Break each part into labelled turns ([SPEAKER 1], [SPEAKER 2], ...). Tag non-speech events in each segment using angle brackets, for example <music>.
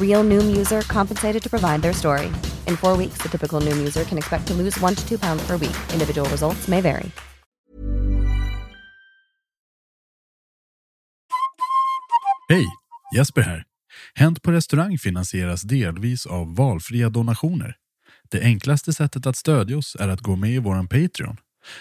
[SPEAKER 1] Real Noom user compensated to provide their story. In four weeks, the typical Noom user can expect to lose one to two pounds per week. Individual results may vary.
[SPEAKER 2] Hej! Jesper här. Hänt på restaurang finansieras delvis av valfria donationer. Det enklaste sättet att stödja oss är att gå med i våran Patreon.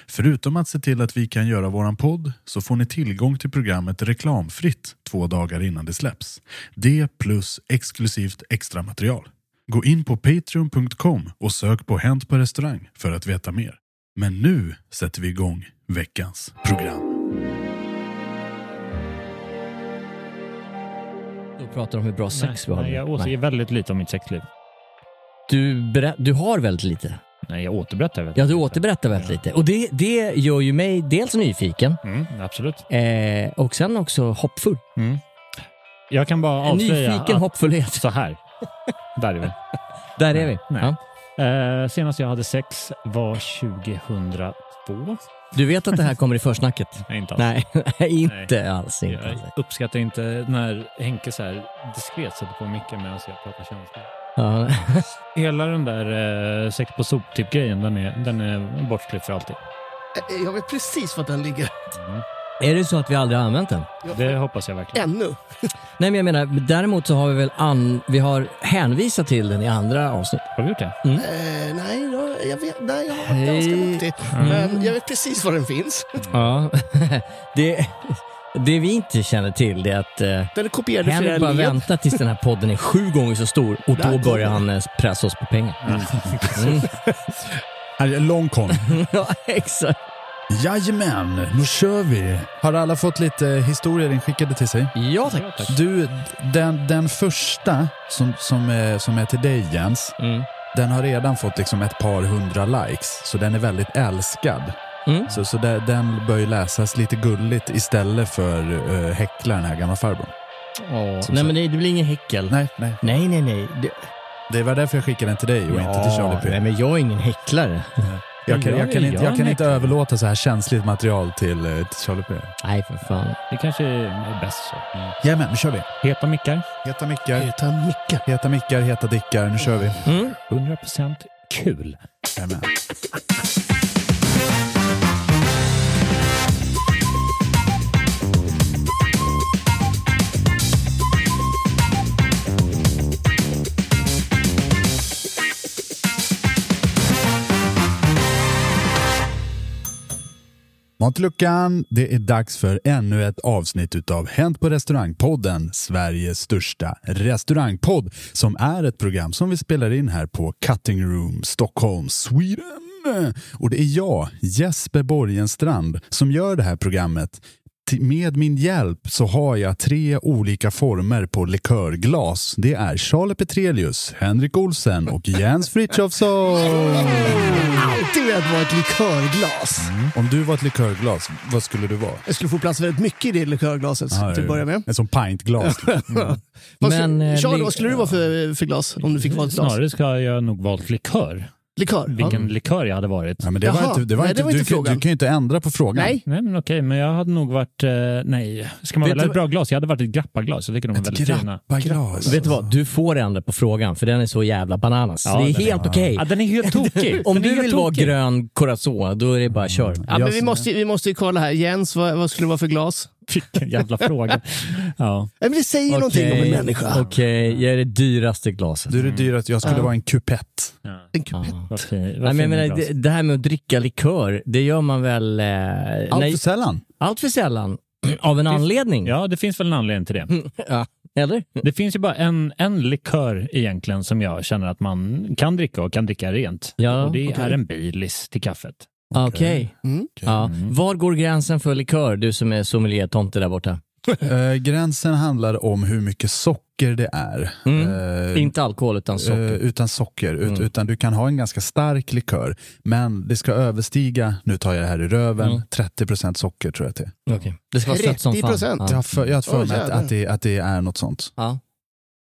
[SPEAKER 2] Förutom att se till att vi kan göra våran podd så får ni tillgång till programmet reklamfritt två dagar innan det släpps. Det plus exklusivt extra material. Gå in på patreon.com och sök på Hänt på restaurang för att veta mer. Men nu sätter vi igång veckans program.
[SPEAKER 3] och pratar om hur bra sex vi har.
[SPEAKER 4] nej, jag återger
[SPEAKER 3] Nej.
[SPEAKER 4] väldigt lite om mitt sexliv.
[SPEAKER 3] Du, berä- du har väldigt lite.
[SPEAKER 4] Nej, jag återberättar väldigt
[SPEAKER 3] Ja, du
[SPEAKER 4] lite.
[SPEAKER 3] återberättar väldigt lite. Och det, det gör ju mig dels nyfiken
[SPEAKER 4] Mm, absolut. Mm.
[SPEAKER 3] eh, och sen också hoppfull.
[SPEAKER 4] Jag kan bara
[SPEAKER 3] En
[SPEAKER 4] avslöja
[SPEAKER 3] nyfiken
[SPEAKER 4] att
[SPEAKER 3] hoppfullhet.
[SPEAKER 4] så här. Där är vi.
[SPEAKER 3] <laughs> Där är vi.
[SPEAKER 4] Nej.
[SPEAKER 3] Ja.
[SPEAKER 4] Eh, senast jag hade sex var 2002.
[SPEAKER 3] Du vet att det här kommer i försnacket?
[SPEAKER 4] <laughs> Nej, inte alls.
[SPEAKER 3] Nej, <laughs> inte alls. Inte alls.
[SPEAKER 4] Jag uppskattar inte när Henke så här diskret sätter på mycket medan jag pratar känslor.
[SPEAKER 3] Ja.
[SPEAKER 4] <laughs> Hela den där eh, sex på soptipp-grejen, den är, den är bortklippt för alltid.
[SPEAKER 5] Jag vet precis var den ligger.
[SPEAKER 3] Är det så att vi aldrig har använt den?
[SPEAKER 4] Det hoppas jag verkligen.
[SPEAKER 5] Ännu.
[SPEAKER 3] <laughs> Nej, men jag menar, däremot så har vi väl an, vi har hänvisat till den i andra avsnitt.
[SPEAKER 4] Har du gjort det?
[SPEAKER 5] Eh, nej, jag, jag vet, nej, jag har varit
[SPEAKER 3] Hej.
[SPEAKER 5] ganska duktig.
[SPEAKER 4] Mm.
[SPEAKER 5] Men jag vet precis var den finns.
[SPEAKER 3] Ja. <laughs> Det, det vi inte känner till det är att eh,
[SPEAKER 5] Den är kopierad i flera
[SPEAKER 3] Henrik bara
[SPEAKER 5] led.
[SPEAKER 3] väntar tills den här podden är sju gånger så stor och
[SPEAKER 5] Där
[SPEAKER 3] då
[SPEAKER 5] kommer
[SPEAKER 3] börjar han eh, pressa oss på pengar. Mm.
[SPEAKER 2] Här är Lång kon.
[SPEAKER 3] <laughs> ja, exakt.
[SPEAKER 2] Jajamän, nu kör vi! Har alla fått lite historier inskickade till sig?
[SPEAKER 3] Ja, tack.
[SPEAKER 2] Du, den, den första som, som, är, som är till dig Jens,
[SPEAKER 3] Mm.
[SPEAKER 2] den har redan fått liksom ett par hundra likes, så den är väldigt älskad.
[SPEAKER 3] Mm.
[SPEAKER 2] Så, så där, den bör ju läsas lite gulligt istället för uh, häckla den här gamla farbrorn.
[SPEAKER 3] Nej, men det, det blir ingen häckel.
[SPEAKER 2] Nej, nej.
[SPEAKER 3] nej, nej. nej. Det,
[SPEAKER 2] Det var därför jag skickade den till dig och inte till Charlie P.
[SPEAKER 3] Nej, men jag är ingen häcklare.
[SPEAKER 2] Jag kan, jag kan,
[SPEAKER 4] jag
[SPEAKER 2] inte, jag kan
[SPEAKER 4] är
[SPEAKER 2] inte
[SPEAKER 4] häcklare.
[SPEAKER 2] överlåta så här känsligt material till, eh, till Charlie P.
[SPEAKER 3] Nej, för fan.
[SPEAKER 4] Det kanske är bäst så.
[SPEAKER 2] Jajamän, nu kör vi.
[SPEAKER 4] Heta mickar.
[SPEAKER 2] Heta mickar,
[SPEAKER 5] Utan mycket.
[SPEAKER 2] heta mickar, heta dickar. Nu kör vi.
[SPEAKER 5] Mm.
[SPEAKER 4] 100% kul.
[SPEAKER 2] Jajamän. Matluckan, det är dags för ännu ett avsnitt utav Hänt på restaurangpodden, Sveriges största restaurangpodd, som är ett program som vi spelar in här på Cutting Room Stockholm, Sweden. Nynne! Och det är jag, Jesper Borgenstrand, som gör det här programmet. Ti- Med min hjälp så har jag tre olika former på likörglas. Det är Charlie Petrelius, Henrik Olsen och Jens Frithiofsson.
[SPEAKER 5] Alltid velat vara ett likörglas.
[SPEAKER 2] Om du var ett likörglas, vad skulle du vara?
[SPEAKER 5] Jag skulle få plats väldigt mycket i det likörglaset till att börja med.
[SPEAKER 2] En
[SPEAKER 5] <laughs>
[SPEAKER 2] sån pintglas.
[SPEAKER 5] Vad
[SPEAKER 3] Men,
[SPEAKER 5] skulle-
[SPEAKER 3] eh,
[SPEAKER 5] Charlie,
[SPEAKER 3] lik-
[SPEAKER 5] vad skulle du vara för, eh, för glas om du fick vara ett glas?
[SPEAKER 4] Snarare ska jag nog valt likör.
[SPEAKER 5] Likör? Ja.
[SPEAKER 4] Vilken likör jag hade varit.
[SPEAKER 2] Ja, men det
[SPEAKER 5] Jaha,
[SPEAKER 2] var inte, det var
[SPEAKER 5] nej,
[SPEAKER 2] inte,
[SPEAKER 5] det var
[SPEAKER 2] du,
[SPEAKER 5] inte
[SPEAKER 2] kan-
[SPEAKER 5] frågan.
[SPEAKER 2] du kan ju inte ändra på frågan.
[SPEAKER 5] Nej.
[SPEAKER 4] Nej, men okej, men jag hade nog varit... Eh, nej, ska man
[SPEAKER 2] Vet
[SPEAKER 4] välja
[SPEAKER 2] du
[SPEAKER 4] ett bra glas? Jag hade varit ett grappaglas. Jag tycker de är väldigt fina.
[SPEAKER 2] grappaglas.
[SPEAKER 3] Vet du vad? Du får ändra på frågan, för den är så jävla bananas.
[SPEAKER 4] Ja,
[SPEAKER 3] det är
[SPEAKER 4] den är-
[SPEAKER 3] helt okej.
[SPEAKER 4] Ja, den är helt tokig.
[SPEAKER 3] Om
[SPEAKER 4] Den är
[SPEAKER 3] du
[SPEAKER 4] helt
[SPEAKER 3] vill vara
[SPEAKER 4] tokig.
[SPEAKER 3] grön Curacao, då är det bara kör.
[SPEAKER 5] Ja, men vi,
[SPEAKER 2] Mm. Jag-
[SPEAKER 5] måste, ju- vi måste ju kolla här. Jens, vad, vad skulle du vara för glas?
[SPEAKER 4] Vilken jävla fråga. Ja.
[SPEAKER 5] Nej, men det säger ju någonting om en människa.
[SPEAKER 3] Okej, jag är det dyraste glaset.
[SPEAKER 2] Du är det dyrast. Jag skulle vara en kupett.
[SPEAKER 5] En kupett.
[SPEAKER 4] Mm, Vad fin, vad
[SPEAKER 3] Nej, men jag
[SPEAKER 4] fin
[SPEAKER 3] menar,
[SPEAKER 4] glas.
[SPEAKER 3] det, det här med att dricka likör, det gör man väl... Eh,
[SPEAKER 2] Allt
[SPEAKER 3] nej,
[SPEAKER 2] för sällan.
[SPEAKER 3] allt för sällan. <clears throat> Av en anledning.
[SPEAKER 4] Ja, det finns väl en anledning till det.
[SPEAKER 5] Mm.
[SPEAKER 3] Ja. Eller?
[SPEAKER 4] Det finns ju bara en, en likör egentligen som jag känner att man kan dricka och kan dricka rent.
[SPEAKER 3] Ja,
[SPEAKER 4] och det
[SPEAKER 3] okej.
[SPEAKER 4] är en Baileys till kaffet.
[SPEAKER 3] Okej.
[SPEAKER 5] Mm.
[SPEAKER 3] Ja. Var går gränsen för likör, du som är sommeliertomte där borta?
[SPEAKER 2] Eh, gränsen handlar om hur mycket socker det är.
[SPEAKER 3] Mm.
[SPEAKER 2] Eh,
[SPEAKER 3] Inte alkohol, utan socker.
[SPEAKER 2] eh, utan socker. Ut,
[SPEAKER 3] Mm.
[SPEAKER 2] Utan du kan ha en ganska stark likör, men det ska överstiga, nu tar jag det här i röven,
[SPEAKER 3] Mm.
[SPEAKER 2] 30% socker tror jag att det är.
[SPEAKER 3] Okej. Det ska vara sött som
[SPEAKER 5] 30%.
[SPEAKER 3] fan.
[SPEAKER 2] Jag
[SPEAKER 3] Ja.
[SPEAKER 2] har för, jag har för
[SPEAKER 5] Åh,
[SPEAKER 2] mig att,
[SPEAKER 5] jävlar.
[SPEAKER 2] att, det, att det är något sånt.
[SPEAKER 3] Ja.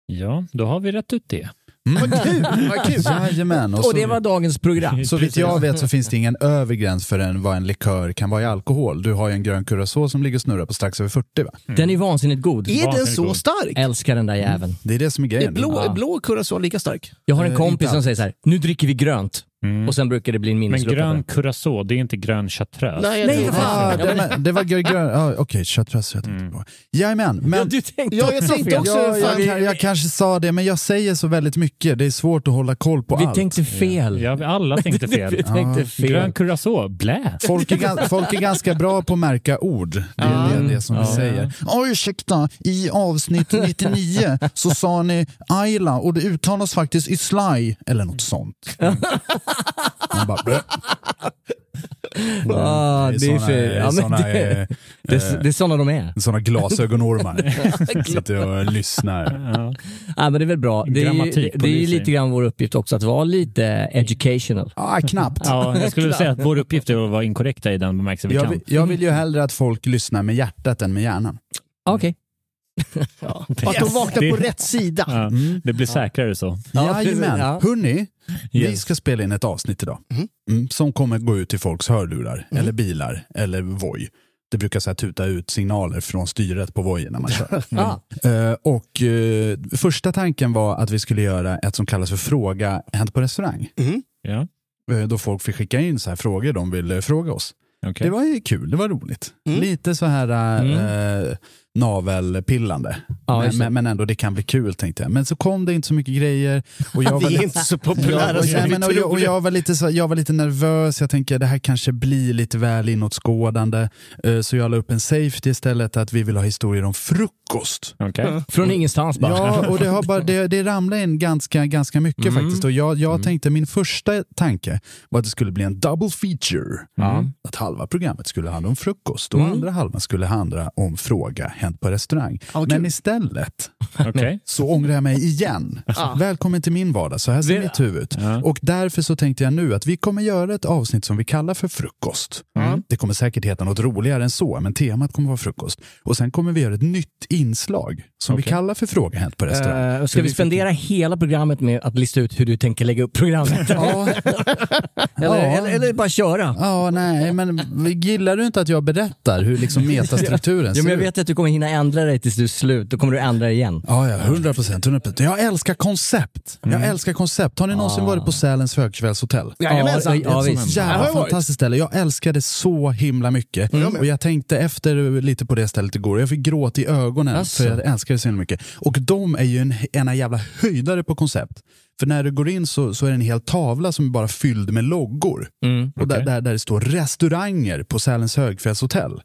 [SPEAKER 4] Ja, då har vi rätt ut det.
[SPEAKER 5] Vad kul! Vad kul.
[SPEAKER 2] <laughs> Jajamän. Och
[SPEAKER 3] Och
[SPEAKER 2] så,
[SPEAKER 3] det var dagens
[SPEAKER 2] <laughs>
[SPEAKER 3] program.
[SPEAKER 2] så vitt jag vet så finns det ingen övre gräns för en, vad en likör kan vara i alkohol. Du har ju en grön curacao som ligger och snurrar på strax över 40 va?
[SPEAKER 5] Mm.
[SPEAKER 3] Den är vansinnigt god.
[SPEAKER 5] Är den så
[SPEAKER 4] god.
[SPEAKER 5] stark?
[SPEAKER 3] Älskar den där jäveln.
[SPEAKER 2] Det är det som är
[SPEAKER 5] Är
[SPEAKER 2] grejen.
[SPEAKER 5] blå, är blå curacao lika stark?
[SPEAKER 3] Jag har en
[SPEAKER 2] Eh,
[SPEAKER 3] kompis
[SPEAKER 2] inte
[SPEAKER 3] som
[SPEAKER 2] alls.
[SPEAKER 3] säger så här, nu dricker vi grönt. Och sen brukar det bli
[SPEAKER 4] Men
[SPEAKER 3] en minneslucka.
[SPEAKER 4] grön curacao, det är inte grön chartreuse.
[SPEAKER 5] jag
[SPEAKER 3] Nej,
[SPEAKER 5] tror-
[SPEAKER 3] vad fan.
[SPEAKER 2] Ah, det, men, det var grön... Ah, Okej, chartreuse jag
[SPEAKER 5] Mm.
[SPEAKER 2] tänkte på. Jajamän, men...
[SPEAKER 3] Ja, du tänkte
[SPEAKER 5] Ja, jag
[SPEAKER 3] också
[SPEAKER 5] tänkte
[SPEAKER 3] fel.
[SPEAKER 5] också
[SPEAKER 2] Ja, jag,
[SPEAKER 5] fan.
[SPEAKER 2] jag, jag kanske sa det, men jag säger så väldigt mycket. Det är svårt att hålla koll på
[SPEAKER 3] Vi
[SPEAKER 2] allt.
[SPEAKER 3] tänkte fel.
[SPEAKER 4] Ja, vi alla tänkte fel.
[SPEAKER 3] <laughs> Vi tänkte
[SPEAKER 4] Grön
[SPEAKER 3] fel.
[SPEAKER 4] curacao, blä!
[SPEAKER 2] Folk
[SPEAKER 3] <laughs>
[SPEAKER 2] är, gan- folk är ganska bra på att märka ord. Det är det, det som vi säger. Ja, ursäkta, i avsnitt 99 så sa ni Ayla och det uttalas faktiskt Islaj eller
[SPEAKER 3] <laughs>
[SPEAKER 2] något sånt. Man bara, blö.
[SPEAKER 3] Ah, det är
[SPEAKER 2] såna-
[SPEAKER 3] fel. Ja, men
[SPEAKER 2] såna,
[SPEAKER 3] det-
[SPEAKER 2] eh,
[SPEAKER 3] Det, är- det är sådana de är. <laughs>
[SPEAKER 2] såna glasögonormar. Sitter och lyssnar.
[SPEAKER 4] Ja.
[SPEAKER 3] Ja, men det är väl bra. Det är, ju,
[SPEAKER 4] Grammatikpoliser.
[SPEAKER 3] det är ju lite grann vår uppgift också att vara lite educational.
[SPEAKER 2] Ah, knappt.
[SPEAKER 4] Ja, jag skulle säga att vår uppgift är att vara inkorrekta i den bemärkelse vi
[SPEAKER 2] Jag
[SPEAKER 4] kan.
[SPEAKER 2] vill, jag vill ju hellre att folk lyssnar med hjärtat än med hjärnan.
[SPEAKER 3] Ah, Okej.
[SPEAKER 5] Och Att de vaknar på
[SPEAKER 4] Det-
[SPEAKER 5] rätt sida.
[SPEAKER 4] Ja, det blir säkrare så.
[SPEAKER 3] Mm. Ja,
[SPEAKER 2] Jajamän.
[SPEAKER 3] precis, ja. Mhm.
[SPEAKER 2] Hörni, vi
[SPEAKER 4] Yes.
[SPEAKER 2] ska spela in ett avsnitt idag. Mm, som kommer gå ut till folks hörlurar, eller bilar, eller Voi. Det brukar så här tuta ut signaler från styret på Voi när
[SPEAKER 3] <laughs>
[SPEAKER 2] man kör.
[SPEAKER 3] Ah,
[SPEAKER 2] Eh, och eh, första tanken var att vi skulle göra ett som kallas för fråga hänt på restaurang.
[SPEAKER 4] Ja,
[SPEAKER 3] Mm.
[SPEAKER 2] Eh, då folk fick skicka in så här frågor de ville fråga oss.
[SPEAKER 4] okej.
[SPEAKER 2] Det var ju kul, det var roligt.
[SPEAKER 5] Mm.
[SPEAKER 2] Lite så här eh, navelpillande.
[SPEAKER 3] Ja,
[SPEAKER 2] men,
[SPEAKER 3] just det.
[SPEAKER 2] men, men ändå, det kan bli kul tänkte jag. Men så kom det inte så mycket grejer. Och
[SPEAKER 5] <laughs>
[SPEAKER 2] jag
[SPEAKER 5] Vi
[SPEAKER 2] var-
[SPEAKER 5] är inte så populära
[SPEAKER 2] och,
[SPEAKER 5] som
[SPEAKER 2] jag,
[SPEAKER 5] vi
[SPEAKER 2] men, och, jag, och
[SPEAKER 5] trodde.
[SPEAKER 2] jag, var lite så, jag var lite nervös, jag tänker det här kanske blir lite väl inåtskådande. Eh, Så jag la upp en safety istället att vi vill ha historier om frukost.
[SPEAKER 4] Okej.
[SPEAKER 3] Från ingenstans bara.
[SPEAKER 2] Ja, och det, har bara, det, det ramlade in ganska, ganska mycket faktiskt. Och jag, jag tänkte, min första tanke var att det skulle bli en double feature. Att halva programmet skulle handla om frukost och andra halvan skulle handla om fråga hänt på restaurang. Men istället
[SPEAKER 4] <laughs> Okej.
[SPEAKER 2] så ångrar jag mig igen. Välkommen till min vardag, så här ser mitt huvud ut. Och därför så tänkte jag nu att vi kommer göra ett avsnitt som vi kallar för frukost.
[SPEAKER 3] Mm.
[SPEAKER 2] Mm. Det kommer säkert heta något roligare än så, men temat kommer vara frukost. Och sen kommer vi göra ett nytt inslag som vi kallar för fråga hänt på restaurang.
[SPEAKER 3] Eh, ska vi spendera hela programmet med att lista ut hur du tänker lägga upp programmet?
[SPEAKER 2] <laughs> Ja,
[SPEAKER 3] eller,
[SPEAKER 2] Ja.
[SPEAKER 3] eller, eller bara köra?
[SPEAKER 2] ja, nej, men gillar du inte att jag berättar
[SPEAKER 3] <laughs>
[SPEAKER 2] hur liksom metastrukturen ser
[SPEAKER 3] Ja, men jag
[SPEAKER 2] ut?
[SPEAKER 3] vet att du kommer hinna ändra dig tills du är slut. Då kommer du ändra dig igen.
[SPEAKER 2] Ja, ja, 100 procent. Jag älskar koncept.
[SPEAKER 3] Mm.
[SPEAKER 2] Jag älskar koncept. Har ni någonsin varit på Sälens högkvällshotell?
[SPEAKER 5] Jajamensan.
[SPEAKER 3] Ah. Ja, ja,
[SPEAKER 2] Ett
[SPEAKER 3] visst. Mm.
[SPEAKER 2] sånt
[SPEAKER 5] Här har
[SPEAKER 2] jävla
[SPEAKER 5] jag varit.
[SPEAKER 2] fantastiskt ställe. Jag älskar det så himla mycket. Och jag tänkte efter lite på det stället igår. Jag fick gråta i ögonen
[SPEAKER 3] Asså.
[SPEAKER 2] för jag älskar det så himla mycket. Och de är ju en, ena jävla höjdare på koncept. För när du går in så, så är det en hel tavla som är bara fylld med loggor.
[SPEAKER 3] Mm,
[SPEAKER 2] Och där,
[SPEAKER 4] okej.
[SPEAKER 2] där, där det står restauranger på Sälens högfjällshotell.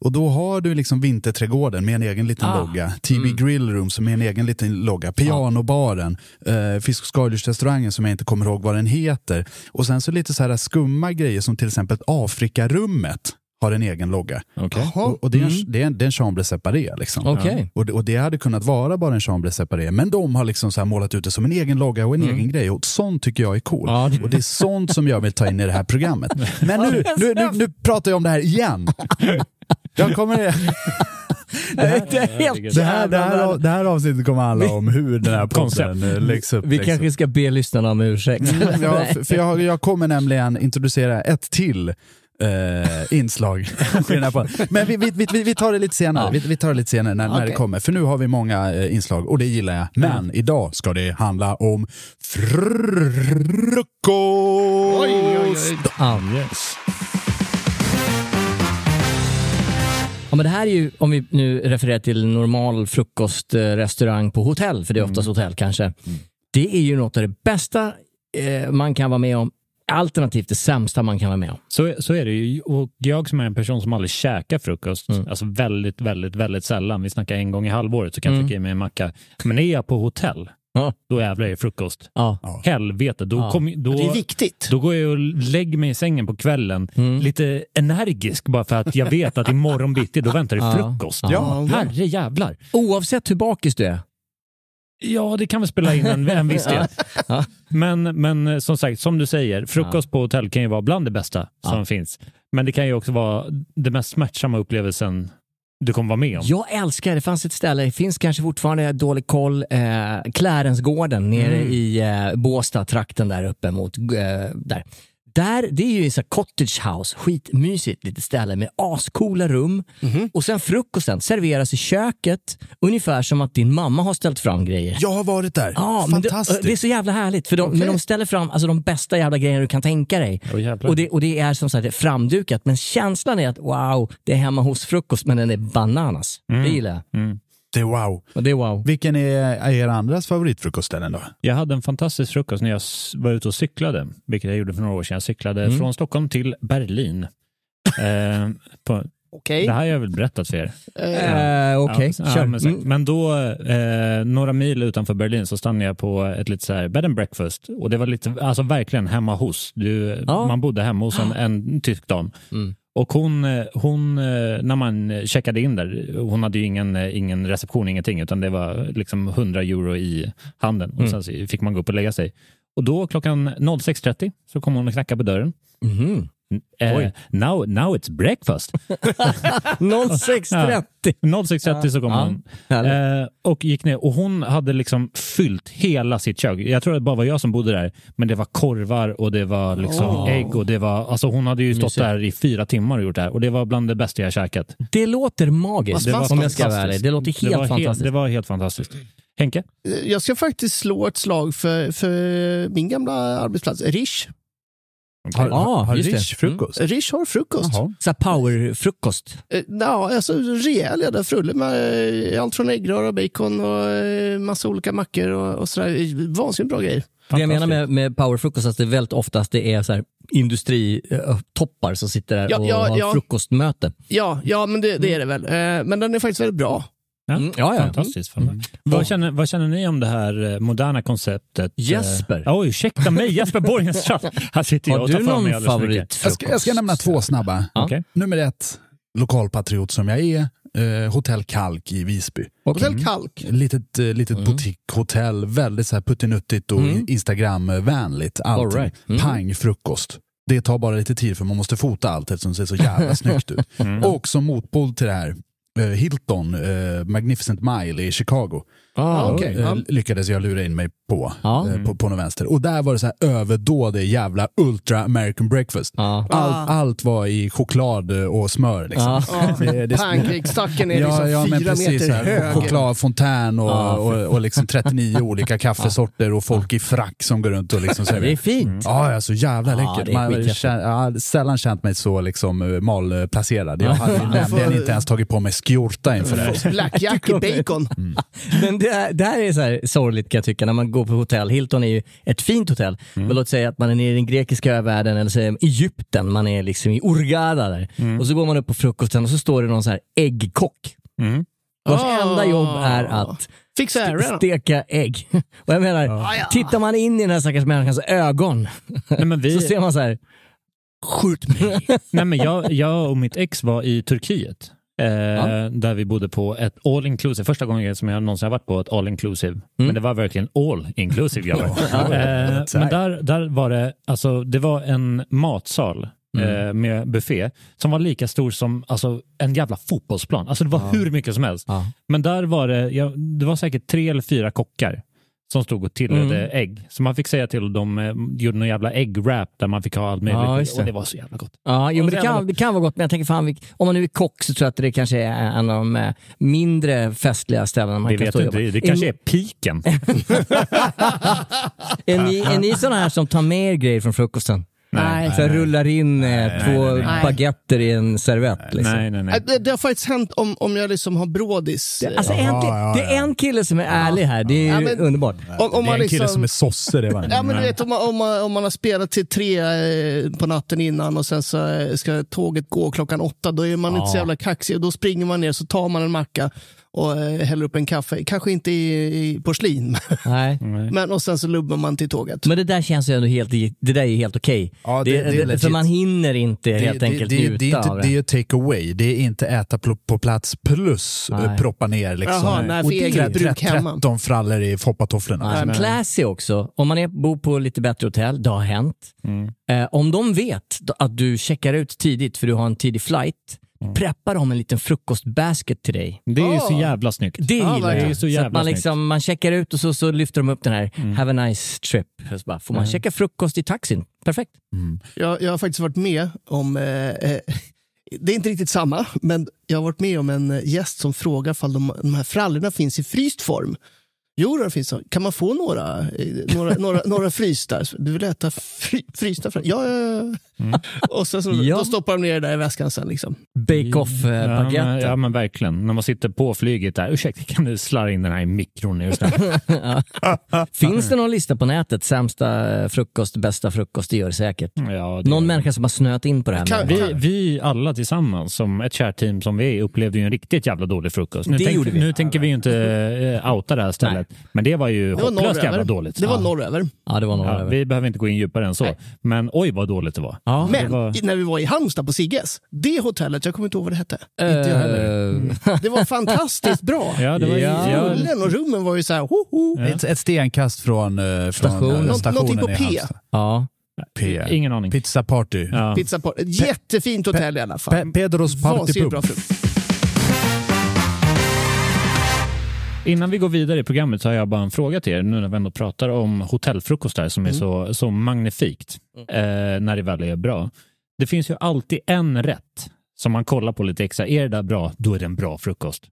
[SPEAKER 2] Och då har du liksom Vinterträdgården med en egen liten
[SPEAKER 3] Ah,
[SPEAKER 2] logga. TB Grillroom som är en egen liten logga. Pianobaren. Eh, Fisk och skaldjursrestaurangen som jag inte kommer ihåg vad den heter. Och sen så lite så här skumma grejer som till exempel Afrikarummet har en egen logga.
[SPEAKER 4] Okej.
[SPEAKER 2] Och, och det, är en, det, är en, det är en chambre separé. Liksom.
[SPEAKER 3] Mm. Okej.
[SPEAKER 2] Och, det, och det hade kunnat vara bara en chambre separé, men de har liksom så här målat ut det som en egen logga och en egen grej. Och sånt tycker jag är cool.
[SPEAKER 3] Ja, det-
[SPEAKER 2] Och Mm. det är sånt som jag vill ta in i det här programmet. Men nu, nu, nu, nu pratar jag om det här igen. Jag kommer... Det här,
[SPEAKER 3] Det är helt
[SPEAKER 2] det, här, det, här, det här avsnittet kommer handla om hur den här
[SPEAKER 4] Koncept.
[SPEAKER 2] podden eh, läggs upp.
[SPEAKER 3] Vi
[SPEAKER 2] liksom.
[SPEAKER 3] kanske ska be lyssnarna om ursäkt.
[SPEAKER 2] <laughs> Mm, ja,
[SPEAKER 3] Nej.
[SPEAKER 2] för- för jag, jag kommer nämligen introducera ett till eh, inslag. <laughs> i den här podden. Men vi, vi, vi, vi tar det lite senare, vi, vi tar det lite senare när, när det
[SPEAKER 3] Okej. Mm.
[SPEAKER 2] kommer. För nu har vi många eh, inslag och det gillar jag. Men idag ska det handla om frukost!
[SPEAKER 4] Anges.
[SPEAKER 3] Ja, men det här är ju, om vi nu refererar till normal frukostrestaurang på hotell, för det är
[SPEAKER 2] Mm.
[SPEAKER 3] oftast hotell kanske. Det är ju något av det bästa eh, man kan vara med om, alternativt det sämsta man kan vara med om.
[SPEAKER 4] Så, så är det ju. Och jag som är en person som aldrig käkar frukost, alltså väldigt, väldigt, väldigt sällan. Vi snackar en gång i halvåret så kan jag trycka i mig en macka. Men är jag på hotell,
[SPEAKER 3] Ja.
[SPEAKER 4] då jävlar är det frukost.
[SPEAKER 3] Ja.
[SPEAKER 4] Helvete, då,
[SPEAKER 3] Ja.
[SPEAKER 4] kom, då,
[SPEAKER 5] Det är viktigt.
[SPEAKER 4] då går jag och lägger mig i sängen på kvällen,
[SPEAKER 3] Mm.
[SPEAKER 4] lite energisk bara för att jag vet att imorgon bitti, då väntar det
[SPEAKER 3] Ja.
[SPEAKER 4] frukost.
[SPEAKER 5] Ja.
[SPEAKER 4] Herre jävlar.
[SPEAKER 3] Oavsett hur bakis du är.
[SPEAKER 4] Ja, det kan vi spela in en, en viss del.
[SPEAKER 3] <laughs> Ja.
[SPEAKER 4] Men, men eh, som sagt, som du säger, frukost på hotell kan ju vara bland det bästa som finns. Men det kan ju också vara den mest smärtsamma upplevelsen du kommer vara med om.
[SPEAKER 3] Jag älskar, det fanns ett ställe, det finns kanske fortfarande, jag har dålig koll, eh, Klärensgården nere
[SPEAKER 4] Mm.
[SPEAKER 3] i eh, Båstad-trakten där uppe mot, eh, där. Där, det är ju så här cottage house, skitmysigt litet ställe med ascoola rum. Och sen frukosten serveras i köket, ungefär som att din mamma har ställt fram grejer.
[SPEAKER 2] Jag har varit där.
[SPEAKER 3] Ja, men det,
[SPEAKER 2] Fantastiskt.
[SPEAKER 3] det är så jävla härligt. För de, Men de ställer fram alltså, de bästa jävla grejerna du kan tänka dig.
[SPEAKER 4] Åh, jävlar.
[SPEAKER 3] och, det, och det är som sagt framdukat. Men känslan är att wow, det är hemma hos frukost men den är bananas. Det gillar jag.
[SPEAKER 2] Det är wow.
[SPEAKER 3] Och det är wow.
[SPEAKER 2] Vilken är, är er andras favoritfrukostställen då?
[SPEAKER 4] Jag hade en fantastisk frukost när jag s- var ute och cyklade, vilket jag gjorde för några år sedan. Jag cyklade från Stockholm till Berlin. eh, på,
[SPEAKER 5] Okej.
[SPEAKER 4] Det här har jag väl berättat för er?
[SPEAKER 3] Eh, Okej,
[SPEAKER 4] Ja,
[SPEAKER 3] kör.
[SPEAKER 4] ja, men, så-
[SPEAKER 3] Mm.
[SPEAKER 4] men då, eh, några mil utanför Berlin, så stannade jag på ett lite så här bed and breakfast. Och det var lite, alltså verkligen hemma hos. Du,
[SPEAKER 3] Ja.
[SPEAKER 4] Man bodde hemma hos en, en tysk dam. Och hon, eh, hon, eh, när man checkade in där, hon hade ju ingen, eh, ingen reception, ingenting, utan det var liksom 100 euro i handen. Och sen så fick man gå upp och lägga sig. Och då klockan 06.30 så kom hon och knackade på dörren.
[SPEAKER 3] Mhm.
[SPEAKER 4] Eh, now, now it's breakfast. <laughs> eh,
[SPEAKER 3] 06.30.
[SPEAKER 4] 06.30 så kom
[SPEAKER 3] Ja.
[SPEAKER 4] hon.
[SPEAKER 3] Härligt.
[SPEAKER 4] Eh, och gick ner. Och hon hade liksom fyllt hela sitt kök. Jag tror att det bara var jag som bodde där. Men det var korvar och det var liksom ägg och det var... Alltså hon hade ju stått
[SPEAKER 3] Mysigt.
[SPEAKER 4] där i fyra timmar och gjort det här. Och det var bland det bästa jag käkat.
[SPEAKER 3] Det låter magiskt
[SPEAKER 5] Det var
[SPEAKER 3] om jag ska vara ärlig.
[SPEAKER 4] fantastiskt.
[SPEAKER 3] Det låter helt
[SPEAKER 4] var
[SPEAKER 3] fantastiskt.
[SPEAKER 4] det var helt fantastiskt. Henke?
[SPEAKER 5] Jag ska faktiskt slå ett slag för, för eh, min gamla arbetsplats. Rish.
[SPEAKER 2] Har,
[SPEAKER 3] Ja,
[SPEAKER 2] har
[SPEAKER 3] ah, just det. Mm.
[SPEAKER 2] Rish frukost?
[SPEAKER 5] Rish har frukost.
[SPEAKER 2] Jaha.
[SPEAKER 3] Så här powerfrukost.
[SPEAKER 5] Eh, Ja, alltså rejäl jädra frulle med eh, allt från äggröra och bacon och eh, massa olika mackor och, och sådär. Eh, Vansinnigt bra grejer.
[SPEAKER 3] Det jag menar med, med powerfrukost är att det väldigt oftast det är så här industritoppar som sitter där
[SPEAKER 5] Ja,
[SPEAKER 3] och
[SPEAKER 5] ja,
[SPEAKER 3] har
[SPEAKER 5] ja.
[SPEAKER 3] frukostmöte.
[SPEAKER 5] Ja, ja men det, det är det väl. Eh, Men den är faktiskt väldigt bra.
[SPEAKER 4] Ja,
[SPEAKER 3] Mm, ja, ja.
[SPEAKER 4] Fantastiskt. Fan. Vad, känner, vad känner ni om det här eh, moderna konceptet?
[SPEAKER 3] Mm. Jesper.
[SPEAKER 4] Eh, Oj, ursäkta mig. Jesper Borgenstrand. Här sitter jag
[SPEAKER 3] Har
[SPEAKER 4] och tar
[SPEAKER 3] du
[SPEAKER 4] för mig
[SPEAKER 3] någon
[SPEAKER 4] alldeles för mycket.
[SPEAKER 2] Jag ska, jag
[SPEAKER 3] favoritfrukost?
[SPEAKER 2] ska nämna två snabba.
[SPEAKER 4] Okej.
[SPEAKER 2] Nummer ett, lokalpatriot som jag är, eh, Hotell Kalk i Visby.
[SPEAKER 5] Hotell Kalk.
[SPEAKER 2] Litet, eh, litet boutiquehotell, väldigt så här puttinuttigt och
[SPEAKER 3] Mm.
[SPEAKER 2] Instagram-vänligt. Allting.
[SPEAKER 3] All right. Mm.
[SPEAKER 2] Pang frukost. Det tar bara lite tid för man måste fota allt eftersom
[SPEAKER 3] <laughs>
[SPEAKER 2] det ser så jävla snyggt ut.
[SPEAKER 3] Mm.
[SPEAKER 2] Och som motpol till det här, eh, Hilton eh, Magnificent Mile i Chicago
[SPEAKER 3] Ah,
[SPEAKER 5] okej.
[SPEAKER 2] eh, lyckades jag lura in mig på,
[SPEAKER 3] Ja.
[SPEAKER 2] eh, på, på någon vänster. Och där var det så här överdådig jävla ultra American breakfast.
[SPEAKER 3] Ja.
[SPEAKER 2] Allt,
[SPEAKER 5] Ah.
[SPEAKER 2] allt var i choklad eh, och smör. Liksom. Det, det,
[SPEAKER 5] Pancakestacken är liksom
[SPEAKER 2] ja, men
[SPEAKER 5] fyra
[SPEAKER 2] precis, så
[SPEAKER 5] meter
[SPEAKER 2] här,
[SPEAKER 5] hög.
[SPEAKER 2] Chokladfontän och,
[SPEAKER 3] Ja,
[SPEAKER 2] och, och
[SPEAKER 3] <laughs>
[SPEAKER 2] liksom 39 olika kaffesorter och folk i frack som går runt och liksom
[SPEAKER 3] Det är
[SPEAKER 2] serverar.
[SPEAKER 4] Mm.
[SPEAKER 3] fint.
[SPEAKER 2] Ja, ja, så jävla
[SPEAKER 3] Ja, det
[SPEAKER 2] läckert.
[SPEAKER 3] är
[SPEAKER 2] Man
[SPEAKER 3] skitläckert.
[SPEAKER 2] kän- jag har sällan känt mig så liksom eh, malplacerad. Jag hade ju nämligen inte ens tagit på mig
[SPEAKER 6] skjorta inför det här.
[SPEAKER 5] <laughs> Black Jack i bacon.
[SPEAKER 3] Men det, här- det här är så här sorgligt kan jag tycka när man går på hotell. Hilton är ju ett fint hotell.
[SPEAKER 4] Mm.
[SPEAKER 3] Men låt säga att man är nere i den grekiska övärlden eller så är man i Egypten, man är liksom i Hurghada där.
[SPEAKER 4] Mm.
[SPEAKER 3] Och så går man upp på frukosten och så står det någon så här äggkock.
[SPEAKER 4] Mm.
[SPEAKER 3] Vars
[SPEAKER 5] Ah.
[SPEAKER 3] enda jobb är att
[SPEAKER 5] Fixa
[SPEAKER 3] st-
[SPEAKER 5] ära.
[SPEAKER 3] steka ägg. <laughs> Och jag menar, tittar man in i den här stackars människans ögon
[SPEAKER 4] Ah, Nej,
[SPEAKER 3] <laughs>
[SPEAKER 4] men
[SPEAKER 3] så
[SPEAKER 4] vi,
[SPEAKER 3] ser man så här Skjut mig.
[SPEAKER 4] nej,
[SPEAKER 3] <laughs>
[SPEAKER 4] men jag, jag och mitt ex var i Turkiet. Eh, Där vi bodde på ett all inclusive. Första gången som jag någonsin har varit på ett all inclusive.
[SPEAKER 5] Mm.
[SPEAKER 4] Men det var verkligen all
[SPEAKER 3] Typ,
[SPEAKER 4] inclusive. grabbar. eh, men där, där var det, alltså, det var en matsal
[SPEAKER 3] Mm.
[SPEAKER 4] eh, med buffé som var lika stor som alltså, en jävla fotbollsplan. Alltså det var hur mycket som helst.
[SPEAKER 3] Ja.
[SPEAKER 4] Men där var det, ja, det var säkert tre eller fyra kockar som stod och tillredde
[SPEAKER 3] Mm.
[SPEAKER 4] ägg. Så man fick säga till dem, eh, gjorde någon jävla äggwrap där man fick ha allt möjligt.
[SPEAKER 3] Ja, just det.
[SPEAKER 4] Och det var så jävla gott.
[SPEAKER 3] Ja, jo,
[SPEAKER 4] Och
[SPEAKER 3] men det
[SPEAKER 4] så jävla
[SPEAKER 3] kan,
[SPEAKER 4] gott.
[SPEAKER 3] det kan vara gott, men jag tänker fan, vilk- om man nu är kock så tror jag att det kanske är en av de eh, mindre festliga ställena man
[SPEAKER 4] Vi
[SPEAKER 3] kan
[SPEAKER 4] vet
[SPEAKER 3] stå och
[SPEAKER 4] inte,
[SPEAKER 3] jobba.
[SPEAKER 4] det, det kanske är
[SPEAKER 3] <laughs>
[SPEAKER 4] piken.
[SPEAKER 3] Liksom. Är ni, är ni sådana här som tar med er grejer från frukosten?
[SPEAKER 4] Nej.
[SPEAKER 3] Så här rullar in eh, två baguetter i en servett. Liksom.
[SPEAKER 4] nej, nej, nej.
[SPEAKER 5] Det, det har faktiskt hänt om, om jag liksom har brådis.
[SPEAKER 3] Alltså, äntligen,
[SPEAKER 6] ja,
[SPEAKER 3] Det är en kille som är ärlig här. Det är ju
[SPEAKER 5] Ja, men-
[SPEAKER 3] underbart.
[SPEAKER 5] om, om
[SPEAKER 6] Det är
[SPEAKER 5] man
[SPEAKER 6] en kille som
[SPEAKER 5] liksom...
[SPEAKER 6] är sosse, det var
[SPEAKER 5] Ja, men du vet, om, man, om, man, om man har spelat till tre eh, på natten innan och sen så eh, ska tåget gå klockan åtta, då är man inte så jävla kaxig. Och Då springer man ner så tar man en macka och eh, häller upp en kaffe. Kanske inte i, i porslin, <laughs>
[SPEAKER 3] Nej.
[SPEAKER 5] men och sen så lubbar man till tåget.
[SPEAKER 3] Men det där känns ju ändå helt, det där är ju helt okej.
[SPEAKER 6] Ja, det- det är
[SPEAKER 3] för
[SPEAKER 6] legit.
[SPEAKER 3] man hinner inte helt enkelt
[SPEAKER 6] det, det,
[SPEAKER 3] njuta
[SPEAKER 6] det, är inte,
[SPEAKER 3] av det.
[SPEAKER 6] det är take away, det är inte äta pl- på plats plus
[SPEAKER 3] Nej.
[SPEAKER 6] eh, proppa ner liksom.
[SPEAKER 5] Jaha, nej, för
[SPEAKER 6] och det
[SPEAKER 5] eget
[SPEAKER 6] är
[SPEAKER 5] bruk hemma.
[SPEAKER 6] 13 frallor i foppatofflorna. liksom.
[SPEAKER 3] Nej, Classy också. Om man är, bor på lite bättre hotell, det har hänt.
[SPEAKER 4] Mm.
[SPEAKER 3] Eh, om de vet d- att du checkar ut tidigt för du har en tidig flight, preppar de en liten frukostbasket till dig.
[SPEAKER 4] Mm. Det är ju
[SPEAKER 5] Ah.
[SPEAKER 4] så jävla snyggt.
[SPEAKER 3] Det gillar
[SPEAKER 4] Det är
[SPEAKER 3] jag.
[SPEAKER 4] ju så
[SPEAKER 3] så att
[SPEAKER 4] jävla
[SPEAKER 3] man,
[SPEAKER 4] snyggt. Mm.
[SPEAKER 3] liksom, man checkar ut och så, så lyfter de upp den här “Have a nice trip”. Och Så bara, får man checka frukost i taxin? Perfekt.
[SPEAKER 4] Mm.
[SPEAKER 5] Jag, jag har faktiskt varit med om, eh, eh, det är inte riktigt samma, men jag har varit med om en eh, gäst som frågar ifall de, de här frallorna finns i fryst form. Jo, det finns så. Kan man få några, eh, några, några, några frysta? Du vill äta fry, frysta frallor? Ja, ja, ja. Och sen så,
[SPEAKER 3] Ja.
[SPEAKER 5] Alltså, Då stoppar de ner det där i väskan sen. Liksom.
[SPEAKER 3] Bake off eh,
[SPEAKER 4] Ja
[SPEAKER 3] baguette.
[SPEAKER 4] men, ja men verkligen. När man sitter på flyget där, ursäkta kan du slarva in den här i mikron? är du snäll?"
[SPEAKER 3] Finns det någon lista på nätet? Sämsta eh, frukost, bästa frukost, det gör det säkert.
[SPEAKER 4] ja, det-
[SPEAKER 3] Någon människa som har snöat in på det här.
[SPEAKER 5] Kan-
[SPEAKER 3] med-
[SPEAKER 4] Vi, vi alla tillsammans, som ett kärt team som vi är, upplevde ju en riktigt jävla dålig frukost. Nu,
[SPEAKER 3] Det gjorde vi.
[SPEAKER 4] nu tänker vi ju inte eh, outa det här stället, men det var ju
[SPEAKER 5] Det var norr
[SPEAKER 4] hopplöst jävla
[SPEAKER 5] över.
[SPEAKER 4] dåligt.
[SPEAKER 5] Det var
[SPEAKER 4] Ja.
[SPEAKER 5] norr över.
[SPEAKER 3] Ja, det var någon
[SPEAKER 4] Ja,
[SPEAKER 3] över.
[SPEAKER 4] vi behöver inte gå in djupare än så, men oj vad dåligt det var.
[SPEAKER 3] Ja.
[SPEAKER 4] Det
[SPEAKER 5] Men
[SPEAKER 4] var...
[SPEAKER 5] i- när vi var i Halmstad på Sigges, det hotellet, jag kommer inte ihåg vad det hette.
[SPEAKER 3] Inte jag
[SPEAKER 5] Det var fantastiskt bra.
[SPEAKER 4] Ja, det var
[SPEAKER 3] Ja.
[SPEAKER 4] ja.
[SPEAKER 5] Poolen och rummen var ju så här, ho, ho.
[SPEAKER 6] Ett, ett stenkast från, eh, från
[SPEAKER 3] Stationen.
[SPEAKER 6] eh,
[SPEAKER 5] Nå-
[SPEAKER 6] stationen
[SPEAKER 5] någonting på
[SPEAKER 6] i
[SPEAKER 5] P.
[SPEAKER 6] Halmstad.
[SPEAKER 3] Ja.
[SPEAKER 6] P.
[SPEAKER 4] Ingen aning.
[SPEAKER 6] Pizza party.
[SPEAKER 4] Ja.
[SPEAKER 5] Pizza på. Ett Jättefint hotell i alla fall.
[SPEAKER 6] Pe- Pedros party
[SPEAKER 5] Vansinnigt
[SPEAKER 6] pub.
[SPEAKER 5] bra frukost.
[SPEAKER 4] Innan vi går vidare i programmet så har jag bara en fråga till er, nu när vi ändå pratar om hotellfrukostar som är så, så magnifikt eh, när det väl är bra. Det finns ju alltid en rätt som man kollar på lite extra. Är det där bra, då är det en bra frukost.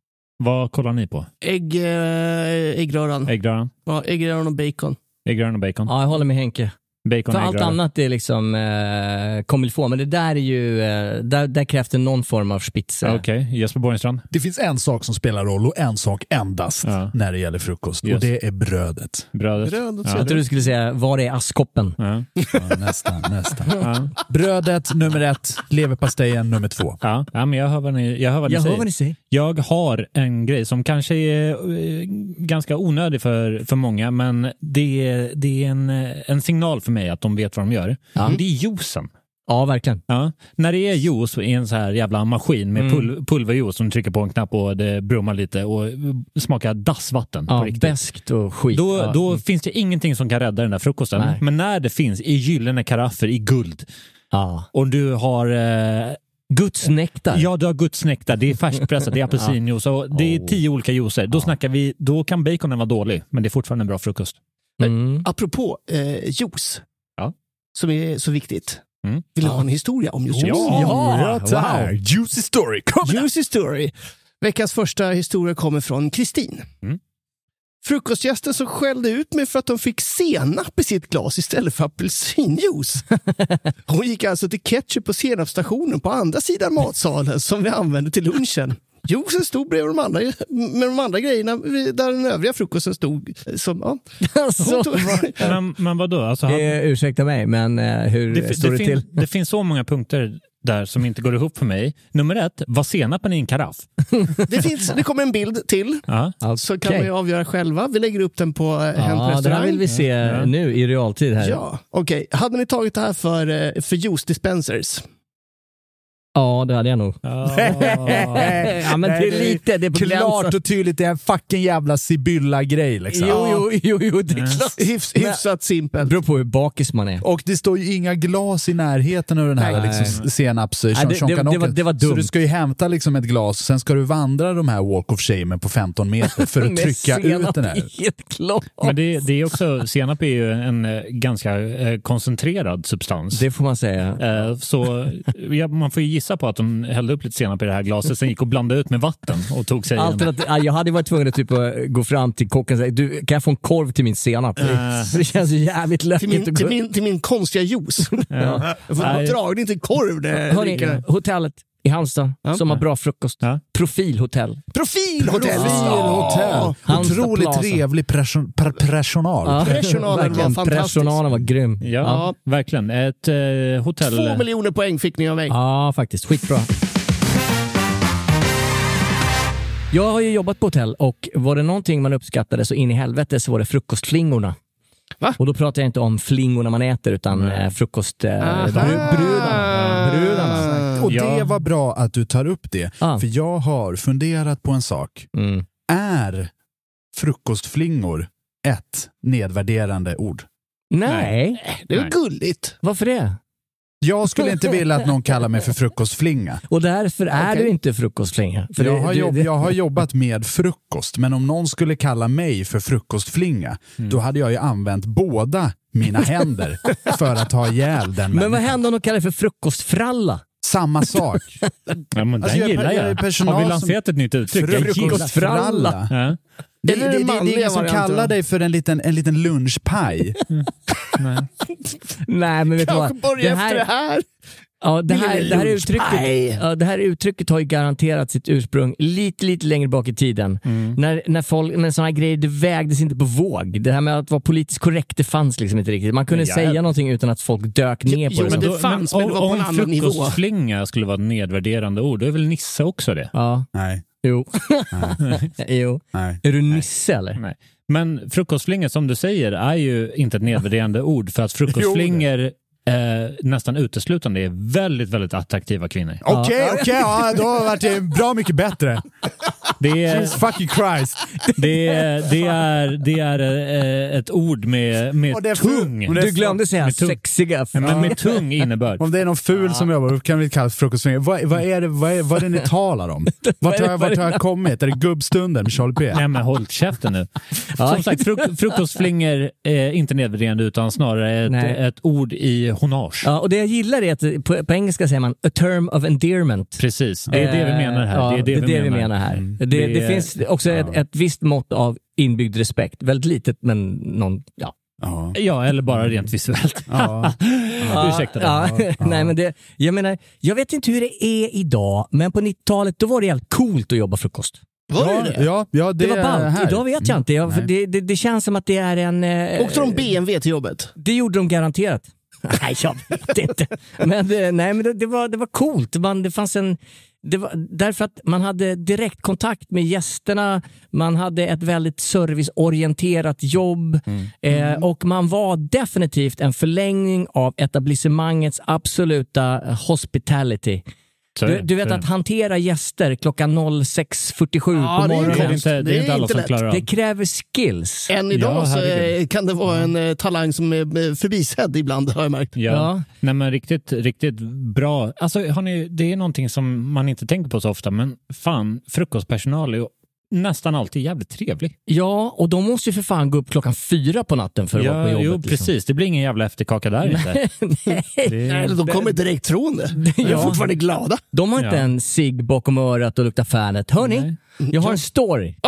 [SPEAKER 4] Vad kollar ni på?
[SPEAKER 5] Ägg, eh, äggröran.
[SPEAKER 4] Äggröran?
[SPEAKER 5] Ja, äggröran och bacon.
[SPEAKER 4] Äggröran och bacon?
[SPEAKER 3] ja, jag håller med Henke.
[SPEAKER 4] Bacon
[SPEAKER 3] För
[SPEAKER 4] och
[SPEAKER 3] allt
[SPEAKER 4] äggröra.
[SPEAKER 3] annat är liksom eh, comme il faut, men det där är ju, eh, där, där krävs det någon form av eh. spitze.
[SPEAKER 4] Ja, Okej, Jesper Borgenstrand?
[SPEAKER 6] Det finns en sak som spelar roll och en sak endast
[SPEAKER 4] Ja.
[SPEAKER 6] när det gäller frukost
[SPEAKER 4] Just.
[SPEAKER 6] och det är brödet.
[SPEAKER 4] Brödet?
[SPEAKER 5] Bröd och
[SPEAKER 4] ja.
[SPEAKER 3] Jag trodde du skulle säga, var är askkoppen?
[SPEAKER 4] Ja.
[SPEAKER 6] Ja, nästan, nästan. Brödet nummer ett, leverpastejen nummer två.
[SPEAKER 4] Ja. ja, men jag hör vad ni, jag hör vad ni
[SPEAKER 3] Jag
[SPEAKER 4] säger.
[SPEAKER 3] hör vad ni säger.
[SPEAKER 4] Jag har en grej som kanske är eh, ganska onödig för, för många, men det är, det är en, eh, en signal för mig att de vet vad de gör. Det är juicen.
[SPEAKER 3] Ja, verkligen. Mm.
[SPEAKER 4] Ja. När det är juice i en så här jävla maskin med pul pulverjuice som trycker på en knapp och det brummar lite och eh, smakar dassvatten på
[SPEAKER 3] Ja,
[SPEAKER 4] riktigt.
[SPEAKER 3] beskt och skit.
[SPEAKER 4] Då,
[SPEAKER 3] ja.
[SPEAKER 4] då finns det ingenting som kan rädda den där frukosten.
[SPEAKER 3] Nej.
[SPEAKER 4] Men när det finns i gyllene karaffer i guld
[SPEAKER 3] ja.
[SPEAKER 4] och du har eh,
[SPEAKER 3] Guds nektar.
[SPEAKER 4] Ja, du har gudsnäkta, det är färskpressat,
[SPEAKER 3] <laughs>
[SPEAKER 4] det är apelsinjuice och det är
[SPEAKER 3] Oh.
[SPEAKER 4] tio olika juicer. Då snackar vi, då kan baconen vara dålig, men det är fortfarande en bra frukost.
[SPEAKER 3] Mm.
[SPEAKER 5] Apropå eh, juice,
[SPEAKER 4] Ja.
[SPEAKER 5] som är så viktigt.
[SPEAKER 4] Mm.
[SPEAKER 5] Vill du ha en historia om just juice?
[SPEAKER 6] ja, tack.
[SPEAKER 3] wow.
[SPEAKER 6] Juicy story, kom igen.
[SPEAKER 5] Juicy story. Veckans första historia kommer från Kristin.
[SPEAKER 4] Mm.
[SPEAKER 5] Frukostgästen som skällde ut mig för att de fick senap i sitt glas istället för apelsinjuice.
[SPEAKER 4] <laughs>
[SPEAKER 5] Hon gick alltså till ketchup och senapsstationen på andra sidan matsalen som vi använde till lunchen. Jo, sen stod bredvid de andra, med de andra grejerna vid- där den övriga frukosten stod. eh, Som, ja.
[SPEAKER 4] <laughs>
[SPEAKER 3] Alltså,
[SPEAKER 5] Hon tog,
[SPEAKER 4] Men, men vadå? Alltså, han,
[SPEAKER 3] eh, ursäkta mig, men eh, hur
[SPEAKER 4] det,
[SPEAKER 3] står det,
[SPEAKER 4] det,
[SPEAKER 3] till?
[SPEAKER 4] fin, det finns så många punkter där som inte går ihop för mig. Nummer ett, var senapen i en karaff?
[SPEAKER 5] det, finns,
[SPEAKER 3] <laughs>
[SPEAKER 5] det kommer en bild till,
[SPEAKER 4] Ja.
[SPEAKER 5] så kan
[SPEAKER 3] Okej.
[SPEAKER 5] vi avgöra själva. Vi lägger upp den på eh, Hem på
[SPEAKER 3] Ja, det här
[SPEAKER 5] restaurang.
[SPEAKER 3] vill vi se nu i realtid här.
[SPEAKER 5] Ja, okej. Hade ni tagit det här för, eh, för juice dispensers?
[SPEAKER 3] <laughs> Ja, det hade jag nog.
[SPEAKER 2] ja,
[SPEAKER 3] Ja, men det är lite, det är på
[SPEAKER 2] Klart
[SPEAKER 3] gränsen.
[SPEAKER 2] och tydligt, det är en fucking jävla Sibylla-grej liksom.
[SPEAKER 3] Jo, jo, jo, jo, det är klart.
[SPEAKER 5] Hyfs,
[SPEAKER 3] Men-
[SPEAKER 5] hyfsat
[SPEAKER 3] Det
[SPEAKER 5] simpelt.
[SPEAKER 3] beror på hur bakis man är.
[SPEAKER 2] Och det står ju inga glas i närheten av den här
[SPEAKER 3] Nej.
[SPEAKER 2] liksom, senaps
[SPEAKER 3] Nej, det- det- det var- det var
[SPEAKER 2] Så
[SPEAKER 3] dumt.
[SPEAKER 2] du ska ju hämta liksom ett glas, sen ska du vandra de här walk of shame på 15 meter för att
[SPEAKER 3] <laughs> Med
[SPEAKER 2] trycka
[SPEAKER 3] senap
[SPEAKER 2] ut den
[SPEAKER 3] i,
[SPEAKER 2] här.
[SPEAKER 3] Helt klart.
[SPEAKER 4] Men det, det är också, senap är ju en eh, ganska eh, koncentrerad substans.
[SPEAKER 3] Det får man säga.
[SPEAKER 4] Eh, Så <laughs> eh, ja, man får ju gissa på att de hällde upp lite senap i det här glaset, sen gick och blandade ut med vatten och tog sig en-
[SPEAKER 3] Alternativ, ja, jag hade varit tvungen att typ eh, gå fram till kocken och säga du, kan jag få en korv till min senap? <laughs> Det känns ju jävligt
[SPEAKER 5] Eh. Till
[SPEAKER 3] lökigt
[SPEAKER 5] min,
[SPEAKER 3] att
[SPEAKER 5] till,
[SPEAKER 3] gå...
[SPEAKER 5] min, till min konstiga juice.
[SPEAKER 4] Ja.
[SPEAKER 5] Jag får
[SPEAKER 4] Nej.
[SPEAKER 5] dragning till korv. Det,
[SPEAKER 3] Hörni, hotellet i Halmstad som har bra frukost.
[SPEAKER 4] Ja.
[SPEAKER 3] Profilhotell.
[SPEAKER 5] Profilhotell!
[SPEAKER 2] Profilhotell!
[SPEAKER 3] Halmstad
[SPEAKER 2] Otroligt
[SPEAKER 3] Plaza.
[SPEAKER 2] trevlig person, per,
[SPEAKER 5] <laughs>
[SPEAKER 2] personal.
[SPEAKER 5] Personalen var
[SPEAKER 3] verkligen.
[SPEAKER 5] fantastisk.
[SPEAKER 3] Personalen var grym.
[SPEAKER 4] Ja, verkligen. Ett eh, hotell...
[SPEAKER 5] Två miljoner poäng fick ni av mig.
[SPEAKER 3] Ja, faktiskt. Skitbra. Jag har ju jobbat på hotell och var det någonting man uppskattade så in i helvete så var det frukostflingorna.
[SPEAKER 5] Va?
[SPEAKER 3] Och då pratar jag inte om flingorna man äter utan mm. frukost... eh, bru- brudarna. brudarna.
[SPEAKER 2] Och
[SPEAKER 4] Ja.
[SPEAKER 2] det var bra att du tar upp det,
[SPEAKER 3] Ah.
[SPEAKER 2] för jag har funderat på en sak.
[SPEAKER 3] Mm.
[SPEAKER 2] Är frukostflingor ett nedvärderande ord?
[SPEAKER 3] Nej.
[SPEAKER 5] Det är
[SPEAKER 4] Nej.
[SPEAKER 5] väl gulligt?
[SPEAKER 3] varför det?
[SPEAKER 2] Jag skulle inte vilja att någon kallar mig för frukostflinga.
[SPEAKER 3] Och därför är
[SPEAKER 5] Okej.
[SPEAKER 3] du inte frukostflinga. För
[SPEAKER 2] jag,
[SPEAKER 3] det-
[SPEAKER 2] har
[SPEAKER 3] du-
[SPEAKER 2] jobb,
[SPEAKER 3] det-
[SPEAKER 2] jag har jobbat med frukost, men om någon skulle kalla mig för frukostflinga, då hade jag ju använt båda mina händer för att ha ihjäl den
[SPEAKER 3] Men vad
[SPEAKER 2] människan.
[SPEAKER 3] händer om de kallar det för frukostfralla?
[SPEAKER 2] Samma sak.
[SPEAKER 4] Ja, men den
[SPEAKER 2] Alltså, jag-
[SPEAKER 4] gillar
[SPEAKER 2] jag är
[SPEAKER 4] jag.
[SPEAKER 2] personal
[SPEAKER 4] Har vi
[SPEAKER 2] som-
[SPEAKER 4] lanserat ett nytt uttryck? Jag gillar...
[SPEAKER 2] Frukostfralla.
[SPEAKER 4] Ja.
[SPEAKER 2] Det,
[SPEAKER 5] Eller
[SPEAKER 2] det, det, det är
[SPEAKER 5] manliga
[SPEAKER 2] ingen som
[SPEAKER 5] varianten.
[SPEAKER 2] kallar dig för en liten, en liten lunchpaj.
[SPEAKER 3] Nej, men vet du
[SPEAKER 5] Kanske
[SPEAKER 3] vad?
[SPEAKER 5] börja efter det här.
[SPEAKER 3] Ja, det, här, det, här
[SPEAKER 5] Lunchpaj.
[SPEAKER 3] uttrycket, ja, det här uttrycket har ju garanterat sitt ursprung lite, lite längre bak i tiden.
[SPEAKER 4] Mm.
[SPEAKER 3] När, när folk, men sådana här grejer, det vägdes inte på våg. Det här med att vara politiskt korrekt, det fanns liksom inte riktigt. Man kunde
[SPEAKER 4] Ja.
[SPEAKER 3] säga någonting utan att folk dök ner på
[SPEAKER 5] jo,
[SPEAKER 3] det.
[SPEAKER 5] men
[SPEAKER 3] som-
[SPEAKER 5] det fanns, men det var på
[SPEAKER 4] om,
[SPEAKER 5] en
[SPEAKER 4] om
[SPEAKER 5] annan nivå.
[SPEAKER 4] frukostflinga skulle vara ett nedvärderande ord, då är väl nisse också det?
[SPEAKER 3] Ja,
[SPEAKER 2] Nej,
[SPEAKER 3] jo. <laughs> jo.
[SPEAKER 2] nej.
[SPEAKER 3] Är du nisse eller?
[SPEAKER 4] Nej. Men frukostflingor, som du säger, är ju inte ett
[SPEAKER 5] <laughs>
[SPEAKER 4] nedvärderande ord för att frukostflingor eh, nästan uteslutande är väldigt, väldigt attraktiva kvinnor.
[SPEAKER 2] Okej, okej, ja, då har det varit bra mycket bättre.
[SPEAKER 4] Det är,
[SPEAKER 2] Jesus fucking Christ.
[SPEAKER 4] det är, det är, det är eh, ett ord med, med
[SPEAKER 2] Och det är fru-
[SPEAKER 4] tung.
[SPEAKER 2] och det är
[SPEAKER 3] Du glömde säga
[SPEAKER 4] Med tung-
[SPEAKER 3] sexiga.
[SPEAKER 4] Men med tung innebörd.
[SPEAKER 2] Om det är någon ful som jobbar, då kan vi kalla det frukostflingor. Vad, vad, är det, vad, är, vad är det ni talar om? Vart har, jag- vart har jag kommit? Är det gubbstunden med Charlie P?
[SPEAKER 4] Nej men håll käften nu. Som sagt, fruk frukostflingor är inte nedvärderande utan snarare
[SPEAKER 3] Nej.
[SPEAKER 4] ett, ett ord i honage.
[SPEAKER 3] Ja, och det jag gillar är att på, på engelska säger man a term of endearment. Eh,
[SPEAKER 4] Precis, det är det vi menar här.
[SPEAKER 3] Ja,
[SPEAKER 4] det är det, vi, menar. Mm.
[SPEAKER 3] här. Det, det,
[SPEAKER 4] Det är-
[SPEAKER 3] finns också ett, ett visst mått av inbyggd respekt. Väldigt litet, men någon... Ja.
[SPEAKER 2] Ja.
[SPEAKER 4] Ja, eller bara rent visuellt.
[SPEAKER 2] Ja.
[SPEAKER 4] Ursäkta.
[SPEAKER 3] Ja, <laughs> nej, men det, jag menar, jag vet inte hur det är idag, men på 90-talet då var det helt coolt att jobba frukost.
[SPEAKER 5] Var det
[SPEAKER 2] Ja, ja, ja, det,
[SPEAKER 3] Det, var
[SPEAKER 2] är
[SPEAKER 3] ballt.
[SPEAKER 2] här.
[SPEAKER 3] Idag vet jag inte. Jag,
[SPEAKER 2] Nej.
[SPEAKER 3] det, det, det känns som att det är en... eh,
[SPEAKER 2] Mm.
[SPEAKER 5] Åkte de BMW till jobbet?
[SPEAKER 3] Det gjorde de garanterat. <laughs> Nej, jag vet inte. Men, eh, nej, men det, det, var, det var coolt. Man, det fanns en, det var, därför att man hade direktkontakt med gästerna, man hade ett väldigt serviceorienterat jobb Eh, och man var definitivt en förlängning av etablissemangets absoluta eh, hospitality.
[SPEAKER 4] Så är
[SPEAKER 3] Du,
[SPEAKER 4] det.
[SPEAKER 3] du vet
[SPEAKER 4] Så är
[SPEAKER 3] att
[SPEAKER 4] det.
[SPEAKER 3] hantera gäster klockan 06.47
[SPEAKER 5] Ja,
[SPEAKER 3] på
[SPEAKER 4] det
[SPEAKER 5] det är
[SPEAKER 4] är
[SPEAKER 3] morgonen.
[SPEAKER 5] coolt.
[SPEAKER 4] inte, det är inte alla som klarar av.
[SPEAKER 3] Det kräver skills.
[SPEAKER 5] Än idag
[SPEAKER 4] Ja,
[SPEAKER 5] så eh,
[SPEAKER 4] herregud.
[SPEAKER 5] kan det vara en eh, talang som är eh, förbisedd ibland, har jag märkt.
[SPEAKER 4] Ja.
[SPEAKER 3] Ja.
[SPEAKER 4] Nej, men riktigt, riktigt bra. Alltså, har ni, det är någonting som man inte tänker på så ofta, men fan, frukostpersonal är ju nästan alltid jävligt trevlig.
[SPEAKER 3] Ja, och de måste ju för fan gå upp klockan fyra på natten för att vara på jobbet. liksom.
[SPEAKER 4] jo, precis. Det blir ingen jävla efterkaka där inte.
[SPEAKER 3] <laughs>
[SPEAKER 5] Eller de kommer direkt från det. De är
[SPEAKER 3] Ja.
[SPEAKER 5] fortfarande glada.
[SPEAKER 3] De har inte
[SPEAKER 4] Ja.
[SPEAKER 3] en cigg bakom örat och luktar Fanet. Hörni, jag har en story. <laughs>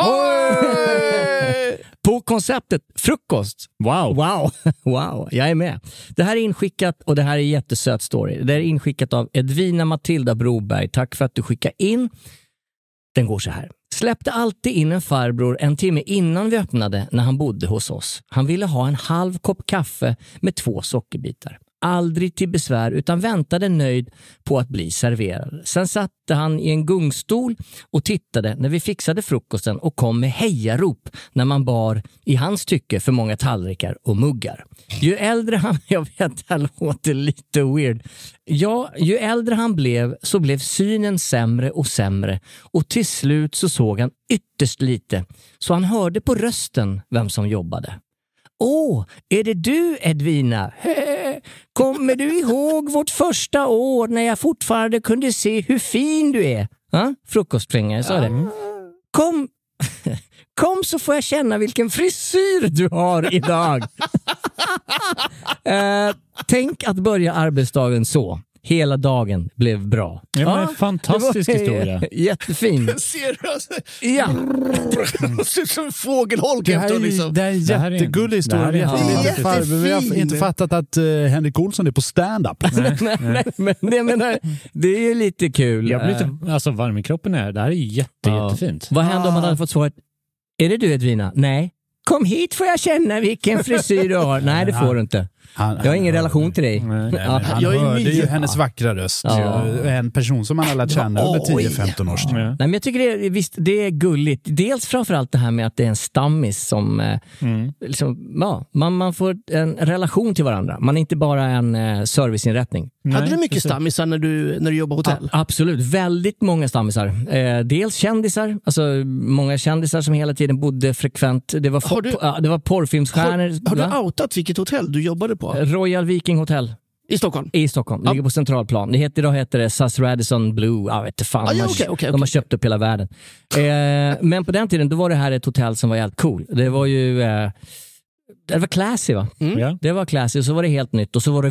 [SPEAKER 3] på konceptet frukost.
[SPEAKER 4] Wow.
[SPEAKER 3] Wow, <laughs> wow, jag är med. Det här är inskickat och det här är en jättesöt story. Det här är inskickat av Edvina Matilda Broberg. Tack för att du skickade in. Den går så här. Släppte alltid in en farbror en timme innan vi öppnade när han bodde hos oss. Han ville ha en halv kopp kaffe med två sockerbitar. Aldrig till besvär utan väntade nöjd på att bli serverad. Sen satte han i en gungstol och tittade när vi fixade frukosten och kom med hejarop när man bar, i hans tycke, för många tallrikar och muggar. Ju äldre han... <laughs> Jag vet, det här låter lite weird. Ja, ju äldre han blev så blev synen sämre och sämre och till slut så såg han ytterst lite, så han hörde på rösten vem som jobbade. Åh, är det du Edvina? <laughs> Hehe. Kommer du ihåg vårt första år när jag fortfarande kunde se hur fin du är? Ja, frukostflingare sa det. Kom, <laughs> kom så får jag känna vilken frisyr du har idag. eh, tänk att börja arbetsdagen så. Hela dagen blev bra.
[SPEAKER 4] Ja, men fantastisk
[SPEAKER 3] <laughs> det
[SPEAKER 4] historia.
[SPEAKER 3] Jättefin.
[SPEAKER 5] Ser du? Alltså,
[SPEAKER 3] Ja.
[SPEAKER 5] det ser ut som en fågelholk
[SPEAKER 2] Det här
[SPEAKER 5] efter
[SPEAKER 2] är, ju-
[SPEAKER 5] liksom.
[SPEAKER 2] det här är en
[SPEAKER 4] Det här är en-
[SPEAKER 2] jättegullig historia.
[SPEAKER 4] det här är en-
[SPEAKER 2] Jättelite
[SPEAKER 5] Jättefin.
[SPEAKER 2] farbror. Vi har inte fattat att eh, Henrik Olsson är på stand-up.
[SPEAKER 3] nej, nej, men det, menar, det är ju lite kul.
[SPEAKER 4] Jag blir
[SPEAKER 3] Eh,
[SPEAKER 4] lite alltså, varm i kroppen här. Det här är jätte,
[SPEAKER 3] Ja.
[SPEAKER 4] jättefint.
[SPEAKER 3] Vad händer om man hade fått svaret, är det du Edvina? Nej. Kom hit får jag känna vilken frisyr du har. Nej, det får du inte.
[SPEAKER 2] Han-
[SPEAKER 3] Jag har ingen relation till dig.
[SPEAKER 4] Nej, nej,
[SPEAKER 3] Ja.
[SPEAKER 2] Han
[SPEAKER 5] Jag är
[SPEAKER 2] hörde
[SPEAKER 5] ny.
[SPEAKER 2] ju hennes vackra röst.
[SPEAKER 3] Ja.
[SPEAKER 2] En person som man har lärt känna under
[SPEAKER 5] Oj.
[SPEAKER 2] 10-15 års tid.
[SPEAKER 4] Ja.
[SPEAKER 3] Nej, men jag tycker det är, visst, det är gulligt. Dels framförallt det här med att det är en stammis som... Eh,
[SPEAKER 4] Mm.
[SPEAKER 3] liksom, ja, man, man får en relation till varandra. Man är inte bara en eh, serviceinrättning.
[SPEAKER 4] Nej,
[SPEAKER 5] Hade du mycket
[SPEAKER 4] precis.
[SPEAKER 5] stammisar när du, när du jobbade hotell?
[SPEAKER 3] A- absolut. Väldigt många stammisar. Eh, dels kändisar, alltså många kändisar som hela tiden bodde frekvent. Det var,
[SPEAKER 5] Har du-
[SPEAKER 3] po- ja, det var porrfilmsstjärnor.
[SPEAKER 5] Har, har du
[SPEAKER 3] va?
[SPEAKER 5] outat vilket hotell du jobbade
[SPEAKER 4] Eh,
[SPEAKER 5] på?
[SPEAKER 3] Royal Viking Hotel.
[SPEAKER 5] I Stockholm?
[SPEAKER 3] I Stockholm, ligger på Centralplan. Det heter, idag heter det SAS Radisson Blue. Jag vet inte fan,
[SPEAKER 5] Ah, ja,
[SPEAKER 3] de har-
[SPEAKER 5] okej, okej,
[SPEAKER 3] de har
[SPEAKER 5] okej.
[SPEAKER 3] köpt upp hela världen. Eh, men på den tiden då var det här ett hotell som var helt cool. Det var ju eh, det var classy va?
[SPEAKER 5] Mm.
[SPEAKER 4] Ja.
[SPEAKER 3] Det var classy och så var det helt nytt och så var det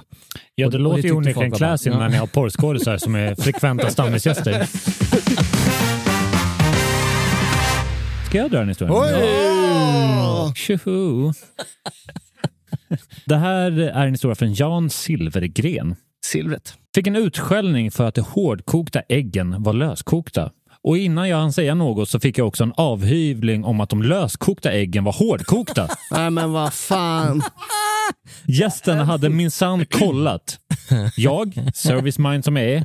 [SPEAKER 4] Ja,
[SPEAKER 3] Och-
[SPEAKER 4] det
[SPEAKER 3] och det
[SPEAKER 4] låter ju
[SPEAKER 3] tyckte
[SPEAKER 4] onekligen
[SPEAKER 3] folk var bra.
[SPEAKER 4] classy
[SPEAKER 3] Ja.
[SPEAKER 4] när ni har porrskådisar som är
[SPEAKER 3] <laughs>
[SPEAKER 4] frekventa stammisgäster. Ska jag dra en historia? Tjoho! Det här är en historia från Jan Silvergren.
[SPEAKER 5] Silvret.
[SPEAKER 4] Fick en utskällning för att de hårdkokta äggen var löskokta. Och innan jag hann säga något så fick jag också en avhyvling om att de löskokta äggen var hårdkokta.
[SPEAKER 5] <laughs> Nej men vad fan.
[SPEAKER 4] Gästen hade minsann kollat. Jag, service mind som jag är,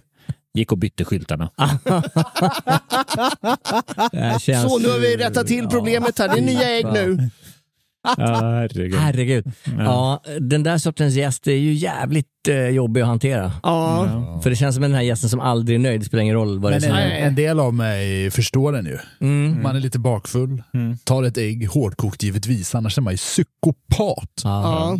[SPEAKER 4] gick och bytte skyltarna.
[SPEAKER 5] Så nu har vi rättat till problemet här. Det är nya ägg nu.
[SPEAKER 4] Herregud.
[SPEAKER 3] Herregud. Ja, den där sortens gäst är ju jävligt eh, jobbig att hantera.
[SPEAKER 5] Ja.
[SPEAKER 3] För det känns som den här gästen som aldrig är nöjd. Det spelar ingen roll vad det är
[SPEAKER 2] Men
[SPEAKER 3] som
[SPEAKER 2] en,
[SPEAKER 3] händer.
[SPEAKER 2] en del av mig förstår den ju.
[SPEAKER 3] Mm.
[SPEAKER 2] Man är lite bakfull,
[SPEAKER 5] Mm.
[SPEAKER 2] tar ett ägg, hårdkokt givetvis, annars är man ju psykopat.
[SPEAKER 5] Ja.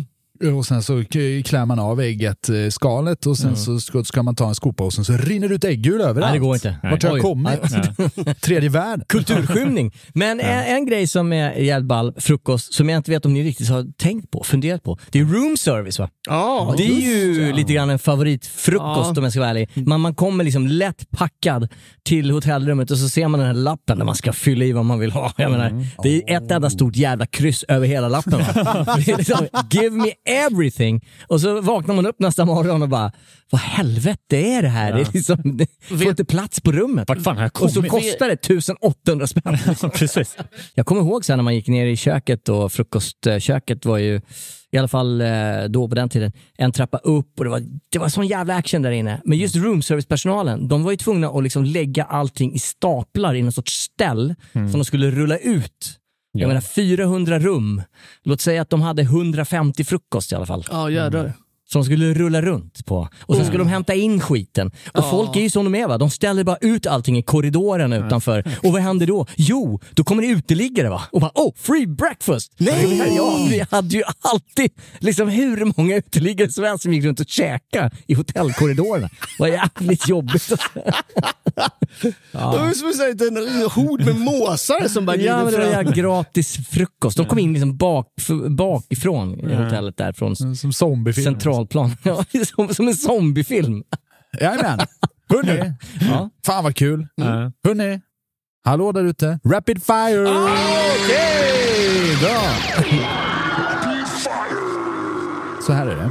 [SPEAKER 2] Och sen så k- klär man av ägget, eh, skalet och sen så ska, ska man ta en skopa och sen så rinner det ut äggul överallt.
[SPEAKER 3] Mm. Nej, det går inte.
[SPEAKER 2] Vart har
[SPEAKER 3] Oj.
[SPEAKER 2] jag kommit? <laughs> Tredje världen.
[SPEAKER 3] Kulturskymning. Men en, en grej som är jävligt ball, frukost, som jag inte vet om ni riktigt har tänkt på, funderat på. Det är room service va?
[SPEAKER 5] Ja.
[SPEAKER 3] det är ju lite grann en favoritfrukost
[SPEAKER 5] Ja.
[SPEAKER 3] om jag ska vara ärlig. Man, man kommer liksom lätt packad till hotellrummet och så ser man den här lappen där man ska fylla i vad man vill ha. Jag menar,
[SPEAKER 5] Mm.
[SPEAKER 3] Det är ett
[SPEAKER 5] Oh.
[SPEAKER 3] enda stort jävla kryss över hela lappen.
[SPEAKER 5] <laughs>
[SPEAKER 3] Va? Det är liksom, Give me everything! Och så vaknar man upp nästa morgon och bara, vad helvete är det här? Det är liksom, det får inte plats på rummet.
[SPEAKER 4] Vart fan har jag
[SPEAKER 3] Och så
[SPEAKER 4] kommit?
[SPEAKER 3] kostar det
[SPEAKER 4] <laughs>
[SPEAKER 3] 1800 spänn.
[SPEAKER 4] Precis.
[SPEAKER 3] Jag kommer ihåg sen när man gick ner i köket och frukostköket var ju, i alla fall eh, då på den tiden, en trappa upp och det var, det var sån jävla action där inne. Men just
[SPEAKER 4] Mm.
[SPEAKER 3] roomservicepersonalen, de var ju tvungna att liksom lägga allting i staplar i någon sorts ställ
[SPEAKER 4] Mm.
[SPEAKER 3] som de skulle rulla ut. Jag menar 400 rum. Låt säga att de hade 150 frukost i alla fall Mm.
[SPEAKER 5] Ja jädrar.
[SPEAKER 3] som skulle rulla runt på. Och sen skulle de hämta in skiten. Och folk är ju som de är va, de ställer bara ut allting i korridoren utanför. Och vad händer då? Jo, då kommer det uteliggare va. Och bara oh, free breakfast! Nej! Ja, vi hade ju alltid liksom hur många uteliggare som helst som gick runt och käkade i hotellkorridorerna. Vad jävligt jobbigt.
[SPEAKER 5] Det var som en sån här liten hord
[SPEAKER 2] <laughs>
[SPEAKER 5] med måsar som
[SPEAKER 3] <laughs>
[SPEAKER 5] bara
[SPEAKER 3] Ja,
[SPEAKER 5] glider
[SPEAKER 3] men det var
[SPEAKER 5] fram.
[SPEAKER 3] ju gratis frukost. De kom in liksom bak, bakifrån i hotellet där från
[SPEAKER 2] Som zombiefilm.
[SPEAKER 3] centralplan. <laughs> Ja, som, som en zombiefilm.
[SPEAKER 2] Jajamän. Hörni,
[SPEAKER 3] Ja.
[SPEAKER 2] fan vad kul. Mm. Hörni, hallå där ute. Rapid fire! Okej, bra.
[SPEAKER 3] Mm.
[SPEAKER 2] Så här är det.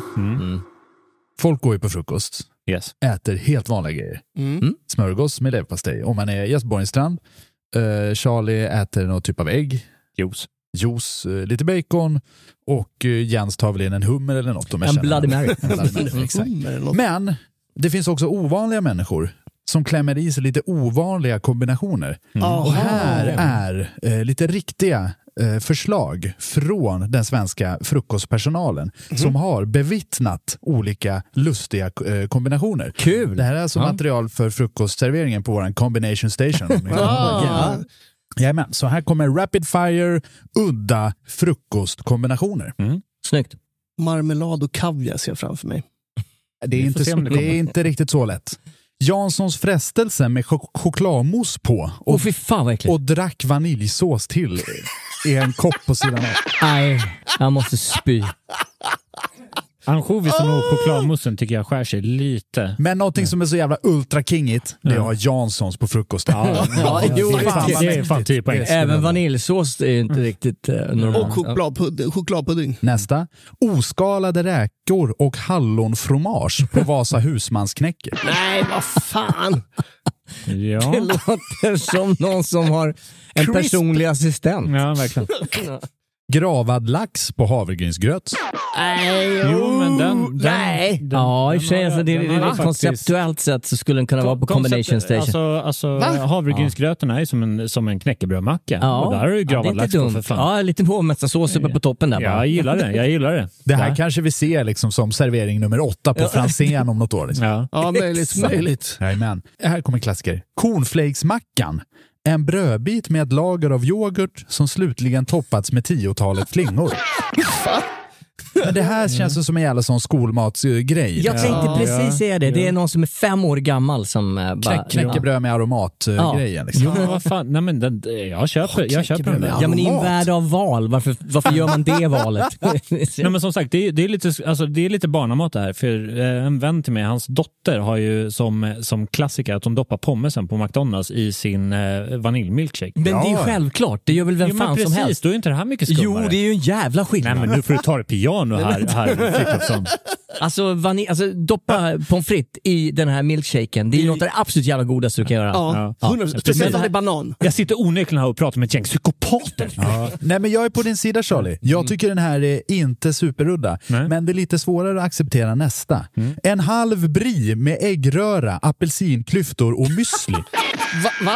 [SPEAKER 2] Folk går ju på frukost.
[SPEAKER 4] Yes.
[SPEAKER 2] äter helt vanliga grejer.
[SPEAKER 5] Mm.
[SPEAKER 2] Smörgås med leverpastej. Om man är Jesper Borgenstrand. Eh, Charlie äter någon typ av ägg,
[SPEAKER 4] Juice.
[SPEAKER 2] juice, eh, lite bacon och eh, Jens tar väl in en hummer eller något. Om jag
[SPEAKER 3] En
[SPEAKER 2] känner
[SPEAKER 3] Bloody
[SPEAKER 2] honom.
[SPEAKER 4] <laughs>
[SPEAKER 3] Mary.
[SPEAKER 2] En Bloody
[SPEAKER 3] <laughs>
[SPEAKER 2] Mary, exakt.
[SPEAKER 5] Hummer eller något.
[SPEAKER 2] Men det finns också ovanliga människor som klämmer i sig lite ovanliga kombinationer.
[SPEAKER 3] Mm.
[SPEAKER 4] Mm.
[SPEAKER 5] Aha.
[SPEAKER 2] Och här är eh, lite riktiga eh, förslag från den svenska frukostpersonalen
[SPEAKER 3] Mhm.
[SPEAKER 2] som har bevittnat olika lustiga eh, kombinationer.
[SPEAKER 3] Kul!
[SPEAKER 2] Det här är alltså
[SPEAKER 3] Ja.
[SPEAKER 2] material för frukostserveringen på vår combination station.
[SPEAKER 3] <laughs>
[SPEAKER 5] Ah.
[SPEAKER 2] Jajamän, så här kommer rapid fire, udda frukostkombinationer.
[SPEAKER 3] Snyggt.
[SPEAKER 5] Marmelad och kaviar ser jag framför mig.
[SPEAKER 2] Det är,
[SPEAKER 4] Vi får
[SPEAKER 2] inte,
[SPEAKER 4] se
[SPEAKER 2] så,
[SPEAKER 4] om det kommer.
[SPEAKER 2] det är inte riktigt så lätt. Janssons frestelse med chok- chokladmousse på
[SPEAKER 3] Åh
[SPEAKER 2] och,
[SPEAKER 3] fy fan vad äckligt.
[SPEAKER 2] och drack vaniljsås till i en kopp på sidan av.
[SPEAKER 3] Nej, jag måste spy.
[SPEAKER 4] Ansjovisen och chokladmussen tycker jag skär sig lite.
[SPEAKER 2] Men någonting som är så jävla ultrakingigt, det är att ha Janssons på frukosten.
[SPEAKER 3] Ja, jo,
[SPEAKER 2] det är fan
[SPEAKER 3] faktiskt.
[SPEAKER 2] vad
[SPEAKER 4] Det är fan typ tio poäng.
[SPEAKER 2] mäktigt. Det är
[SPEAKER 3] Även
[SPEAKER 2] så-
[SPEAKER 3] vaniljsås är ju inte
[SPEAKER 4] Mm.
[SPEAKER 3] riktigt eh, normalt.
[SPEAKER 5] Och chokladpudding. chokladpudding.
[SPEAKER 2] Nästa. Oskalade räkor och hallonfromage på Vasa husmansknäcke.
[SPEAKER 5] Nej, vad fan!
[SPEAKER 3] <laughs> Det
[SPEAKER 4] Ja.
[SPEAKER 3] låter som någon som har en
[SPEAKER 5] Crisp.
[SPEAKER 3] personlig assistent.
[SPEAKER 4] ja, verkligen.
[SPEAKER 2] Gravad lax på havregrynsgröt.
[SPEAKER 5] Nej,
[SPEAKER 4] Jo, men den... den
[SPEAKER 5] Nej.
[SPEAKER 4] Den,
[SPEAKER 3] Ja, i och för sig.
[SPEAKER 4] har-
[SPEAKER 3] Alltså, det,
[SPEAKER 4] den
[SPEAKER 3] det,
[SPEAKER 4] har ju faktiskt-
[SPEAKER 3] konceptuellt sett så skulle den kunna vara på combination
[SPEAKER 4] Koncept-
[SPEAKER 3] station.
[SPEAKER 4] Alltså,
[SPEAKER 5] Va?
[SPEAKER 4] alltså havregrynsgröten är ju som en, som en knäckebrödmacka. Och där har du ju
[SPEAKER 3] det är
[SPEAKER 4] gravad
[SPEAKER 3] inte
[SPEAKER 4] lax på
[SPEAKER 3] dumt.
[SPEAKER 4] för fan.
[SPEAKER 3] Ja, en liten hovmästarsås uppe på toppen där bara.
[SPEAKER 4] Jag gillar det. Jag gillar det.
[SPEAKER 2] Det här
[SPEAKER 4] Ja.
[SPEAKER 2] kanske vi ser liksom som servering nummer åtta på Franzén om något år. Liksom.
[SPEAKER 4] Ja.
[SPEAKER 5] Ja, möjligt,
[SPEAKER 2] Exakt.
[SPEAKER 5] möjligt.
[SPEAKER 2] Jajamän. Här kommer en klassiker. Cornflakesmackan. En brödbit med ett lager av yoghurt som slutligen toppats med tiotalet flingor. Men det här känns ju som en jävla sån skolmatsgrej.
[SPEAKER 3] Jag tänkte precis säga det. Det är någon som är fem år gammal som eh, bara...
[SPEAKER 2] Knä- Knäckebröd med
[SPEAKER 3] Ja.
[SPEAKER 2] aromatgrejen. Liksom.
[SPEAKER 4] Jo, men vad fan. Nej, men den, jag köper, jag köper den.
[SPEAKER 2] knäckebröd.
[SPEAKER 4] där.
[SPEAKER 3] Ja, men i en
[SPEAKER 2] Mat.
[SPEAKER 3] värld av val, varför, varför gör man det valet?
[SPEAKER 4] Nej, men som sagt, det är, det är, lite, alltså, det är lite barnamat det här. För eh, en vän till mig, hans dotter, har ju som, som klassiker att hon doppar pommesen på McDonalds i sin eh, vaniljmilkshake.
[SPEAKER 3] Men det är ju
[SPEAKER 2] Ja.
[SPEAKER 3] självklart. Det gör väl vem
[SPEAKER 4] Jo, men
[SPEAKER 3] fan som
[SPEAKER 4] precis,
[SPEAKER 3] helst?
[SPEAKER 4] då är inte det här mycket
[SPEAKER 3] Jo,
[SPEAKER 4] skummare.
[SPEAKER 3] det är ju en jävla skillnad.
[SPEAKER 4] Nej, men nu får du ta det piano här, här
[SPEAKER 2] <laughs>
[SPEAKER 4] Frithiofsson.
[SPEAKER 3] Alltså, vanilj, alltså doppa pommes frites i den här milkshaken. Det är ju något av det absolut jävla godaste du kan göra.
[SPEAKER 5] Ja,
[SPEAKER 4] Ja.
[SPEAKER 5] 100,
[SPEAKER 4] Ja,
[SPEAKER 5] speciellt
[SPEAKER 4] precis.
[SPEAKER 5] om det är banan.
[SPEAKER 4] Jag sitter onekligen här och pratar med ett gäng psykopater.
[SPEAKER 2] Ja. Nej, men jag är på din sida Charlie. Jag tycker den här är inte superudda,
[SPEAKER 4] Mm. Nej. Mm.
[SPEAKER 2] men det är lite svårare att acceptera nästa. En halv brie med äggröra, apelsinklyftor och müsli.
[SPEAKER 4] <laughs>
[SPEAKER 5] Va? va?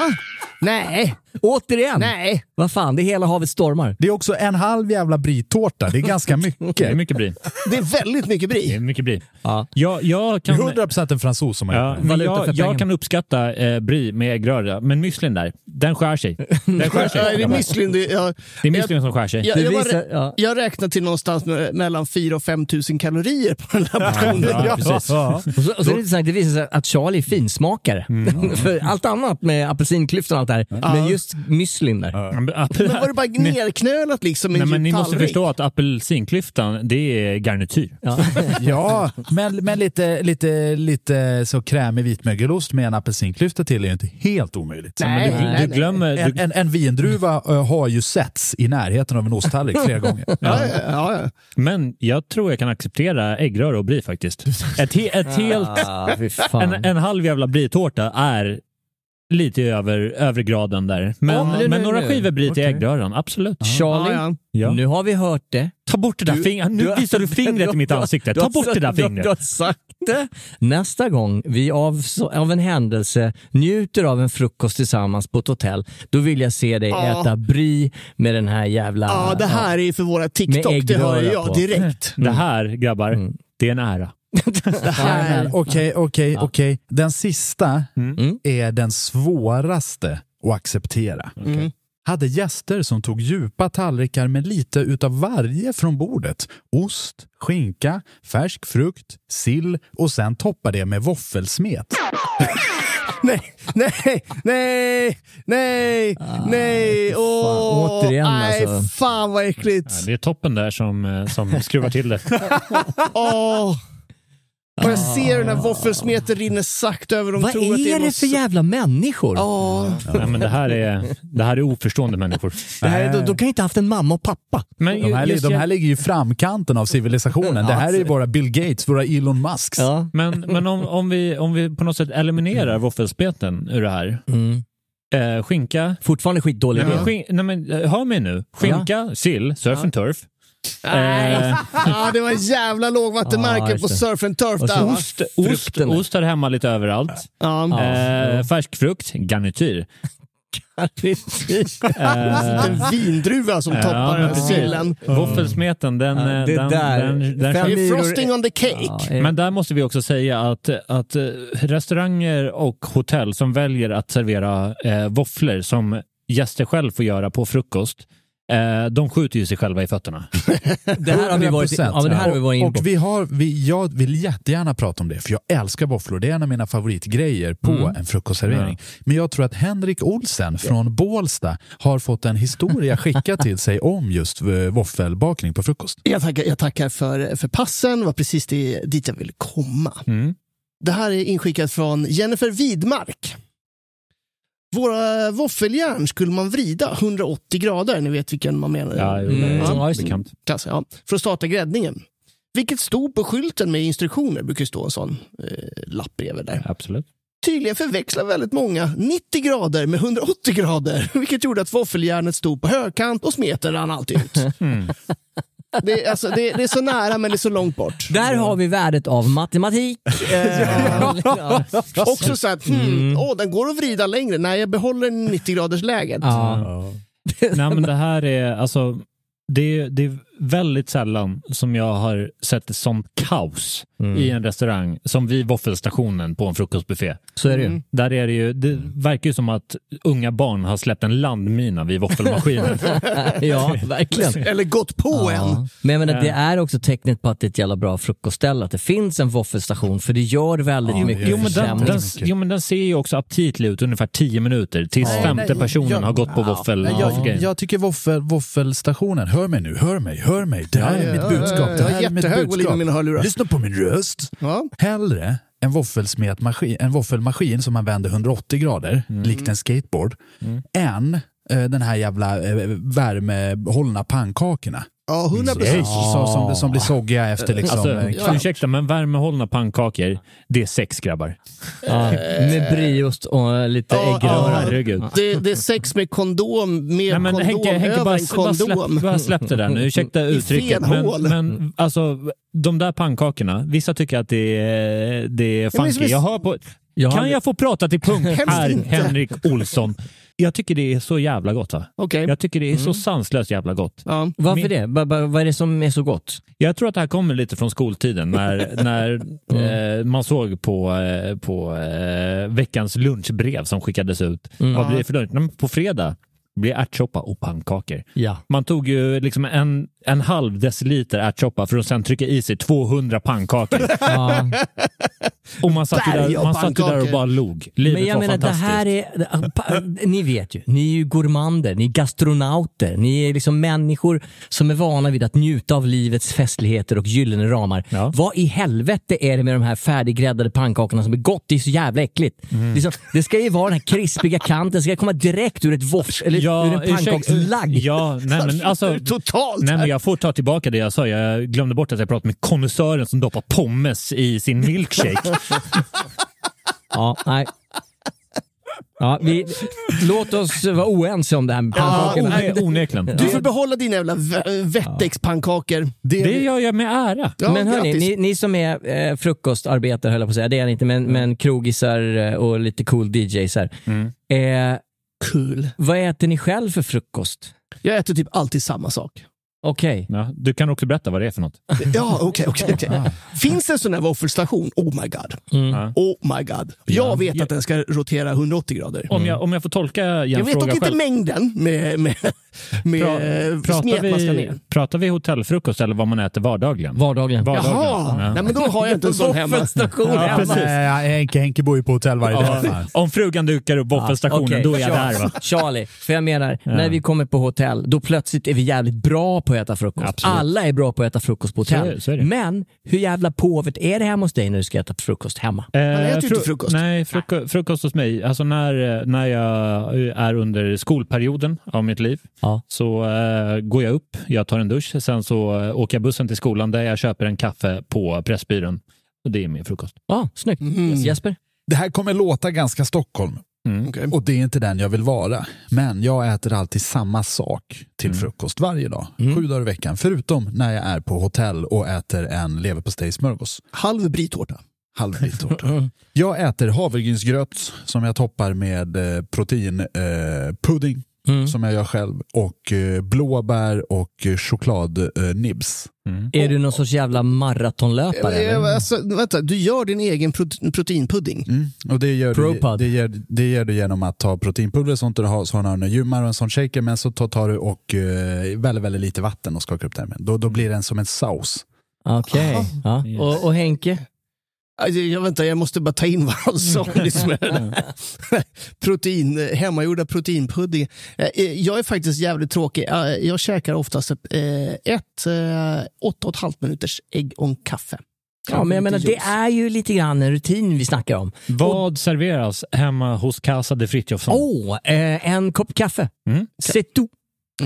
[SPEAKER 5] Nej,
[SPEAKER 3] Återigen!
[SPEAKER 5] nej.
[SPEAKER 3] Vad fan, det är hela havet stormar.
[SPEAKER 2] Det är också en halv jävla brie-tårta. Det
[SPEAKER 4] <laughs>
[SPEAKER 2] är ganska
[SPEAKER 4] Det är
[SPEAKER 2] mycket.
[SPEAKER 4] mycket bri.
[SPEAKER 5] Det är väldigt mycket
[SPEAKER 4] Det är
[SPEAKER 5] brie.
[SPEAKER 4] mycket bri.
[SPEAKER 3] Ja.
[SPEAKER 4] Jag, jag kan...
[SPEAKER 2] 100% en fransos som har
[SPEAKER 4] Ja,
[SPEAKER 2] gjort det.
[SPEAKER 4] men
[SPEAKER 3] Valuta för
[SPEAKER 4] jag,
[SPEAKER 3] pengarna.
[SPEAKER 4] jag kan uppskatta eh, brie med äggröra, men müslin där, den skär sig. Den skär sig.
[SPEAKER 5] Nej, det är müslin. Det, jag,
[SPEAKER 4] det är müslin som skär sig.
[SPEAKER 5] jag,
[SPEAKER 3] Det
[SPEAKER 5] jag,
[SPEAKER 3] visar-
[SPEAKER 5] var,
[SPEAKER 3] ja.
[SPEAKER 5] jag räknar till någonstans me- mellan 4 och 5 tusen kalorier på den här portionen.
[SPEAKER 4] Ja, precis.
[SPEAKER 2] <laughs> Ja.
[SPEAKER 3] Och så, och så är det intressant, det visar sig att Charlie är finsmakare.
[SPEAKER 4] Mm.
[SPEAKER 3] <laughs> För allt annat med apelsinklyftor och allt det här, men just müslin där.
[SPEAKER 5] Men var
[SPEAKER 4] <laughs>
[SPEAKER 5] det bara nerknölat liksom i
[SPEAKER 4] Nej, men ni måste
[SPEAKER 5] tallrik?
[SPEAKER 4] förstå att apelsinklyftan, det är garnityr. <laughs>
[SPEAKER 3] Ja.
[SPEAKER 2] Ja, men, men lite, lite, lite så krämig vitmögelost med en apelsinklyfta till är ju inte helt omöjligt.
[SPEAKER 5] Nej,
[SPEAKER 4] Du, du
[SPEAKER 5] nej, nej.
[SPEAKER 4] glömmer...
[SPEAKER 2] En,
[SPEAKER 4] Du,
[SPEAKER 2] en, en vindruva eh, har ju setts i närheten av en osttallrik
[SPEAKER 4] <laughs>
[SPEAKER 2] flera gånger.
[SPEAKER 5] Ja, ja, ja, ja.
[SPEAKER 4] men jag tror jag kan acceptera äggröra och brie faktiskt. Ett, he, ett helt...
[SPEAKER 3] Ah, fy fan.
[SPEAKER 4] En, en halv jävla brie-tårta är lite över, över graden
[SPEAKER 5] Mm.
[SPEAKER 4] där. Men,
[SPEAKER 3] Ja, nu,
[SPEAKER 4] men
[SPEAKER 3] nu,
[SPEAKER 4] några
[SPEAKER 3] nu.
[SPEAKER 4] skivor brie till
[SPEAKER 2] Okej.
[SPEAKER 4] äggröran, absolut.
[SPEAKER 3] Charlie,
[SPEAKER 5] Ja, ja.
[SPEAKER 4] Ja.
[SPEAKER 3] nu har vi hört det.
[SPEAKER 4] Ta bort det där fingret. Nu visar du fingret i mitt ansikte.
[SPEAKER 3] <laughs> Du har-
[SPEAKER 4] Ta bort det där
[SPEAKER 3] du har- Du har
[SPEAKER 4] fingret.
[SPEAKER 3] sagt det. Nästa gång vi av, så- av en händelse njuter av en frukost tillsammans på ett hotell, då vill jag se dig
[SPEAKER 5] Ja.
[SPEAKER 3] äta brie med den här jävla...
[SPEAKER 5] ja, det här är ju för våra TikTok. Det
[SPEAKER 3] äggröra
[SPEAKER 5] hör ju
[SPEAKER 3] på.
[SPEAKER 5] jag direkt.
[SPEAKER 3] Mm.
[SPEAKER 4] Det här, grabbar, det är en
[SPEAKER 3] <laughs>
[SPEAKER 4] ära.
[SPEAKER 2] Det här, okej, okej, okej. Den sista
[SPEAKER 4] Mm.
[SPEAKER 3] Mm.
[SPEAKER 2] är den svåraste att acceptera.
[SPEAKER 4] Mm.
[SPEAKER 2] Hade gäster som tog djupa tallrikar med lite utav varje från bordet. Ost, skinka, färsk frukt, sill och sen toppa det
[SPEAKER 4] <laughs>
[SPEAKER 2] med våffelsmet.
[SPEAKER 5] Nej, nej, nej, nej, nej. Åh,
[SPEAKER 3] återigen
[SPEAKER 5] nej,
[SPEAKER 3] alltså.
[SPEAKER 5] fan vad äckligt.
[SPEAKER 4] Det är toppen där som, som skruvar till det.
[SPEAKER 5] Åh, Och jag ser den här våffelsmeten rinner sakta över dem.
[SPEAKER 3] Vad
[SPEAKER 5] tror att
[SPEAKER 3] är
[SPEAKER 5] någon
[SPEAKER 3] det för
[SPEAKER 5] s-
[SPEAKER 3] jävla människor?
[SPEAKER 5] Ja,
[SPEAKER 4] Nej, men det, här är, det här är oförstående människor.
[SPEAKER 3] Det här, de, de kan ju inte ha haft en mamma och pappa.
[SPEAKER 4] Men
[SPEAKER 2] De här,
[SPEAKER 4] ju- just
[SPEAKER 2] de
[SPEAKER 4] jag-
[SPEAKER 2] här ligger ju i framkanten av civilisationen. Det här är ju våra Bill Gates, våra Elon Musks.
[SPEAKER 3] Ja.
[SPEAKER 4] Men, men om, om, vi, om vi på något sätt eliminerar våffelspeten ur det här.
[SPEAKER 3] Mm.
[SPEAKER 4] Eh, skinka.
[SPEAKER 3] Fortfarande skitdålig
[SPEAKER 4] Nej, men,
[SPEAKER 3] idé.
[SPEAKER 4] skin, nej, men, eh, hör mig nu. Skinka, sill, surf and turf. Eh,
[SPEAKER 5] ah, det var en jävla
[SPEAKER 3] Ja,
[SPEAKER 5] lågvattenmärke
[SPEAKER 3] just
[SPEAKER 5] på
[SPEAKER 3] det.
[SPEAKER 5] surf
[SPEAKER 3] <laughs>
[SPEAKER 5] and turf
[SPEAKER 3] Och
[SPEAKER 5] där
[SPEAKER 3] så
[SPEAKER 5] va?
[SPEAKER 3] ost,
[SPEAKER 4] ost,
[SPEAKER 3] frukten.
[SPEAKER 4] ost hör hemma lite överallt.
[SPEAKER 5] Ja.
[SPEAKER 4] Eh, färskfrukt, garnityr. Eh.
[SPEAKER 5] Ja. En vindruva som toppar
[SPEAKER 4] men precis.
[SPEAKER 5] sillen.
[SPEAKER 2] Mm.
[SPEAKER 4] Våffelsmeten, den...
[SPEAKER 3] Ja,
[SPEAKER 4] eh,
[SPEAKER 3] det
[SPEAKER 4] den,
[SPEAKER 3] där.
[SPEAKER 4] den, den,
[SPEAKER 3] Fem-
[SPEAKER 5] Det är
[SPEAKER 3] Myror-
[SPEAKER 5] frosting on the cake.
[SPEAKER 4] men där måste vi också säga att, att eh, restauranger och hotell som väljer att servera eh, våfflor som gäster själv får göra på frukost, eh, de skjuter ju sig själva i fötterna.
[SPEAKER 3] <laughs> det här har vi varit, ja, men det här har vi varit inne
[SPEAKER 2] och,
[SPEAKER 3] på.
[SPEAKER 2] och vi har, vi, jag vill jättegärna prata om det, för jag älskar våfflor. Det är en av mina favoritgrejer på
[SPEAKER 3] Mm.
[SPEAKER 2] en frukostservering. Men jag tror att Henrik Olsen från Bålsta har fått
[SPEAKER 3] <laughs>
[SPEAKER 2] en historia skickad till sig om just eh, våffelbakning på frukost.
[SPEAKER 5] Jag tackar, jag tackar för, för passen, det var precis det, dit jag ville komma.
[SPEAKER 4] Mm.
[SPEAKER 5] Det här är inskickat från Jennifer Widmark. Våra våffeljärn skulle man vrida 180 grader, ni vet vilken man menar.
[SPEAKER 4] Ja, jo, det är
[SPEAKER 3] Mm. Ja, just det.
[SPEAKER 4] bekant.
[SPEAKER 5] Klass, ja. För att starta gräddningen. Vilket stod på skylten med instruktioner, brukar stå en sån eh, lapp bredvid där.
[SPEAKER 4] Absolut.
[SPEAKER 5] Tydligen förväxlar väldigt många 90 grader med 180 grader, <laughs> vilket gjorde att våffeljärnet stod på högkant och smeten rann alltid ut. Det, är- alltså, det, det är så nära men det är så långt bort.
[SPEAKER 3] Där har vi värdet av matematik. Eh, ja.
[SPEAKER 5] Också så att, hmm, åh, den går att vrida längre. Nej, jag behåller 90 graders läget.
[SPEAKER 3] Ja.
[SPEAKER 4] Nej, men det här är alltså, det, är- det är väldigt sällan som jag har sett ett sånt kaos i en restaurang som vid våffelstationen på en frukostbuffé.
[SPEAKER 3] Så är det ju.
[SPEAKER 4] Där är det ju, det verkar ju som att unga barn har släppt en landmina vid våffelmaskinen.
[SPEAKER 3] <laughs> Ja, verkligen.
[SPEAKER 5] Eller gått på en.
[SPEAKER 3] Ja. Men jag menar,
[SPEAKER 4] Eh.
[SPEAKER 3] det är också tecknet på att det är ett jävla bra frukostställe, att det finns en våffelstation, för det gör väldigt mycket
[SPEAKER 4] jo, men den,
[SPEAKER 3] försämring.
[SPEAKER 4] den, jo men den ser ju också aptitlig ut ungefär 10 minuter tills femte
[SPEAKER 2] nej,
[SPEAKER 4] personen
[SPEAKER 2] jag-
[SPEAKER 4] har gått på våffel.
[SPEAKER 2] Nej, jag,
[SPEAKER 4] grejen.
[SPEAKER 2] jag tycker våffel, våffelstationen, hör mig nu, hör mig, hör mig. Det här är mitt budskap. Det
[SPEAKER 5] Jag
[SPEAKER 2] här
[SPEAKER 5] är
[SPEAKER 2] är mitt
[SPEAKER 5] jättehög volym i mina
[SPEAKER 2] budskap.
[SPEAKER 5] hörlurar.
[SPEAKER 2] Lyssna på min röst.
[SPEAKER 5] Ja.
[SPEAKER 2] Hellre en våffelsmetmaskin, en våffelmaskin som man vänder 180 grader,
[SPEAKER 5] Mm.
[SPEAKER 2] likt en skateboard, än eh, den här jävla eh, värmehållna pannkakorna.
[SPEAKER 5] Ja, 100
[SPEAKER 4] Mm.
[SPEAKER 2] Så, så, som, som blir soggiga efter liksom,
[SPEAKER 4] Alltså,
[SPEAKER 2] en kvart.
[SPEAKER 4] ursäkta, men värmehållna pannkakor, det är sex grabbar.
[SPEAKER 3] Ja, med briost och lite
[SPEAKER 5] Eh, Ja,
[SPEAKER 3] äggröra.
[SPEAKER 4] Herregud.
[SPEAKER 5] Det, det är sex med kondom, med
[SPEAKER 4] Nej, men
[SPEAKER 5] kondom
[SPEAKER 4] Henke, Henke
[SPEAKER 5] över
[SPEAKER 4] bara,
[SPEAKER 5] en
[SPEAKER 4] bara, släpp,
[SPEAKER 5] kondom.
[SPEAKER 4] bara släpp det där nu. Ursäkta uttrycket.
[SPEAKER 5] fel
[SPEAKER 4] Men,
[SPEAKER 5] hål.
[SPEAKER 4] men alltså, de där pannkakorna. Vissa tycker att det är, det är
[SPEAKER 5] men det är som
[SPEAKER 4] funky.
[SPEAKER 5] en-
[SPEAKER 4] Jag hör på...
[SPEAKER 3] Jag har
[SPEAKER 4] Kan jag få prata till punkt
[SPEAKER 5] Helst
[SPEAKER 4] här,
[SPEAKER 5] inte.
[SPEAKER 4] Henrik Olsson? Jag tycker det är så jävla gott. Va?
[SPEAKER 5] Okej.
[SPEAKER 4] Jag tycker det är så sanslöst jävla gott.
[SPEAKER 5] Ja.
[SPEAKER 3] Varför det? Ba- ba- vad är det som är så gott?
[SPEAKER 4] Jag tror att det här kommer lite från skoltiden
[SPEAKER 5] <laughs>
[SPEAKER 4] när, när eh, man såg på, eh, på eh, veckans lunchbrev som skickades ut.
[SPEAKER 3] Mm.
[SPEAKER 4] Vad blir det för lunch? Nej, men På fredag blir det ärtsoppa och pannkakor.
[SPEAKER 3] Ja.
[SPEAKER 4] Man tog ju liksom en, en halv deciliter ärtsoppa för att sen trycka i sig 200 pannkakor. och man satt, ju
[SPEAKER 5] Berg
[SPEAKER 4] där,
[SPEAKER 5] av
[SPEAKER 4] man satt ju där och
[SPEAKER 5] pannkakor.
[SPEAKER 4] bara log. Livet
[SPEAKER 3] Men jag
[SPEAKER 4] var
[SPEAKER 3] menar, det
[SPEAKER 4] fantastiskt.
[SPEAKER 3] här är... pa- äh, Ni vet ju, ni är ju gourmander, ni är gastronauter, ni är liksom människor som är vana vid att njuta av livets festligheter och gyllene ramar.
[SPEAKER 4] Ja.
[SPEAKER 3] Vad i helvete är det med de här färdiggräddade pannkakorna som är gott? Det är så jävla äckligt.
[SPEAKER 4] Mm.
[SPEAKER 3] Liksom, det ska ju vara den här krispiga kanten, ska komma direkt ur ett våffs eller ur en
[SPEAKER 4] ursäkta-
[SPEAKER 3] pannkakslagg.
[SPEAKER 4] Ja, nej, men
[SPEAKER 5] <laughs>
[SPEAKER 4] alltså,
[SPEAKER 5] Totalt!
[SPEAKER 4] Nej, men jag får ta tillbaka det jag sa. Jag glömde bort att jag pratade med konnässören som doppar pommes i sin
[SPEAKER 5] <laughs>
[SPEAKER 4] milkshake.
[SPEAKER 3] Ja, nej. Ja, vi, låt oss vara oense om det här med pannkakorna.
[SPEAKER 4] One- Onekligen. Alltså,
[SPEAKER 5] Du får behålla dina jävla v- vettexpannkakor.
[SPEAKER 4] Det gör jag med ära.
[SPEAKER 5] Ja,
[SPEAKER 3] men hörni,
[SPEAKER 5] grattis.
[SPEAKER 3] ni, ni som är eh, frukostarbetare höll jag på att säga, det är ni inte, men,
[SPEAKER 5] Mm.
[SPEAKER 3] men krogisar eh, och lite cool DJs här. Eh,
[SPEAKER 5] Kul.
[SPEAKER 3] vad äter ni själv för frukost?
[SPEAKER 5] Jag äter typ alltid samma sak.
[SPEAKER 3] Okej.
[SPEAKER 4] Ja, du kan också berätta vad det är för något.
[SPEAKER 5] Ja, okej, okej. okej. Finns det en sån här våffelstation? Oh my god.
[SPEAKER 4] Ja.
[SPEAKER 5] Oh my god.
[SPEAKER 4] Mm. Ja.
[SPEAKER 5] Jag vet att den ska rotera 180 grader.
[SPEAKER 4] Om, jag, om jag får tolka Jens
[SPEAKER 5] Jag vet dock
[SPEAKER 4] fråga
[SPEAKER 5] inte
[SPEAKER 4] själv.
[SPEAKER 5] mängden med, med, med
[SPEAKER 4] Pra- pratar,
[SPEAKER 5] smet man ska
[SPEAKER 4] vi,
[SPEAKER 5] ner.
[SPEAKER 4] pratar vi hotellfrukost eller vad man äter vardagligen?
[SPEAKER 3] Vardagligen.
[SPEAKER 4] Vardagligen.
[SPEAKER 5] Jaha!
[SPEAKER 4] Ja.
[SPEAKER 5] Nej, men då har jag inte
[SPEAKER 3] <laughs>
[SPEAKER 5] en sån hemma.
[SPEAKER 3] Våffelstation
[SPEAKER 4] Ja,
[SPEAKER 3] hemma.
[SPEAKER 4] precis.
[SPEAKER 2] Nej, Henke, Henke bor ju på hotell varje dag.
[SPEAKER 4] Ja,
[SPEAKER 2] fan.
[SPEAKER 4] om frugan dukar upp våffelstationen,
[SPEAKER 3] Okej,
[SPEAKER 4] då är jag
[SPEAKER 3] Charlie-
[SPEAKER 4] där va?
[SPEAKER 3] Charlie, för jag menar, när vi kommer på hotell, då plötsligt är vi jävligt bra på att äta frukost.
[SPEAKER 4] Absolut.
[SPEAKER 3] Alla är bra på att äta frukost på hotell.
[SPEAKER 4] Så är det, så är det.
[SPEAKER 3] Men hur jävla påvet är det hemma hos dig när du ska äta frukost hemma?
[SPEAKER 4] Eh,
[SPEAKER 5] äter ju inte
[SPEAKER 4] fru-
[SPEAKER 5] frukost.
[SPEAKER 4] Nej, fruko- frukost hos mig. Alltså när, eh, när jag eh, är under skolperioden av mitt liv
[SPEAKER 3] Ja.
[SPEAKER 4] så eh, går jag upp, jag tar en dusch, sen så eh, åker jag bussen till skolan där jag köper en kaffe på Pressbyrån. Och det är min frukost.
[SPEAKER 3] Ja, snyggt.
[SPEAKER 2] Mhm.
[SPEAKER 3] Yes, Jesper?
[SPEAKER 2] Det här kommer låta ganska Stockholm. Och det är inte den jag vill vara. Men jag äter alltid samma sak till frukost varje dag. Sju dagar i veckan. Förutom när jag är på hotell och äter en leverpastejsmörgås.
[SPEAKER 5] Halv brytårta.
[SPEAKER 2] Halvvittårta. jag äter havregrynsgröt som jag toppar med eh, proteinpudding eh, pudding som jag gör själv. Och eh, blåbär och chokladnibs. Eh, nibs.
[SPEAKER 4] Mm.
[SPEAKER 3] Är du någon sorts jävla maratonlöpare?
[SPEAKER 5] Eh,
[SPEAKER 3] eller?
[SPEAKER 5] Alltså, vänta, du gör din egen prote- proteinpudding.
[SPEAKER 2] Och det gör, du,
[SPEAKER 3] Propad.
[SPEAKER 2] det, gör, det gör du genom att ta proteinpulver och sånt och ha sådana gymmar och en sån shaker men så tar, tar du och eh, väldigt, väldigt lite vatten och skakar upp det här med. Då, då blir den som en saus.
[SPEAKER 3] Okej. Ja. Och, och Henke?
[SPEAKER 5] Alltså, jag, vänta, jag måste bara ta in vad han sa.
[SPEAKER 3] Mm.
[SPEAKER 5] <laughs>
[SPEAKER 3] <laughs>
[SPEAKER 5] nyss med den här Protein, eh, hemmagjorda proteinpudding. Eh, eh, Jag är faktiskt jävligt tråkig. Eh, Jag käkar oftast ett, eh, ett eh, åtta och ett halvt minuters ägg och en kaffe.
[SPEAKER 3] Ja, men jag menar, det är ju lite grann en rutin vi snackar om.
[SPEAKER 4] Vad serveras hemma hos Casa de Frithiofsson?
[SPEAKER 3] Åh, eh, en kopp kaffe.
[SPEAKER 4] Mm.
[SPEAKER 3] C'est tout.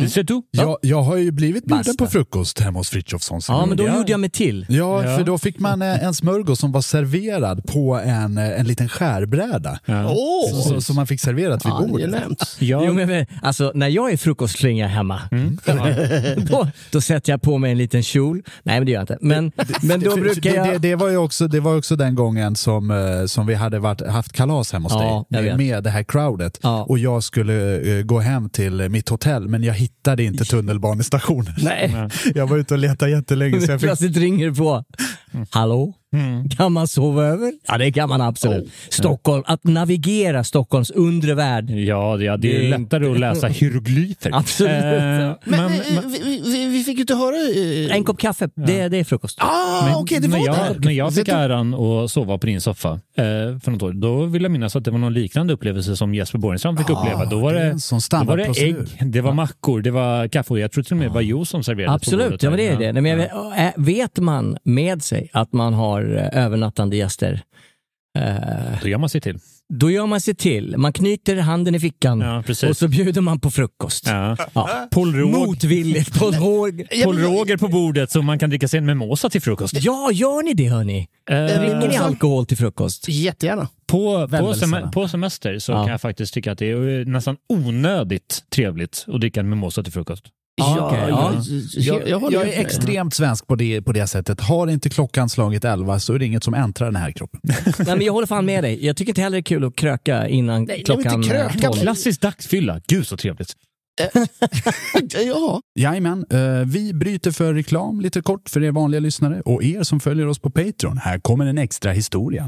[SPEAKER 4] Ser du?
[SPEAKER 2] Jag, jag har ju blivit bjuden
[SPEAKER 3] Basta.
[SPEAKER 2] på frukost hemma hos Frithiofsson.
[SPEAKER 3] Ja, men då
[SPEAKER 4] Ja.
[SPEAKER 3] gjorde jag mig till.
[SPEAKER 2] Ja,
[SPEAKER 4] Ja.
[SPEAKER 2] för då fick man eh, en smörgås som var serverad på en, eh, en liten skärbräda.
[SPEAKER 5] Åh!
[SPEAKER 2] Så, som man fick serverat vid bordet.
[SPEAKER 5] Angenämt.
[SPEAKER 4] Jag,
[SPEAKER 3] Jo, men, men, alltså, när jag är frukostslinga hemma, <laughs> då, då sätter jag på mig en liten kjol. Nej, men det gör jag inte. Men, men då
[SPEAKER 2] För-
[SPEAKER 3] brukar
[SPEAKER 2] det, det,
[SPEAKER 3] jag...
[SPEAKER 2] det var ju också, det var också den gången som, eh, som vi hade varit, haft kalas hemma hos
[SPEAKER 3] Ja, jag
[SPEAKER 2] dig
[SPEAKER 3] vet.
[SPEAKER 2] med, med det här crowdet
[SPEAKER 3] Ja.
[SPEAKER 2] och jag skulle eh, gå hem till eh, mitt hotell men jag
[SPEAKER 4] <laughs>
[SPEAKER 2] hittade inte tunnelbanestationen.
[SPEAKER 3] <laughs> Nej,
[SPEAKER 2] Jag var ute och
[SPEAKER 4] <laughs>
[SPEAKER 2] letade jättelänge så jag fick...
[SPEAKER 3] plötsligt ringer det på. Hallå? Kan man sova över? Ja, det kan man absolut. Stockholm, att navigera Stockholms undre värld.
[SPEAKER 4] ja, ja, det är
[SPEAKER 3] Det är
[SPEAKER 4] lättare att läsa hieroglyfer.
[SPEAKER 3] Absolut.
[SPEAKER 4] Eh,
[SPEAKER 5] Men,
[SPEAKER 4] men,
[SPEAKER 5] eh, vi, vi, vi fick ju inte höra... eh,
[SPEAKER 3] En kopp kaffe, det, det är frukost.
[SPEAKER 5] Ah, okej, det var
[SPEAKER 4] när,
[SPEAKER 5] där.
[SPEAKER 4] jag, när jag fick
[SPEAKER 5] Så att-
[SPEAKER 4] äran att sova på din soffa eh, för något år, då vill jag minnas att det var någon liknande upplevelse som Jesper Borgenstrand fick uppleva. Då var
[SPEAKER 2] det är
[SPEAKER 4] det,
[SPEAKER 2] en sån
[SPEAKER 4] då var det
[SPEAKER 2] standardprocedur.
[SPEAKER 4] ägg, det var mackor, det var kaffe och jag tror till och med det var juice som serverades på
[SPEAKER 3] Absolut,
[SPEAKER 4] bordet.
[SPEAKER 3] ja, men det är det. Nej, men jag vet, äh, vet man med sig att man har eh, övernattande gäster,
[SPEAKER 4] Då gör man sig till.
[SPEAKER 3] då gör man sig till. Man knyter handen i fickan
[SPEAKER 4] Ja, precis.
[SPEAKER 3] och så bjuder man på frukost.
[SPEAKER 4] Ja.
[SPEAKER 3] Ja.
[SPEAKER 4] Paul, Råg,
[SPEAKER 5] <laughs>
[SPEAKER 3] Motvilligt på råg.
[SPEAKER 4] Paul Roger på bordet så man kan dricka sig en mimosa till frukost.
[SPEAKER 3] Ja, gör ni det hörni?
[SPEAKER 4] Eh,
[SPEAKER 3] Dricker ni alkohol till frukost?
[SPEAKER 5] Jättegärna.
[SPEAKER 4] På, på,
[SPEAKER 2] Väldelserna.
[SPEAKER 4] sem- på semester så
[SPEAKER 3] Ja.
[SPEAKER 4] kan jag faktiskt tycka att det är nästan onödigt trevligt att dricka en mimosa till frukost.
[SPEAKER 3] Ja, okej, ja.
[SPEAKER 5] Jag, jag, jag håller
[SPEAKER 2] Jag
[SPEAKER 5] med.
[SPEAKER 2] är extremt svensk på det, på det sättet. Har inte klockan slagit 11 så är det inget som äntrar den här kroppen.
[SPEAKER 4] <laughs>
[SPEAKER 3] Nej, men jag håller fan med dig. Jag tycker inte heller det är kul att kröka innan
[SPEAKER 5] men
[SPEAKER 3] klockan
[SPEAKER 5] inte kröka,
[SPEAKER 3] eh, tolv.
[SPEAKER 5] men-
[SPEAKER 4] Klassisk dagsfylla, gud så trevligt.
[SPEAKER 3] Eh, <laughs>
[SPEAKER 5] ja.
[SPEAKER 2] Jajamän, eh, vi bryter för reklam lite kort för er vanliga lyssnare och er som följer oss på Patreon. Här kommer en extra historia.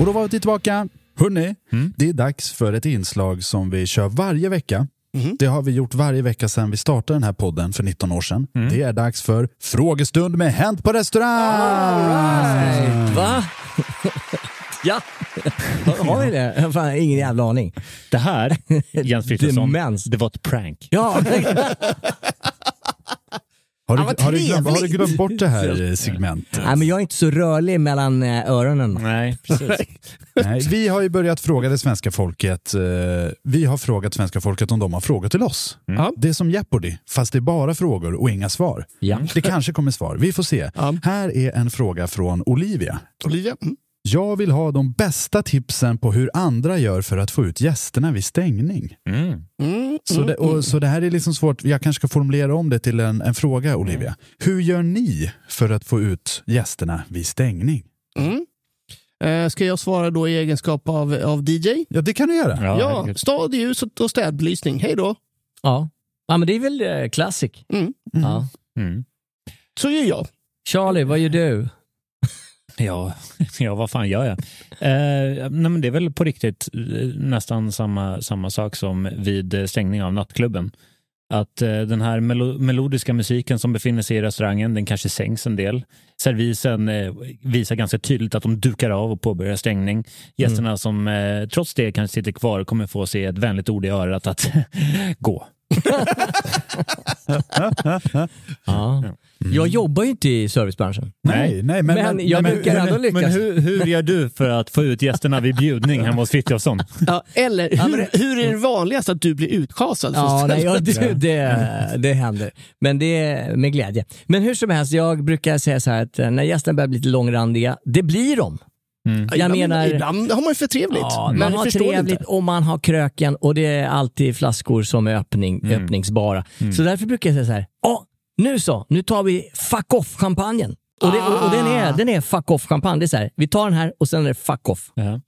[SPEAKER 2] Och då var vi tillbaka. Hörrni,
[SPEAKER 4] Mm.
[SPEAKER 2] det är dags för ett inslag som vi kör varje vecka.
[SPEAKER 3] Mhm.
[SPEAKER 2] Det har vi gjort varje vecka sedan vi startade den här podden för 19 år sedan.
[SPEAKER 4] Mm.
[SPEAKER 2] Det är dags för frågestund med Hänt på
[SPEAKER 5] <laughs>
[SPEAKER 2] restaurang!
[SPEAKER 3] Va? ja. Har vi det? Jag har ingen jävla aning.
[SPEAKER 4] Det här,
[SPEAKER 3] <laughs>
[SPEAKER 4] Jens Fritzson, det var ett prank. <laughs>
[SPEAKER 3] Ja,
[SPEAKER 2] Har du,
[SPEAKER 3] Ja, vad
[SPEAKER 2] har, du glömt, har du
[SPEAKER 3] trevligt.
[SPEAKER 2] glömt bort det här eh, segmentet?
[SPEAKER 3] Nej, men jag är inte så rörlig mellan eh, öronen.
[SPEAKER 4] Nej,
[SPEAKER 3] <laughs>
[SPEAKER 4] precis.
[SPEAKER 2] Nej, vi har ju börjat fråga det svenska folket. eh, Vi har frågat svenska folket om de har frågor till oss.
[SPEAKER 5] Mm.
[SPEAKER 2] Det är som Jeopardy, fast det är bara frågor och inga svar.
[SPEAKER 3] Ja.
[SPEAKER 2] Det kanske kommer svar. Vi får se. Här är en fråga från Olivia.
[SPEAKER 5] Olivia? Mm.
[SPEAKER 2] Jag vill ha de bästa tipsen på hur andra gör för att få ut gästerna vid stängning.
[SPEAKER 5] Mm.
[SPEAKER 2] Så, det, och, så det här är liksom svårt. Jag kanske ska formulera om det till en, en fråga,
[SPEAKER 5] Mm.
[SPEAKER 2] Olivia. Hur gör ni för att få ut gästerna vid stängning?
[SPEAKER 5] Mm. Eh, Ska jag svara då i egenskap av, av DJ?
[SPEAKER 2] Ja, det kan du göra.
[SPEAKER 5] Ja,
[SPEAKER 4] herregud.
[SPEAKER 5] stad, ljus och- och städbelysning. Hej då!
[SPEAKER 3] Ja. ja, men det är väl eh, classic.
[SPEAKER 5] Mm.
[SPEAKER 3] Ja.
[SPEAKER 4] Mm.
[SPEAKER 5] Så gör jag.
[SPEAKER 3] Charlie, vad gör du?
[SPEAKER 4] Ja, <laughs> ja, vad fan gör jag? Eh, nej, men det är väl på riktigt eh, nästan samma, samma sak som vid eh, stängning av nattklubben. Att eh, den här melo melodiska musiken som befinner sig i restaurangen, den kanske sänks en del. Servisen eh, visar ganska tydligt att de dukar av och påbörjar
[SPEAKER 3] Mm.
[SPEAKER 4] stängning. Gästerna som eh, trots det kanske sitter kvar kommer få se ett vänligt ord i örat att <laughs> gå. <laughs>
[SPEAKER 3] Ja. Jag jobbar ju inte i servicebranschen.
[SPEAKER 2] Nej, nej, men,
[SPEAKER 3] Men jag brukar
[SPEAKER 2] hur-
[SPEAKER 3] ändå
[SPEAKER 2] hur-
[SPEAKER 3] lyckas.
[SPEAKER 4] Men hur, hur gör du för att få ut gästerna vid bjudning hemma hos Frithiofsson?
[SPEAKER 5] Ja, eller hur,
[SPEAKER 3] men
[SPEAKER 5] hur är det vanligast att du blir utkasad?
[SPEAKER 3] Ja, nej, jag,
[SPEAKER 5] <laughs>
[SPEAKER 3] det, det, det händer. Men det är med glädje. Men hur som helst, jag brukar säga så här att eh, när gästerna börjar bli lite långrandiga, det blir de. Jag
[SPEAKER 5] ibland,
[SPEAKER 3] menar-
[SPEAKER 5] Ibland har man ju för trevligt.
[SPEAKER 3] Ja,
[SPEAKER 5] men
[SPEAKER 3] man
[SPEAKER 5] det
[SPEAKER 3] har
[SPEAKER 5] förstår
[SPEAKER 3] trevligt
[SPEAKER 5] inte.
[SPEAKER 3] och man har kröken och det är alltid flaskor som är öppning,
[SPEAKER 4] Mm.
[SPEAKER 3] öppningsbara. Så därför brukar jag säga så här, ja, nu så, nu tar vi fuck off-champagnen. Och, det, och, och den
[SPEAKER 4] Ah.
[SPEAKER 3] är, den är fuck off-champagne. Det är så här, vi tar den här och sen är det fuck off.
[SPEAKER 4] Ja.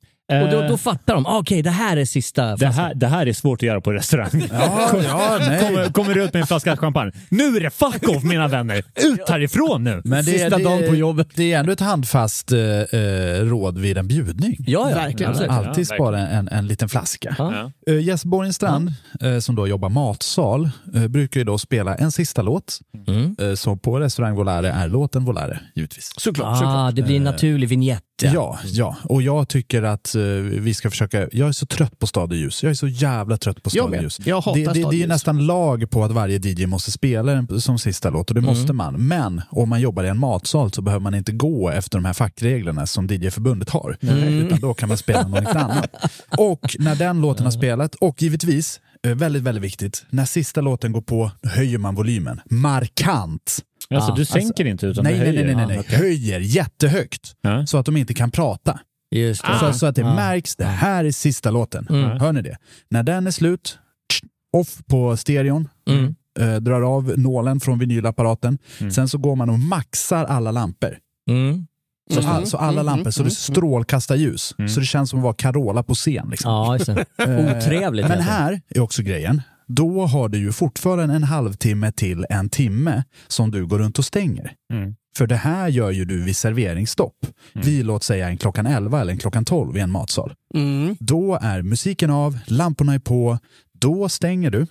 [SPEAKER 3] Och då,
[SPEAKER 4] Eh,
[SPEAKER 3] då fattar de, ah, okej det här är sista
[SPEAKER 4] Det
[SPEAKER 3] flaskan.
[SPEAKER 4] här, det här är svårt att göra på
[SPEAKER 3] <laughs>
[SPEAKER 4] restaurang.
[SPEAKER 2] Ja, ja, nej.
[SPEAKER 4] Kommer, kommer du ut med en flaska champagne. Nu är det fuck off mina
[SPEAKER 5] <laughs>
[SPEAKER 4] vänner! <laughs> Ut härifrån nu!
[SPEAKER 2] Men det,
[SPEAKER 3] Sista
[SPEAKER 2] det,
[SPEAKER 3] dagen på jobbet.
[SPEAKER 2] Det är ändå ett handfast eh, eh, råd vid en bjudning.
[SPEAKER 3] Ja, ja.
[SPEAKER 5] Verkligen.
[SPEAKER 3] absolut.
[SPEAKER 2] Alltid
[SPEAKER 4] Ja,
[SPEAKER 2] spara en, en liten flaska.
[SPEAKER 3] Ja.
[SPEAKER 2] Eh, Jess Borgenstrand, eh, som då jobbar matsal, eh, brukar ju då spela en sista låt,
[SPEAKER 3] Mm.
[SPEAKER 2] eh, som på restaurang Volare är låten Volare, givetvis.
[SPEAKER 5] Såklart. såklart.
[SPEAKER 3] Ah, det blir en naturlig vignett.
[SPEAKER 2] Ja, ja. Och jag tycker att eh, vi ska försöka... Jag är så trött på stad och ljus. Jag är så jävla trött på
[SPEAKER 5] Jag
[SPEAKER 2] stad och
[SPEAKER 5] med.
[SPEAKER 2] ljus.
[SPEAKER 5] Jag hatar
[SPEAKER 2] det, det,
[SPEAKER 5] stad och
[SPEAKER 2] det är ju
[SPEAKER 5] ljus.
[SPEAKER 2] nästan lag på att varje DJ måste spela den som sista låt och det
[SPEAKER 5] Mm.
[SPEAKER 2] måste man. Men om man jobbar i en matsal så behöver man inte gå efter de här fackreglerna som DJ-förbundet har. Mm. Utan då kan man
[SPEAKER 5] <laughs>
[SPEAKER 2] spela något annat. Och när den låten har spelat, och givetvis, eh, väldigt, väldigt viktigt, när sista låten går på höjer man volymen. Markant!
[SPEAKER 4] Alltså, du
[SPEAKER 2] Alltså,
[SPEAKER 4] sänker inte utan
[SPEAKER 2] Nej,
[SPEAKER 4] du höjer.
[SPEAKER 2] nej, nej, nej,
[SPEAKER 5] Ah,
[SPEAKER 2] nej. höjer jättehögt
[SPEAKER 4] Ja.
[SPEAKER 2] så att de inte kan prata.
[SPEAKER 3] Just det. Ah.
[SPEAKER 2] Så, så att det märks, det här är sista låten. Hör ni det? När den är slut, tsch, off på stereon,
[SPEAKER 3] Mm.
[SPEAKER 2] eh, drar av nålen från vinylapparaten. Sen så går man och maxar alla lampor.
[SPEAKER 3] Mm.
[SPEAKER 2] Så, all, så alla lampor, så det strålkastar ljus. Så det känns som att vara Carola på scen. Liksom.
[SPEAKER 3] Ja, just det. Otrevligt. alltså.
[SPEAKER 2] Men
[SPEAKER 3] heter det.
[SPEAKER 2] här är också grejen. Då har du ju fortfarande en halvtimme till en timme som du går runt och stänger.
[SPEAKER 4] Mm.
[SPEAKER 2] För det här gör ju du vid serveringsstopp. Vid låt säga en klockan 11 eller en klockan 12 i en matsal.
[SPEAKER 5] Mm.
[SPEAKER 2] Då är musiken av, lamporna är på, Då stänger du.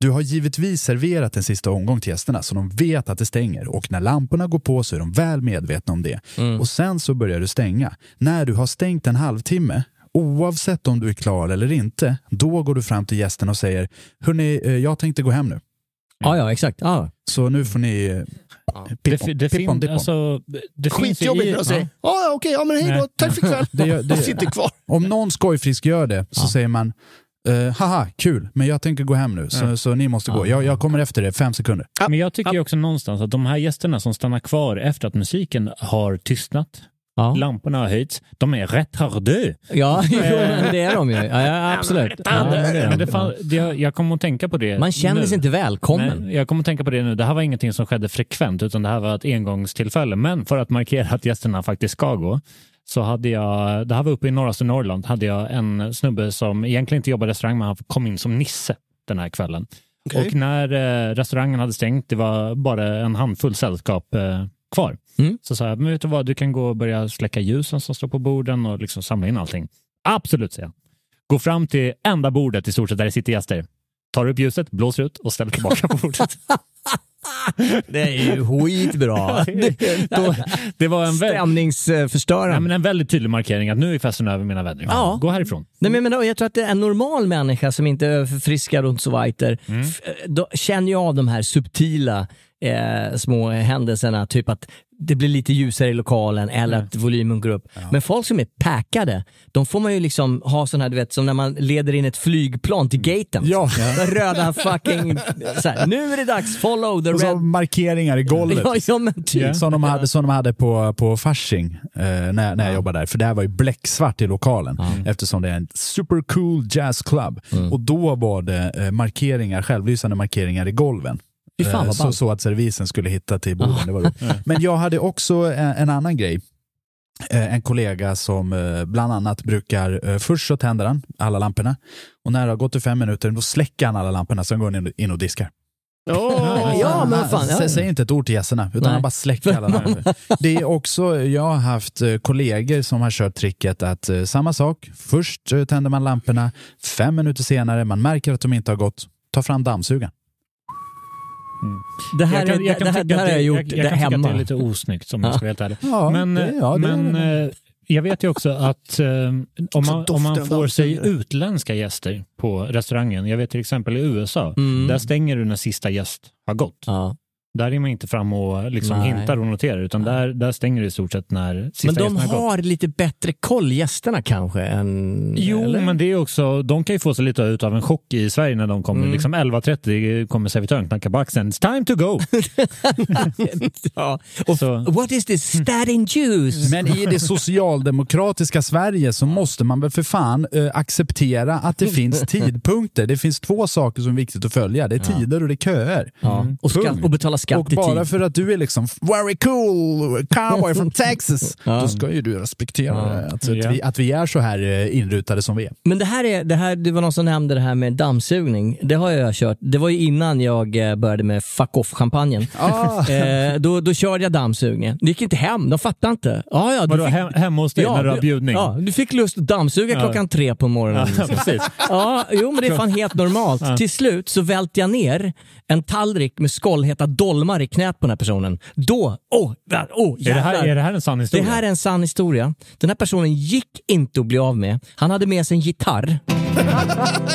[SPEAKER 2] Du har givetvis serverat en sista omgång till gästerna så de vet att det stänger och när lamporna går på så är de väl medvetna om det.
[SPEAKER 3] Mm.
[SPEAKER 2] Och sen så börjar du stänga. När du har stängt en halvtimme, oavsett om du är klar eller inte, då går du fram till gästen och säger Hörni, eh, jag tänkte gå hem nu.
[SPEAKER 3] Ja, ja, exakt. Ja.
[SPEAKER 2] Så nu får ni eh,
[SPEAKER 4] Det,
[SPEAKER 2] pippon,
[SPEAKER 4] fi- det,
[SPEAKER 2] pippon,
[SPEAKER 4] fin,
[SPEAKER 2] dippon.
[SPEAKER 4] alltså, det finns ju i-
[SPEAKER 5] Skitjobbigt att säga. Ja, ja, okej, ja, men hej då.
[SPEAKER 4] Nej.
[SPEAKER 5] Tack
[SPEAKER 3] <laughs>
[SPEAKER 5] för ikväll.
[SPEAKER 2] Det gör-
[SPEAKER 5] <laughs>
[SPEAKER 2] det-
[SPEAKER 5] Jag sitter kvar.
[SPEAKER 2] Om någon skojfrisk gör det så säger man eh, haha, kul, men jag tänker gå hem nu, så, så ni måste gå. Jag, jag kommer efter det, fem sekunder.
[SPEAKER 4] Men jag tycker ju också någonstans att de här gästerna som stannar kvar efter att musiken har tystnat,
[SPEAKER 3] Ja.
[SPEAKER 4] lamporna har höjts, de är retardeux.
[SPEAKER 3] Ja, <laughs> jo, men det är de ju. Ja,
[SPEAKER 5] <laughs>
[SPEAKER 3] ja, absolut. Ja, men det är
[SPEAKER 4] Men
[SPEAKER 3] de.
[SPEAKER 4] det fan, det, jag, jag kommer att tänka på det
[SPEAKER 3] Man känner
[SPEAKER 4] nu.
[SPEAKER 3] sig inte välkommen.
[SPEAKER 4] Nej, jag kommer att tänka på det nu. Det här var ingenting som skedde frekvent, utan det här var ett engångstillfälle. Men för att markera att gästerna faktiskt ska gå, så hade jag, det här var uppe i norraste Norrland, hade jag en snubbe som egentligen inte jobbade i restaurang, men han kom in som Nisse den här kvällen.
[SPEAKER 5] Okej.
[SPEAKER 4] Och när eh, restaurangen hade stängt, det var bara en handfull sällskap eh, kvar.
[SPEAKER 3] Mm.
[SPEAKER 4] Så sa jag, men vet du vad, du kan gå och börja släcka ljusen som står på borden och liksom samla in allting. Absolut, säger jag. Gå fram till enda bordet i stort sett där det sitter gäster. Tar upp ljuset, blåser ut och ställer tillbaka på <laughs> bordet.
[SPEAKER 3] Det är ju skitbra.
[SPEAKER 4] Då, det var en, vä-
[SPEAKER 3] Stämningsförstörande.
[SPEAKER 4] nej, men en väldigt tydlig markering att nu är festen över mina vänner.
[SPEAKER 3] Ja.
[SPEAKER 4] Gå härifrån.
[SPEAKER 3] Nej, men jag, menar, jag tror att det är en normal människa som inte är förfriskad och inte så weiter,
[SPEAKER 4] Mm.
[SPEAKER 3] f- eh, då känner ju av de här subtila eh, små händelserna, typ att det blir lite ljusare i lokalen eller
[SPEAKER 4] Mm.
[SPEAKER 3] att volymen går upp. Men folk som är packade, de får man ju liksom ha sån här, du vet, <laughs> som när man leder in ett flygplan till gaten.
[SPEAKER 2] Ja.
[SPEAKER 3] Den Röda fucking... Så här, nu är det dags, follow the
[SPEAKER 2] Och så
[SPEAKER 3] red...
[SPEAKER 2] markeringar i golvet.
[SPEAKER 3] Ja, ja, men typ.
[SPEAKER 2] Som de hade, som de hade på, på Fasching eh, när, när jag jobbade där. För det här var ju bläcksvart i lokalen
[SPEAKER 3] Mm.
[SPEAKER 2] eftersom det är en supercool jazzclub. Och då var det eh, markeringar, självlysande markeringar i golven.
[SPEAKER 3] Fy fan,
[SPEAKER 2] Eh,
[SPEAKER 3] vad
[SPEAKER 2] så,
[SPEAKER 3] ballt. Ah.
[SPEAKER 2] så att servisen skulle hitta till borden.
[SPEAKER 3] <laughs>
[SPEAKER 2] Det var roligt. Men jag hade också en, en annan grej. Eh, En kollega som eh, bland annat brukar, eh, först så tänder han alla lamporna och när det har gått i fem minuter då släcker han alla lamporna sen går han in- in och diskar.
[SPEAKER 3] <laughs>
[SPEAKER 5] Åh,
[SPEAKER 3] Ja, men vad fan.
[SPEAKER 2] Han
[SPEAKER 3] Ja.
[SPEAKER 2] säger inte ett ord till gästerna, utan
[SPEAKER 3] Nej.
[SPEAKER 2] han bara släcker alla namn.
[SPEAKER 3] <laughs>
[SPEAKER 2] Det är också, jag har haft eh, kollegor som har kört tricket att eh, samma sak, först eh, tänder man lamporna, fem minuter senare, man märker att de inte har gått, ta fram dammsugaren.
[SPEAKER 3] Det här,
[SPEAKER 4] Jag kan-
[SPEAKER 3] är-
[SPEAKER 4] jag kan
[SPEAKER 3] det här,
[SPEAKER 4] tycka
[SPEAKER 3] det här
[SPEAKER 4] att
[SPEAKER 3] har jag gjort
[SPEAKER 4] jag, jag
[SPEAKER 3] där
[SPEAKER 4] kan tycka
[SPEAKER 3] hemma.
[SPEAKER 4] att det är lite osnyggt som jag
[SPEAKER 3] Ja.
[SPEAKER 4] ska vara helt ärlig.
[SPEAKER 2] Ja,
[SPEAKER 4] men
[SPEAKER 2] det- ja, det är
[SPEAKER 4] men
[SPEAKER 2] det.
[SPEAKER 4] eh, jag vet ju också att eh, om, man, om man
[SPEAKER 5] doften
[SPEAKER 4] får
[SPEAKER 5] av
[SPEAKER 4] sig
[SPEAKER 5] dammsugare.
[SPEAKER 4] utländska gäster på restaurangen, jag vet till exempel i USA, där stänger du när sista gäst har gått.
[SPEAKER 3] Mm. Ja.
[SPEAKER 4] Där är man inte fram och liksom
[SPEAKER 3] Nej.
[SPEAKER 4] hintar och noterar, utan där, där stänger du i stort sett när sista
[SPEAKER 3] Men de
[SPEAKER 4] gästen har gått.
[SPEAKER 3] har lite bättre koll, gästerna kanske? Än,
[SPEAKER 4] Jo,
[SPEAKER 3] eller?
[SPEAKER 4] men det är också, de kan ju få sig lite ut av en chock i Sverige när de
[SPEAKER 3] Mm.
[SPEAKER 4] kommer. Liksom 11.30 kommer servitören knacka på axeln. It's time to go!
[SPEAKER 3] <laughs> ja. Och
[SPEAKER 4] Så-
[SPEAKER 3] What is this statin juice?
[SPEAKER 2] Men i det socialdemokratiska Sverige så måste man väl för fan eh, acceptera att
[SPEAKER 3] <laughs>
[SPEAKER 2] det finns tidpunkter. Det finns två saker som är viktigt att följa. Det är tider och det är köer.
[SPEAKER 3] Ja.
[SPEAKER 4] Mm.
[SPEAKER 3] Och, skatt,
[SPEAKER 2] Punkt.
[SPEAKER 3] och betala skatt
[SPEAKER 2] Och
[SPEAKER 3] i
[SPEAKER 2] bara
[SPEAKER 3] tid.
[SPEAKER 2] för att du är liksom very cool
[SPEAKER 3] <laughs>
[SPEAKER 2] cowboy from Texas, då ska ju du respektera det. att,
[SPEAKER 4] Ja.
[SPEAKER 2] att, vi, att vi är så här eh, inrutade som vi är.
[SPEAKER 3] Men det här är, det här, det var någon som nämnde det här med dammsugning. Det har jag kört. Det var ju innan jag eh, började med fuck off-champagnen.
[SPEAKER 4] Ah.
[SPEAKER 3] eh, då, då körde jag dammsugningen. Det gick inte hem, de fattade inte. Ja, ja, du
[SPEAKER 4] Vadå,
[SPEAKER 3] fick-
[SPEAKER 4] hem, hemma hos dig när du har
[SPEAKER 3] du-
[SPEAKER 4] bjudning?
[SPEAKER 3] Ja, du fick lust att dammsuga klockan tre på morgonen.
[SPEAKER 4] Ja, precis.
[SPEAKER 3] Ja, jo men det är fan helt normalt. Till slut så välte jag ner en tallrik med skållheta dolmar i knät på den här personen. Då, åh, där, åh
[SPEAKER 4] Är det, här, är det här en sann historia?
[SPEAKER 3] Det här är en sann historia. Den här personen gick inte att bli av med. Han hade med sig en gitarr.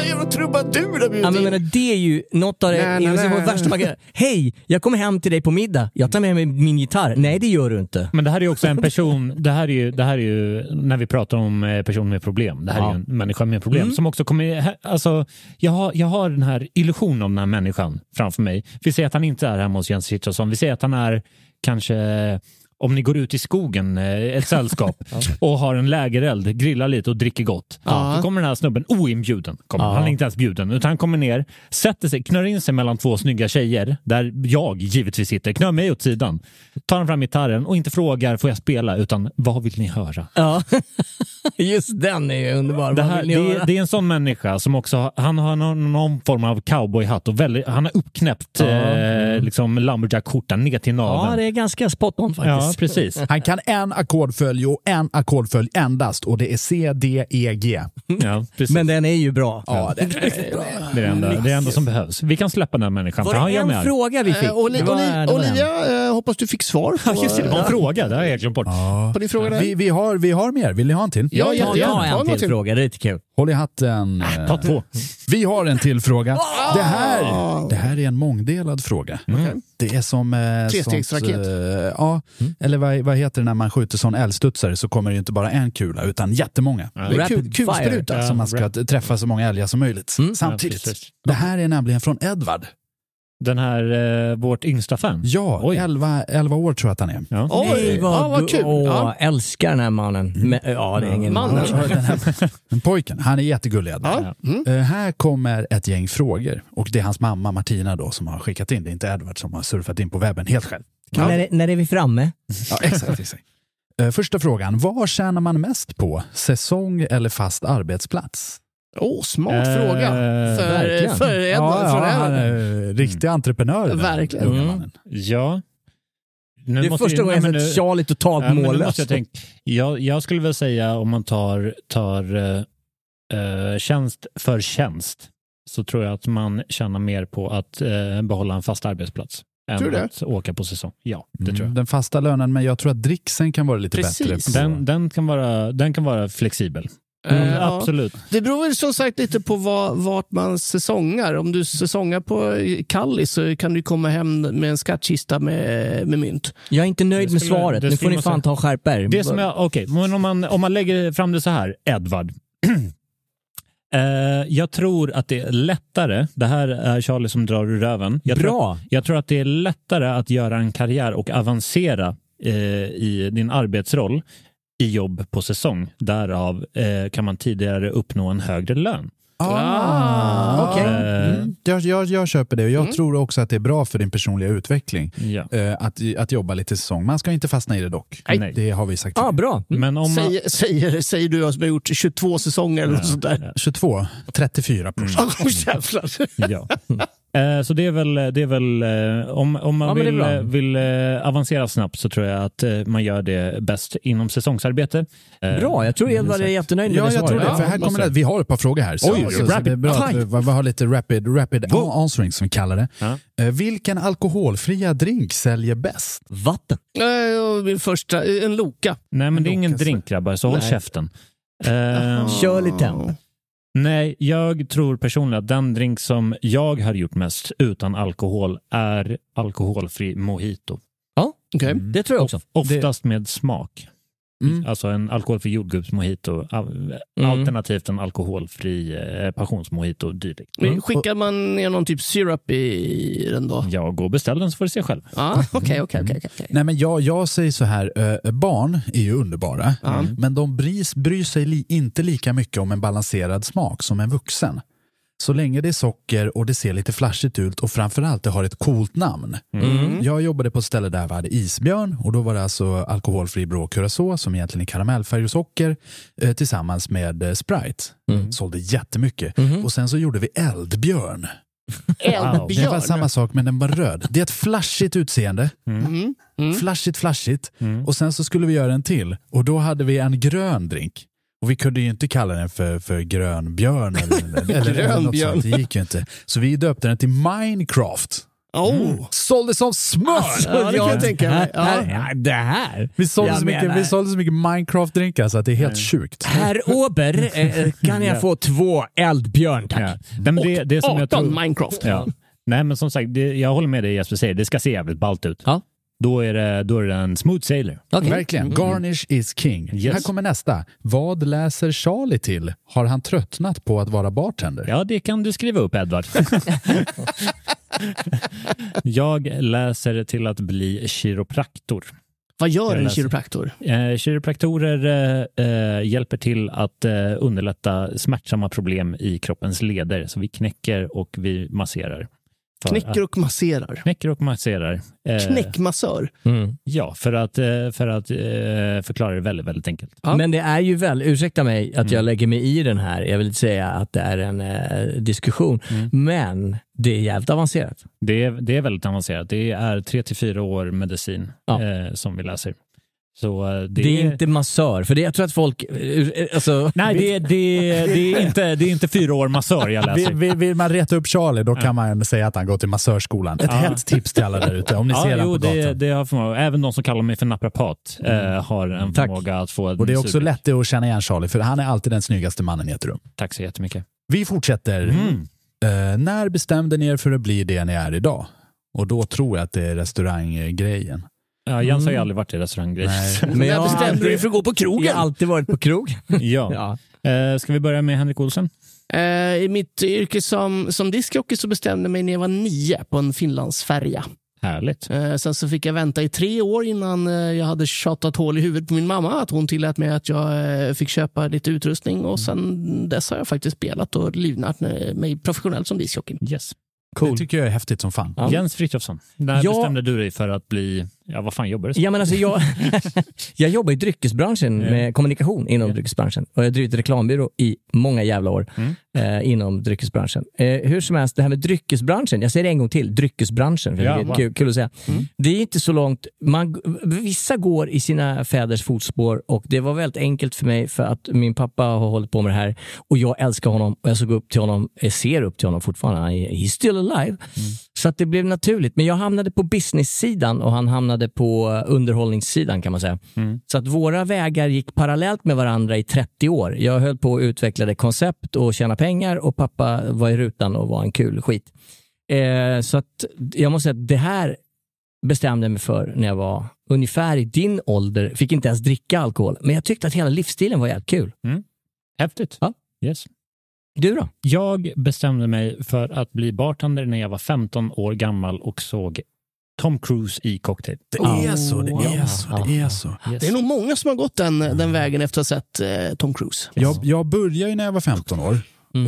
[SPEAKER 5] Jävla
[SPEAKER 3] Ja,
[SPEAKER 5] trubadur har bjudit
[SPEAKER 3] men,
[SPEAKER 5] in.
[SPEAKER 3] jag menar, det är ju något av det,
[SPEAKER 5] Nej, nej,
[SPEAKER 3] det är
[SPEAKER 5] nej,
[SPEAKER 3] det värsta man kan Hej, jag kommer hem till dig på middag. Jag tar med mig min gitarr. Nej, det gör du inte.
[SPEAKER 4] Men det här är ju också en person, det här är ju, det här är ju när vi pratar om eh, personer med problem, det här är
[SPEAKER 3] Ja. Mm.
[SPEAKER 4] ju en människa med problem som också kommer, alltså jag har, jag har den här illusionen om den här människan framför mig. Vi säger att han inte är hemma hos Jens Richardson, vi säger att han är kanske om ni går ut i skogen, eh, ett
[SPEAKER 3] <laughs>
[SPEAKER 4] sällskap, och har en lägereld, grillar lite och dricker gott. Då kommer den här snubben oinbjuden. Kommer. Han är inte ens bjuden, utan han kommer ner, sätter sig, knör in sig mellan två snygga tjejer, där jag givetvis sitter, knör mig åt sidan. Tar han fram gitarren och inte frågar får jag spela, utan vad vill ni höra?
[SPEAKER 3] Ja. Just den är ju underbar.
[SPEAKER 4] Det,
[SPEAKER 3] Vad
[SPEAKER 4] här,
[SPEAKER 3] vill ni
[SPEAKER 4] det,
[SPEAKER 3] höra?
[SPEAKER 4] är, det är en sån människa som också har, han har någon, någon form av cowboyhatt och väldigt, han har uppknäppt eh, liksom lumberjack-skjortan ner till naveln.
[SPEAKER 3] Ja, det är ganska spot on faktiskt.
[SPEAKER 4] Ja, precis.
[SPEAKER 2] Han kan en ackordföljd och en ackordföljd endast och det är C, D, E, G.
[SPEAKER 4] Ja, precis.
[SPEAKER 3] Mm. Men den är ju bra.
[SPEAKER 2] Ja, det
[SPEAKER 4] Det är det enda, det är enda som behövs. Vi kan släppa den här människan.
[SPEAKER 3] Var
[SPEAKER 4] för han
[SPEAKER 3] det
[SPEAKER 4] gör
[SPEAKER 3] en
[SPEAKER 4] med allt.
[SPEAKER 3] fråga vi fick?
[SPEAKER 5] Eh, Oli-
[SPEAKER 3] Det var-
[SPEAKER 5] Oli-
[SPEAKER 3] det var en.
[SPEAKER 5] Olivia, eh, hoppas du fick svar på,
[SPEAKER 4] Ja, Just det, det var en fråga. Det har jag glömt bort.
[SPEAKER 5] på din fråga. Där.
[SPEAKER 2] Vi, vi, har, vi har mer. Vill ni ha en till?
[SPEAKER 5] Ja,
[SPEAKER 3] Ja, jag
[SPEAKER 5] jättegärna.
[SPEAKER 3] har
[SPEAKER 5] Ta
[SPEAKER 3] en
[SPEAKER 5] något
[SPEAKER 3] till fråga, det är lite kul. Eh,
[SPEAKER 2] Håll i hatten.
[SPEAKER 4] Ta två.
[SPEAKER 2] Vi har en till fråga. Det här, det här är en mångdelad fråga.
[SPEAKER 4] Mm.
[SPEAKER 2] Det är som... Eh,
[SPEAKER 5] Trestegsraket.
[SPEAKER 2] sånt, eh, ja, eller vad, vad heter det när man skjuter sån älgstudsare så kommer det ju inte bara en kula utan jättemånga.
[SPEAKER 5] Det är
[SPEAKER 3] Rapid
[SPEAKER 5] kul, kul
[SPEAKER 3] fire.
[SPEAKER 5] spruta.
[SPEAKER 2] Så man ska träffa så många älgar som möjligt samtidigt.
[SPEAKER 4] Mm. Ja, precis.
[SPEAKER 2] det här är nämligen från Edvard.
[SPEAKER 4] Den här, eh, vårt yngsta fan.
[SPEAKER 2] Ja,
[SPEAKER 4] Oj.
[SPEAKER 2] 11, 11 år tror jag att han är.
[SPEAKER 4] Ja.
[SPEAKER 5] Oj,
[SPEAKER 3] Nej, vad,
[SPEAKER 5] ja, vad kul.
[SPEAKER 3] Åh,
[SPEAKER 5] Ja.
[SPEAKER 3] älskar den här mannen.
[SPEAKER 4] Mm.
[SPEAKER 3] Men, ja, det är ingen
[SPEAKER 5] Mannen.
[SPEAKER 3] man.
[SPEAKER 2] Den här, den pojken, han är jättegullig Edvard.
[SPEAKER 4] Mm.
[SPEAKER 2] Eh, här kommer ett gäng frågor och det är hans mamma Martina då som har skickat in. Det är inte Edvard som har surfat in på webben helt själv.
[SPEAKER 3] När, är- när är vi framme?
[SPEAKER 2] Ja, exakt, exakt. Eh, Första frågan, vad tjänar man mest på? Säsong eller fast arbetsplats?
[SPEAKER 5] Åh, smart
[SPEAKER 4] Eh,
[SPEAKER 5] fråga. För,
[SPEAKER 3] verkligen.
[SPEAKER 5] för Edvard. från Edvard.
[SPEAKER 2] han är eh, riktig entreprenör. den här
[SPEAKER 5] Verkligen.
[SPEAKER 2] unga
[SPEAKER 3] Mm.
[SPEAKER 2] mannen.
[SPEAKER 4] Ja. Nu
[SPEAKER 3] Det är
[SPEAKER 4] måste
[SPEAKER 3] första
[SPEAKER 4] ju-
[SPEAKER 3] gången
[SPEAKER 4] nej,
[SPEAKER 3] jag
[SPEAKER 4] men
[SPEAKER 3] sett
[SPEAKER 4] nu-
[SPEAKER 3] Charlie totalt
[SPEAKER 4] Ja, men nu måste
[SPEAKER 3] mållös.
[SPEAKER 4] jag, tänka, jag, jag skulle väl säga om man tar, tar eh, eh, tjänst för tjänst så tror jag att man tjänar mer på att eh, behålla en fast arbetsplats än
[SPEAKER 5] Tror du det?
[SPEAKER 4] att åka på säsong. Ja, det
[SPEAKER 2] Mm,
[SPEAKER 4] tror jag.
[SPEAKER 2] Den fasta lönen, men jag tror att dricksen kan vara lite
[SPEAKER 5] Precis.
[SPEAKER 2] bättre. På.
[SPEAKER 4] Den, den, kan vara, den kan vara flexibel.
[SPEAKER 5] Eh, ja.
[SPEAKER 4] Mm, Absolut.
[SPEAKER 5] Det beror väl som sagt lite på vad, vart man säsongar. Om du säsongar på Kallis så kan du komma hem med en skattkista med, med mynt.
[SPEAKER 3] Jag är inte nöjd
[SPEAKER 4] Det
[SPEAKER 3] med
[SPEAKER 4] skulle-
[SPEAKER 3] svaret.
[SPEAKER 4] det
[SPEAKER 3] Nu får
[SPEAKER 4] skulle
[SPEAKER 3] ni
[SPEAKER 4] man
[SPEAKER 3] fan
[SPEAKER 4] säga.
[SPEAKER 3] ta och skärpa er.
[SPEAKER 4] Det som jag, okej, men om man, om man lägger fram det så här, Edvard. <clears throat> Eh, jag tror att det är lättare, det här är Charlie som drar ur röven. Jag tror
[SPEAKER 3] Bra!
[SPEAKER 4] Jag tror att det är lättare att göra en karriär och avancera eh, i din arbetsroll i jobb på säsong. Därav eh, kan man tidigare uppnå en högre lön.
[SPEAKER 2] Ah,
[SPEAKER 3] okej.
[SPEAKER 2] mm. jag, jag, jag köper det och jag tror också att det är bra för din personliga utveckling
[SPEAKER 4] Ja.
[SPEAKER 2] eh, att, att jobba lite säsong. Man ska inte fastna i det dock.
[SPEAKER 4] Nej.
[SPEAKER 2] Det har vi sagt.
[SPEAKER 3] Ja, ah, bra.
[SPEAKER 4] Men om man,
[SPEAKER 5] Säger, säger, säger du som har gjort 22 säsonger eller något sånt där.
[SPEAKER 2] 22, 34 procent.
[SPEAKER 5] <laughs> Åh, jävlar.
[SPEAKER 4] ja. <laughs> Eh, Så det är väl, det är väl eh, om, om
[SPEAKER 3] Ja,
[SPEAKER 4] man
[SPEAKER 3] men det är
[SPEAKER 4] vill,
[SPEAKER 3] bra.
[SPEAKER 4] eh, vill eh, avancera snabbt så tror jag att eh, man gör det bäst inom säsongsarbete. Eh,
[SPEAKER 3] Bra, jag tror Edvard är Alltså.
[SPEAKER 4] exakt.
[SPEAKER 3] jättenöjd med
[SPEAKER 2] Ja,
[SPEAKER 3] det
[SPEAKER 2] jag
[SPEAKER 3] svaret.
[SPEAKER 2] tror det. För här
[SPEAKER 4] måste
[SPEAKER 2] kommer det,
[SPEAKER 4] jag.
[SPEAKER 2] vi har ett par frågor här. Så,
[SPEAKER 4] Oj,
[SPEAKER 2] så, så
[SPEAKER 4] rapid
[SPEAKER 2] det är bra att
[SPEAKER 4] fire.
[SPEAKER 2] vi, vi har lite rapid, rapid answering som vi kallar det. Eh, vilken alkoholfria drink säljer bäst?
[SPEAKER 3] Vatten.
[SPEAKER 5] Eh, och Min första, eh, en Loka.
[SPEAKER 4] Nej, men det är ingen
[SPEAKER 2] Lokas-
[SPEAKER 4] drink grabbar, så håll
[SPEAKER 3] <laughs>
[SPEAKER 5] Nej.
[SPEAKER 4] käften. Eh,
[SPEAKER 3] alltså. Kör lite. än.
[SPEAKER 4] Nej, jag tror personligen att den drink som jag har gjort mest utan alkohol är alkoholfri mojito.
[SPEAKER 3] Ja,
[SPEAKER 5] Okej.
[SPEAKER 3] det tror jag också.
[SPEAKER 4] Oftast med smak. Alltså en alkoholfri jordgubbsmojito, al- alternativt en alkoholfri eh, passionsmojito Mm. dylikt.
[SPEAKER 5] Men Skickar man ner någon typ syrup i den då?
[SPEAKER 4] Ja, gå och beställ den så får du se själv. Mm.
[SPEAKER 5] Ah, Okej, okej, okej. okej.
[SPEAKER 2] Nej, men jag, jag säger så här, eh, barn är ju underbara, men de bryr, bryr sig li, inte lika mycket om en balanserad smak som en vuxen. Så länge det är socker och det ser lite flashigt ut och framförallt det har ett coolt namn. Jag jobbade på ett ställe där vi hade isbjörn och då var det alltså alkoholfri Brå Curacao som egentligen är karamellfärg och socker eh, tillsammans med eh, Sprite. Sålde jättemycket. Och sen så gjorde vi eldbjörn. Det var samma sak men den var röd. Det är ett flashigt utseende.
[SPEAKER 3] Mm.
[SPEAKER 2] Mm. Flashigt, flashigt. Och sen så skulle vi göra en till och då hade vi en grön drink. Och vi kunde ju inte kalla den för, för grönbjörn eller, eller, eller, eller något
[SPEAKER 5] Grönbjörn.
[SPEAKER 2] sånt. Det gick ju inte. Så vi döpte den till Minecraft.
[SPEAKER 4] Mm.
[SPEAKER 5] Oh.
[SPEAKER 2] Sålde som smör!
[SPEAKER 5] Ja, det kan jag tänka mig.
[SPEAKER 3] Det här-
[SPEAKER 5] Ja.
[SPEAKER 3] här- Det här.
[SPEAKER 2] Vi, sålde
[SPEAKER 3] Alltså, Jag
[SPEAKER 2] så mycket,
[SPEAKER 3] menar- Mm.
[SPEAKER 2] vi sålde så mycket Minecraft-drinkar så att det är helt sjukt.
[SPEAKER 3] Herr Ober, eh, kan jag få två eldbjörn tack?
[SPEAKER 4] Ja. Nej, men det, det som jag
[SPEAKER 5] 18
[SPEAKER 4] tror...
[SPEAKER 5] Minecraft.
[SPEAKER 4] Ja. Nej, men som sagt, det, jag håller med dig Jesper säger, det ska se jävligt ballt ut.
[SPEAKER 3] Ja.
[SPEAKER 4] Då, är det, då är det en smooth sailor.
[SPEAKER 3] Okej.
[SPEAKER 2] Verkligen. Garnish is king.
[SPEAKER 4] Yes.
[SPEAKER 2] Här kommer nästa. Vad läser Charlie till? Har han tröttnat på att vara bartender?
[SPEAKER 4] Ja, det kan du skriva upp, Edvard. <laughs> jag läser till att bli kiropraktor.
[SPEAKER 5] Vad gör
[SPEAKER 4] Jag
[SPEAKER 5] en
[SPEAKER 4] läser.
[SPEAKER 5] kiropraktor?
[SPEAKER 4] Eh, kiropraktorer eh, eh, hjälper till att eh, underlätta smärtsamma problem i kroppens leder. Så vi knäcker och vi masserar. För
[SPEAKER 5] Knäcker
[SPEAKER 4] att-
[SPEAKER 5] och masserar.
[SPEAKER 4] Knäcker och masserar. Eh,
[SPEAKER 5] Knäckmassör.
[SPEAKER 4] Ja, för att, eh, för att eh, förklara det väldigt, väldigt enkelt.
[SPEAKER 3] Men det är ju väl, ursäkta mig att jag lägger mig i den här, jag vill inte säga att det är en eh, diskussion, men det är jävligt avancerat.
[SPEAKER 4] Det är, det är väldigt avancerat. Det är tre till fyra år medicin eh, som vi läser. Så eh,
[SPEAKER 3] Det,
[SPEAKER 4] det,
[SPEAKER 3] är inte massör, för det, jag tror att folk... eh, Alltså,
[SPEAKER 4] Nej, det, det, det, är inte, det är inte fyra år massör
[SPEAKER 3] <laughs>
[SPEAKER 4] jag läser.
[SPEAKER 2] Vill, vill, vill man reta upp Charlie, då kan man säga att han går till massörskolan. Ett hett tips till alla där ute, om ni
[SPEAKER 4] ja,
[SPEAKER 2] ser
[SPEAKER 4] jo,
[SPEAKER 2] honom på
[SPEAKER 4] det,
[SPEAKER 2] gatan.
[SPEAKER 4] det har förmåga. Även de som kallar mig för naprapat
[SPEAKER 3] Mm.
[SPEAKER 4] eh, har en
[SPEAKER 2] Tack.
[SPEAKER 4] förmåga att få en
[SPEAKER 2] Och det är också
[SPEAKER 4] sur-
[SPEAKER 2] lätt att känna igen Charlie, för han är alltid den snyggaste mannen i ett rum.
[SPEAKER 4] Tack så jättemycket.
[SPEAKER 2] Vi fortsätter.
[SPEAKER 4] Mm.
[SPEAKER 2] Eh, när bestämde ni er för att bli det ni är idag? Och då tror jag att det är restauranggrejen.
[SPEAKER 4] Ja, Jens har ju aldrig varit i restauranggrej.
[SPEAKER 3] Men jag har alltid,
[SPEAKER 5] för att gå på
[SPEAKER 3] jag har alltid varit på krog.
[SPEAKER 4] <laughs> ja. Eh, ska vi börja med Henrik Olsen?
[SPEAKER 5] Eh, I mitt yrke som, som diskjockey så bestämde jag mig när jag var nio på en Finlandsfärja.
[SPEAKER 4] Härligt.
[SPEAKER 5] Eh, sen så fick jag vänta i tre år innan eh, jag hade tjatat hål i huvudet på min mamma att hon tillät mig att jag eh, fick köpa lite utrustning och sen dess har jag faktiskt spelat och livnärt eh, mig professionellt som discjockey.
[SPEAKER 4] Yes.
[SPEAKER 2] Det tycker jag är häftigt som fan.
[SPEAKER 4] Jens Frithiofsson, när
[SPEAKER 3] Ja.
[SPEAKER 4] bestämde du dig för att bli, ja vad fan jobbar du som?
[SPEAKER 3] Ja, men alltså jag, jag jobbar i dryckesbranschen med kommunikation inom dryckesbranschen och jag har drivit reklambyrå i många jävla år
[SPEAKER 4] Mm.
[SPEAKER 3] eh, inom dryckesbranschen. Eh, hur som helst, det här med dryckesbranschen, jag säger det en gång till, dryckesbranschen, för
[SPEAKER 4] Ja,
[SPEAKER 3] det är
[SPEAKER 4] va.
[SPEAKER 3] kul, kul att säga. Det är inte så långt, man, vissa går i sina fäders fotspår och det var väldigt enkelt för mig för att min pappa har hållit på med det här och jag älskar honom och jag såg upp till honom, jag ser upp till honom fortfarande, han är, he's still alive. Så att det blev naturligt. Men jag hamnade på business-sidan och han hamnade på underhållningssidan kan man säga. Så att våra vägar gick parallellt med varandra i 30 år. Jag höll på och utvecklade koncept och tjäna pengar och pappa var i rutan och var en kul skit. Eh, så att jag måste säga att det här bestämde jag mig för när jag var ungefär i din ålder. Fick inte ens dricka alkohol, men jag tyckte att hela livsstilen var jävligt kul.
[SPEAKER 4] <laughs> Häftigt.
[SPEAKER 3] Ja.
[SPEAKER 4] Yes.
[SPEAKER 3] Du då?
[SPEAKER 4] Jag bestämde mig för att bli bartender när jag var 15 år gammal och såg Tom Cruise i Cocktail.
[SPEAKER 2] Det är så, det är så, det är så.
[SPEAKER 4] Yes.
[SPEAKER 5] Det är nog många som har gått den, den vägen efter att ha sett eh, Tom Cruise.
[SPEAKER 2] Jag, jag började ju när jag var 15 år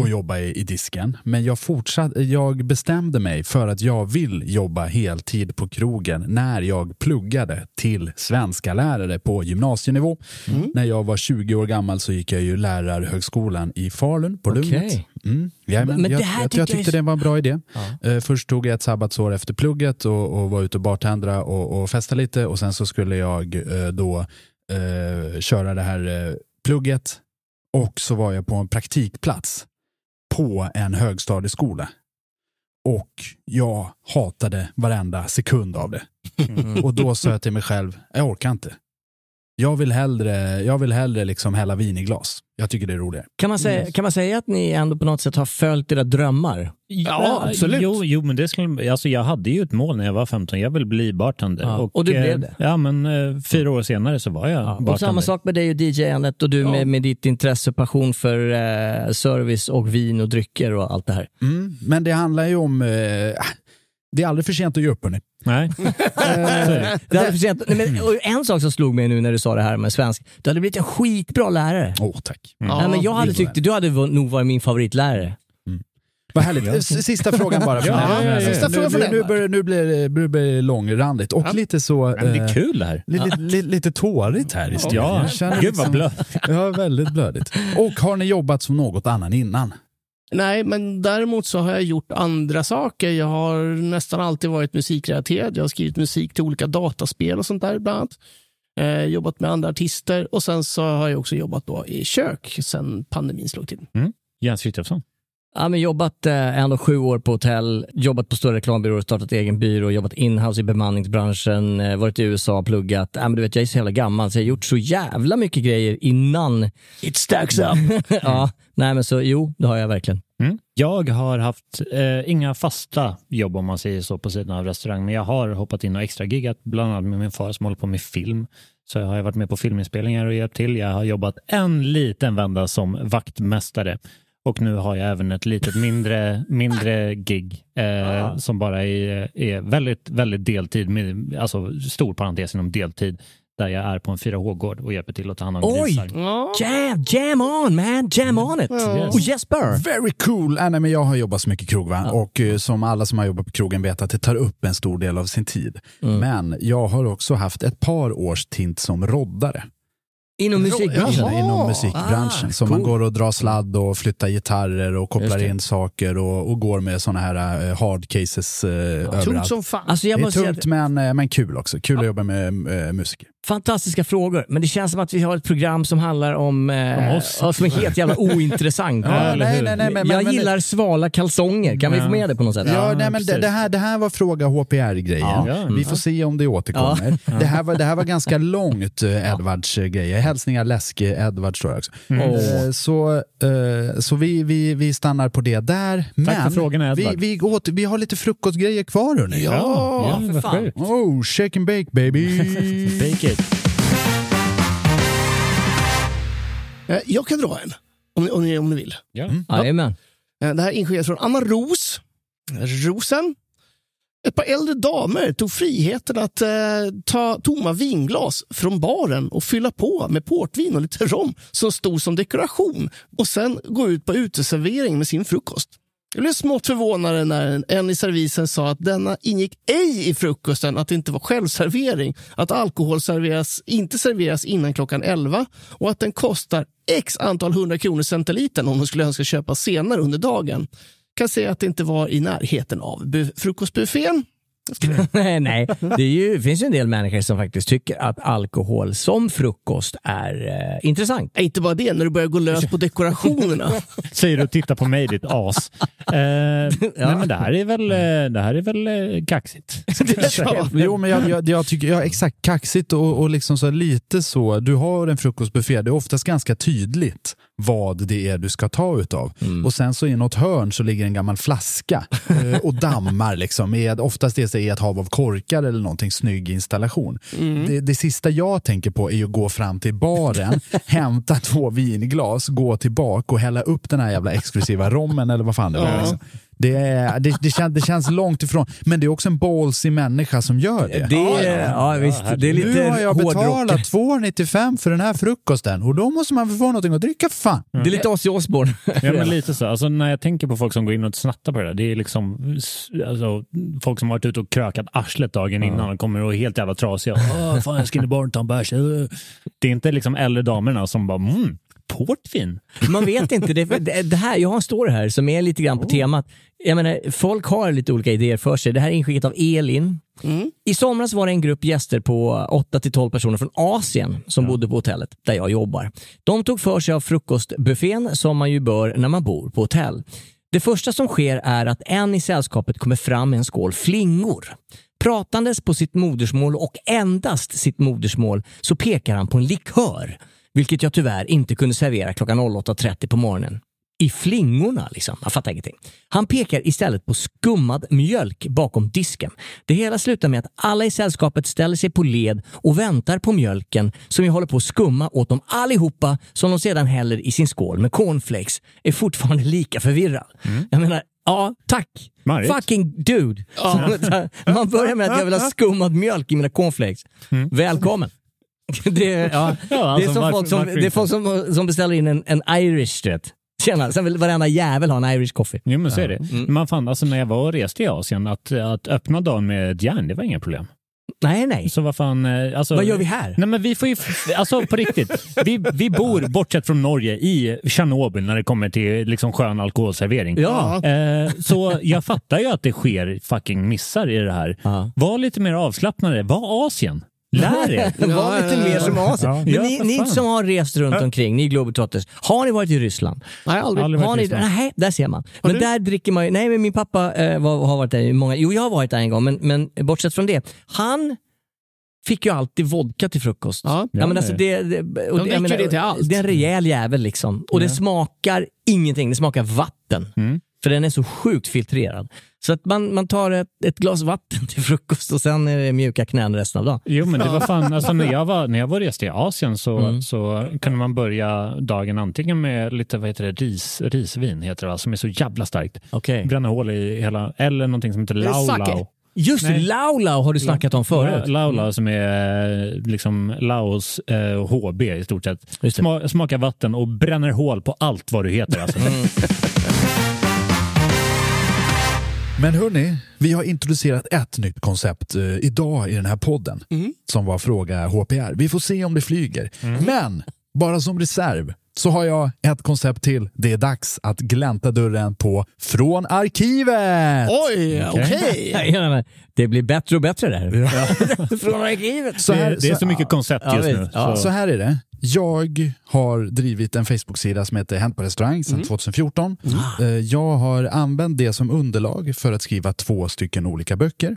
[SPEAKER 2] och jobbade i, i disken. Men jag, fortsatt, jag bestämde mig för att jag vill jobba heltid på krogen när jag pluggade till svenska lärare på gymnasienivå. När jag var 20 år gammal så gick jag ju lärarhögskolan i Falun på Lunet.
[SPEAKER 3] Okej.
[SPEAKER 2] Mm. Jajamän,
[SPEAKER 3] Men det
[SPEAKER 2] jag,
[SPEAKER 3] här
[SPEAKER 2] jag,
[SPEAKER 3] tycker
[SPEAKER 2] jag
[SPEAKER 3] jag är
[SPEAKER 2] tyckte
[SPEAKER 3] så-
[SPEAKER 2] det var en bra idé. Eh, först tog jag ett sabbatsår efter plugget och, och var ute och bartendra och, och festa lite och sen så skulle jag eh, då eh, köra det här eh, plugget och så var jag på en praktikplats på en högstadieskola. Och jag hatade varenda sekund av det.
[SPEAKER 3] Mm.
[SPEAKER 2] Och då sa jag till mig själv, jag orkar inte. Jag vill hellre, jag vill hellre liksom hälla vin i glas. Jag tycker det är roligare.
[SPEAKER 3] Kan man, säga, kan man säga att ni ändå på något sätt har följt era drömmar?
[SPEAKER 4] Ja, absolut. Jo, jo men det skulle, alltså jag hade ju ett mål när jag var 15. Jag ville bli bartender.
[SPEAKER 3] Ja, och du
[SPEAKER 4] eh,
[SPEAKER 3] blev det.
[SPEAKER 4] Ja, men eh, fyra år senare så var jag bartender.
[SPEAKER 3] Och samma sak med dig och DJ-andet och du med, med ditt intresse och passion för eh, service och vin och drycker och allt det här.
[SPEAKER 2] Mm. Men det handlar ju om, eh, det är aldrig för sent att ge upp hörni.
[SPEAKER 4] <laughs> Nej.
[SPEAKER 3] Det hade för sent, nej,
[SPEAKER 4] Mm.
[SPEAKER 3] men, och en sak som slog mig nu när du sa det här med svensk, du hade blivit en skitbra lärare.
[SPEAKER 2] Åh tack.
[SPEAKER 3] nej, men jag hade
[SPEAKER 2] gillar
[SPEAKER 3] tyckt, du hade v- nog varit min favoritlärare.
[SPEAKER 2] Vad härligt. S- Sista frågan <laughs> bara. från
[SPEAKER 4] Ja,
[SPEAKER 2] Emma.
[SPEAKER 4] ja, ja, ja.
[SPEAKER 5] Sista
[SPEAKER 2] Nu-
[SPEAKER 5] frågan från
[SPEAKER 2] nu, nu,
[SPEAKER 5] Emma.
[SPEAKER 2] börjar, nu blir det- nu blir det långrandigt och lite så...
[SPEAKER 4] Men det
[SPEAKER 2] eh,
[SPEAKER 4] är kul det här.
[SPEAKER 2] Li- li- li- lite tårigt här i studion.
[SPEAKER 4] Ja,
[SPEAKER 2] Jag känner
[SPEAKER 4] gud vad
[SPEAKER 2] liksom-
[SPEAKER 4] blött.
[SPEAKER 2] Ja, väldigt blödigt. Och har ni jobbat som något annan innan?
[SPEAKER 5] Nej, men däremot så har jag gjort andra saker. Jag har nästan alltid varit musikrelaterad. Jag har skrivit musik till olika dataspel och sånt där bland annat. Eh, jobbat med andra artister och sen så har jag också jobbat då i kök sen pandemin slog till.
[SPEAKER 4] Jens Frithiofsson.
[SPEAKER 3] Ja, men jobbat eh, ändå sju år på hotell, jobbat på stora reklambyråer, startat egen byrå, jobbat inhouse i bemanningsbranschen, eh, varit i USA, pluggat. Ja, men du vet, jag är så jävla gammal så jag har gjort så jävla mycket grejer innan.
[SPEAKER 5] It stacks up!
[SPEAKER 3] <laughs> ja, nej men så jo, det har jag verkligen.
[SPEAKER 4] Mm. Jag har haft eh, inga fasta jobb om man säger så på sidan av restaurang, men jag har hoppat in och extra giggat bland annat med min far som håller på med film. Så jag har varit med på filminspelningar och hjälpt till. Jag har jobbat en liten vända som vaktmästare och nu har jag även ett litet
[SPEAKER 2] <laughs>
[SPEAKER 4] mindre, mindre gig
[SPEAKER 2] Ah.
[SPEAKER 4] eh, som bara är, är väldigt, väldigt deltid, med, alltså stor parentes inom deltid där jag är på en 4H-gård och hjälper till att ta hand om
[SPEAKER 3] Oj!
[SPEAKER 4] grisar.
[SPEAKER 3] Jam, jam on man, jam on it!
[SPEAKER 4] Yes.
[SPEAKER 3] Och Jesper!
[SPEAKER 2] Very cool! Äh, nej, men jag har jobbat så mycket krog va? och eh, som alla som har jobbat på krogen vet att det tar upp en stor del av sin tid. Men jag har också haft ett par års tint som roddare.
[SPEAKER 3] Inom musikbranschen?
[SPEAKER 2] Ja, Inom musikbranschen.
[SPEAKER 3] Ah,
[SPEAKER 2] så man
[SPEAKER 3] cool.
[SPEAKER 2] går och drar sladd och flyttar gitarrer och kopplar
[SPEAKER 3] Just det.
[SPEAKER 2] in saker och, och går med sådana här eh, hard cases eh, överallt.
[SPEAKER 3] Alltså, jag
[SPEAKER 2] det är
[SPEAKER 3] måste säga
[SPEAKER 2] tungt
[SPEAKER 3] att-
[SPEAKER 2] men, eh, men kul också. Kul att jobba med eh, musiker.
[SPEAKER 3] Fantastiska frågor, men det känns som att vi har ett program som handlar om... Eh,
[SPEAKER 2] Om oss.
[SPEAKER 3] ja, Som är helt jävla ointressant.
[SPEAKER 2] Ja, Ja, eller nej, hur? nej, nej, men-
[SPEAKER 3] jag
[SPEAKER 2] men-
[SPEAKER 3] gillar svala kalsonger. Kan vi få med det på något sätt?
[SPEAKER 2] Ja, nej, men det, det, här, det här var fråga HPR-grejen.
[SPEAKER 3] Ja.
[SPEAKER 2] Vi
[SPEAKER 4] Mm.
[SPEAKER 2] får se om det återkommer.
[SPEAKER 3] Ja.
[SPEAKER 2] Det, här var, det här
[SPEAKER 4] <laughs>
[SPEAKER 2] var ganska långt eh, Edvards eh, grejer. Hälsningar läsk eh, Edvard står jag också.
[SPEAKER 4] Mm.
[SPEAKER 2] Eh, Så, eh, så vi, vi, vi stannar på det där. Men
[SPEAKER 4] för frågorna,
[SPEAKER 2] vi,
[SPEAKER 4] Edvard.
[SPEAKER 2] vi, åter, vi har lite frukostgrejer kvar hörni.
[SPEAKER 4] Ja, ja, Ja, för vad fan. sjukt.
[SPEAKER 2] Oh, shake and bake baby.
[SPEAKER 4] <laughs> Bake it.
[SPEAKER 5] Eh, Jag kan dra en, om ni, om ni, om ni vill.
[SPEAKER 4] Ja.
[SPEAKER 3] Jajamän.
[SPEAKER 5] Eh, Det här inskickas från Anna Ros. Rosen. Ett par äldre damer tog friheten att eh, ta tomma vinglas från baren och fylla på med portvin och lite rom som stod som dekoration och sen gå ut på uteservering med sin frukost. Jag blev smått förvånad när en- en i servisen sa att denna ingick ej i frukosten, att det inte var självservering, att alkohol serveras, inte serveras innan klockan 11 och att den kostar x antal hundra kronor centilitern om de skulle önska köpa senare under dagen. Kan säga att det inte var i närheten av bu- frukostbuffén.
[SPEAKER 3] <laughs> nej, nej. Det är ju, finns ju en del människor som faktiskt tycker att alkohol som frukost är eh, intressant.
[SPEAKER 5] Nej, inte bara det, när du börjar gå lös på dekorationerna.
[SPEAKER 4] <laughs> Säger du och tittar på mig ditt
[SPEAKER 3] <laughs>
[SPEAKER 4] as. Eh, nej, men det här är väl,
[SPEAKER 3] Mm.
[SPEAKER 4] eh, det här är väl eh,
[SPEAKER 3] <laughs>
[SPEAKER 4] kaxigt.
[SPEAKER 2] <laughs> Jo, men jag, jag, jag tycker, ja, exakt, kaxigt och, och liksom så lite så, du har en frukostbuffé, det är oftast ganska tydligt vad det är du ska ta utav. Och sen så i något hörn så ligger en gammal flaska eh, och dammar liksom, med, oftast är det i ett hav av korkar eller någonting, snygg installation. Det, det sista jag tänker på är ju att gå fram till baren, hämta två vinglas, gå tillbaka och hälla upp den här jävla exklusiva rommen eller vad fan det var.
[SPEAKER 5] Ja.
[SPEAKER 2] Liksom. Det, är, det, det, kän, det känns långt ifrån, men det är också en ballsy människa som gör det.
[SPEAKER 3] Det är, ja, visst, det är lite
[SPEAKER 2] nu har jag
[SPEAKER 3] hårdrock.
[SPEAKER 2] betalat 2,95 för den här frukosten och då måste man väl få någonting att dricka för fan.
[SPEAKER 5] Mm.
[SPEAKER 3] Det är lite Ozzy Osbourne.
[SPEAKER 4] Ja, men lite så. Alltså, när jag tänker på folk som går in och snattar på det där, det är liksom s- alltså, folk som har varit ute och krökat arslet dagen innan och kommer och är helt jävla trasiga. Åh, fan, jag ska in i baren och ta en bärs. Äh. Det är inte liksom äldre damerna som bara, mm, portvin.
[SPEAKER 3] Man vet inte. Det, det det här, jag har en story här som är lite grann på temat. Jag menar, folk har lite olika idéer för sig. Det här är inskickat av Elin. I somras var det en grupp gäster på 8-12 personer från Asien som bodde på hotellet där jag jobbar. De tog för sig av frukostbuffén som man ju bör när man bor på hotell. Det första som sker är att en i sällskapet kommer fram med en skål flingor. Pratandes på sitt modersmål och endast sitt modersmål så pekar han på en likör, vilket jag tyvärr inte kunde servera klockan 08.30 på morgonen. I flingorna liksom. Jag fattar ingenting. Han pekar istället på skummad mjölk bakom disken. Det hela slutar med att alla i sällskapet ställer sig på led och väntar på mjölken som jag håller på att skumma åt dem allihopa som de sedan häller i sin skål med cornflakes. Är fortfarande lika förvirrad. Jag menar, ja, tack.
[SPEAKER 4] Marigt.
[SPEAKER 3] Fucking dude. <laughs> Man börjar med att jag vill ha skummad mjölk i mina cornflakes. Välkommen. <laughs> Det, är- ja,
[SPEAKER 4] Ja,
[SPEAKER 3] det
[SPEAKER 4] alltså,
[SPEAKER 3] är som
[SPEAKER 4] varför-
[SPEAKER 3] folk, som,
[SPEAKER 4] varför
[SPEAKER 3] det är
[SPEAKER 4] inte?
[SPEAKER 3] folk som, som beställer in en, en Irish rätt. Tjena, sen vill varenda jävel ha en Irish coffee.
[SPEAKER 4] Jo, men så är det.
[SPEAKER 3] Mm.
[SPEAKER 4] Man fann alltså när jag var och reste i Asien att, att öppna dagen med ett järn, det var inga problem.
[SPEAKER 3] Nej, nej.
[SPEAKER 4] Så vad fan... eh, Alltså,
[SPEAKER 3] Vad gör vi här?
[SPEAKER 4] Nej, men vi får ju... Alltså på riktigt. Vi, vi bor, bortsett från Norge, i Tjernobyl när det kommer till liksom, skön alkoholservering.
[SPEAKER 3] Ja.
[SPEAKER 4] Eh, så jag fattar ju att det sker fucking missar i det här.
[SPEAKER 3] Ja.
[SPEAKER 4] Var lite mer avslappnade. Var Asien. Lär er.
[SPEAKER 3] <laughs> Var lite mer som Asien.
[SPEAKER 4] Ja,
[SPEAKER 3] Men
[SPEAKER 4] ja,
[SPEAKER 3] ni,
[SPEAKER 4] för
[SPEAKER 3] ni
[SPEAKER 4] fan.
[SPEAKER 3] som har rest runt
[SPEAKER 4] Ja.
[SPEAKER 3] omkring, ni globetrotters, har ni varit i Ryssland?
[SPEAKER 5] Nej, aldrig.
[SPEAKER 4] Aldrig varit
[SPEAKER 3] har
[SPEAKER 4] i
[SPEAKER 3] ni,
[SPEAKER 4] Ryssland.
[SPEAKER 3] nej, där ser man. Men där dricker man ju, nej men min pappa eh, var, har varit där i många, jo jag har varit där en gång, men, men bortsett från det, han fick ju alltid vodka till frukost.
[SPEAKER 5] Ja.
[SPEAKER 3] men alltså det, det, och
[SPEAKER 5] De dricker det till allt.
[SPEAKER 3] det är en rejäl jävel liksom. Och det smakar ingenting, det smakar vatten.
[SPEAKER 4] Mm.
[SPEAKER 3] För den är så sjukt filtrerad. Så att man, man tar ett, ett glas vatten till frukost och sen är det mjuka knän resten av dagen.
[SPEAKER 4] Jo, men det var fan, alltså, när, jag var, när jag var och reste i Asien så,
[SPEAKER 3] Mm.
[SPEAKER 4] så kunde man börja dagen antingen med lite, vad heter det, ris, risvin heter det va, som är så jävla starkt.
[SPEAKER 3] Okej.
[SPEAKER 4] Bränna hål i hela, eller någonting som heter
[SPEAKER 5] det
[SPEAKER 4] Lao
[SPEAKER 5] sake?
[SPEAKER 4] Lao.
[SPEAKER 3] Just det,
[SPEAKER 4] Nej.
[SPEAKER 3] Lau Lau har du snackat om förut. Mm.
[SPEAKER 4] La- Lau Lau som är eh, liksom Laos eh, HB i stort sett. Sma- smakar vatten och bränner hål på allt vad du heter. Alltså.
[SPEAKER 3] Mm.
[SPEAKER 2] Men hörni, vi har introducerat ett nytt koncept eh, idag i den här podden som var Fråga HPR. Vi får se om det flyger. Men bara som reserv så har jag ett koncept till. Det är dags att glänta dörren på Från arkivet!
[SPEAKER 5] Oj,
[SPEAKER 3] <laughs> Ja, men det blir bättre och bättre där. <laughs> Från arkivet.
[SPEAKER 2] Så här- så- ja. Ja, visst. Ja.
[SPEAKER 3] Så
[SPEAKER 2] Så
[SPEAKER 3] här.
[SPEAKER 2] här är det. Jag har drivit en Facebook-sida som heter Hänt på restaurang sedan 2014. Eh, Jag har använt det som underlag för att skriva två stycken olika böcker.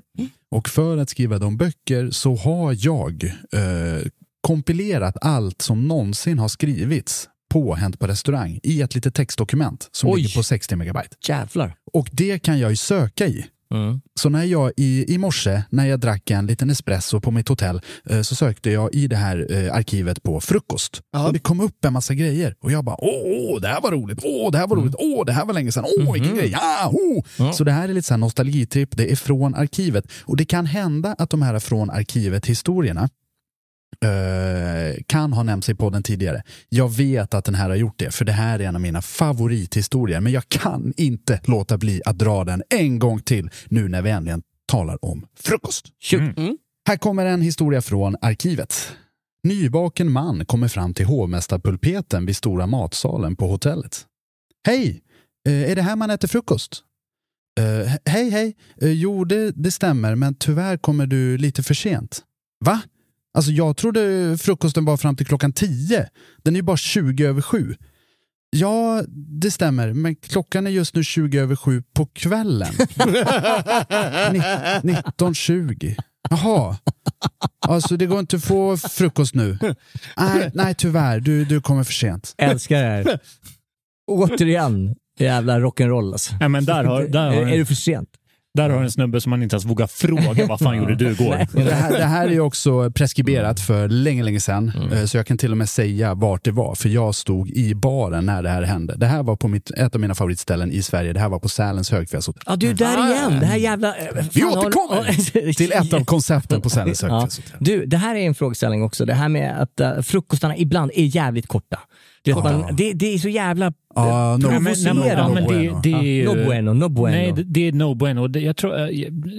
[SPEAKER 2] Och för att skriva de böcker så har jag eh, kompilerat allt som någonsin har skrivits på Hänt på restaurang i ett litet textdokument som
[SPEAKER 3] Oj.
[SPEAKER 2] ligger på 60 megabyte.
[SPEAKER 3] Jävlar.
[SPEAKER 2] Och det kan jag ju söka i. Så när jag i, i morse, när jag drack en liten espresso på mitt hotell, eh, så sökte jag i det här eh, arkivet på frukost. Och det kom upp en massa grejer. Och jag bara, åh, åh, det här var roligt, åh, det här var roligt, åh, det här var länge sedan, åh, vilken grej, ja, ho! Så det här är lite så här nostalgitripp, det är från arkivet. Och det kan hända att de här från arkivet-historierna eh, kan ha nämnts i podden tidigare. Jag vet att den här har gjort det, för det här är en av mina favorithistorier. Men jag kan inte låta bli att dra den en gång till nu när vi äntligen talar om frukost.
[SPEAKER 3] Mm.
[SPEAKER 2] Här kommer en historia från arkivet. Nybaken man kommer fram till hovmästarpulpeten vid stora matsalen på hotellet. Hej! Eh, Är det här man äter frukost? Eh, hej, hej. Eh, jo, det, det stämmer, men tyvärr kommer du lite för sent. Va? Alltså, jag trodde frukosten var fram till klockan tio. Den är ju bara 20 över sju. Ja, det stämmer, men klockan är just nu 20 över sju på kvällen. Ni- 19.20. Jaha. Alltså, det går inte att få frukost nu. Nej, nej tyvärr. Du, du kommer för sent.
[SPEAKER 3] Älskar det här. <laughs> Återigen, jävla rock'n'roll alltså.
[SPEAKER 4] Ja, men där har, där har
[SPEAKER 3] <laughs> är,
[SPEAKER 4] en-
[SPEAKER 3] är du för sent?
[SPEAKER 4] Där har en snubbe som man inte ens vågar fråga vad
[SPEAKER 3] <laughs>
[SPEAKER 4] fan gjorde du igår?
[SPEAKER 2] Det här, det här är ju också preskriberat för länge, länge sedan.
[SPEAKER 3] Mm.
[SPEAKER 2] Eh, Så jag kan till och med säga vart det var, för jag stod i baren när det här hände. Det här var på mitt, ett av mina favoritställen i Sverige. Det här var på Sälens högfjällshotell.
[SPEAKER 3] Ja, du är där igen. Det här jävla... <laughs>
[SPEAKER 2] Vi återkommer till ett av koncepten på Sälens
[SPEAKER 3] Ja.
[SPEAKER 2] högfjällshotell.
[SPEAKER 3] Du, det här är en frågeställning också. Det här med att eh, frukostarna ibland är jävligt korta. Du vet,
[SPEAKER 2] Ja.
[SPEAKER 3] man, det, det är så jävla eh,
[SPEAKER 2] Ja, no-
[SPEAKER 4] Ja,
[SPEAKER 3] provocerande.
[SPEAKER 4] men det, det är ju...
[SPEAKER 3] No bueno, no bueno.
[SPEAKER 4] Nej, det, det är no bueno. Det, jag, tror, eh,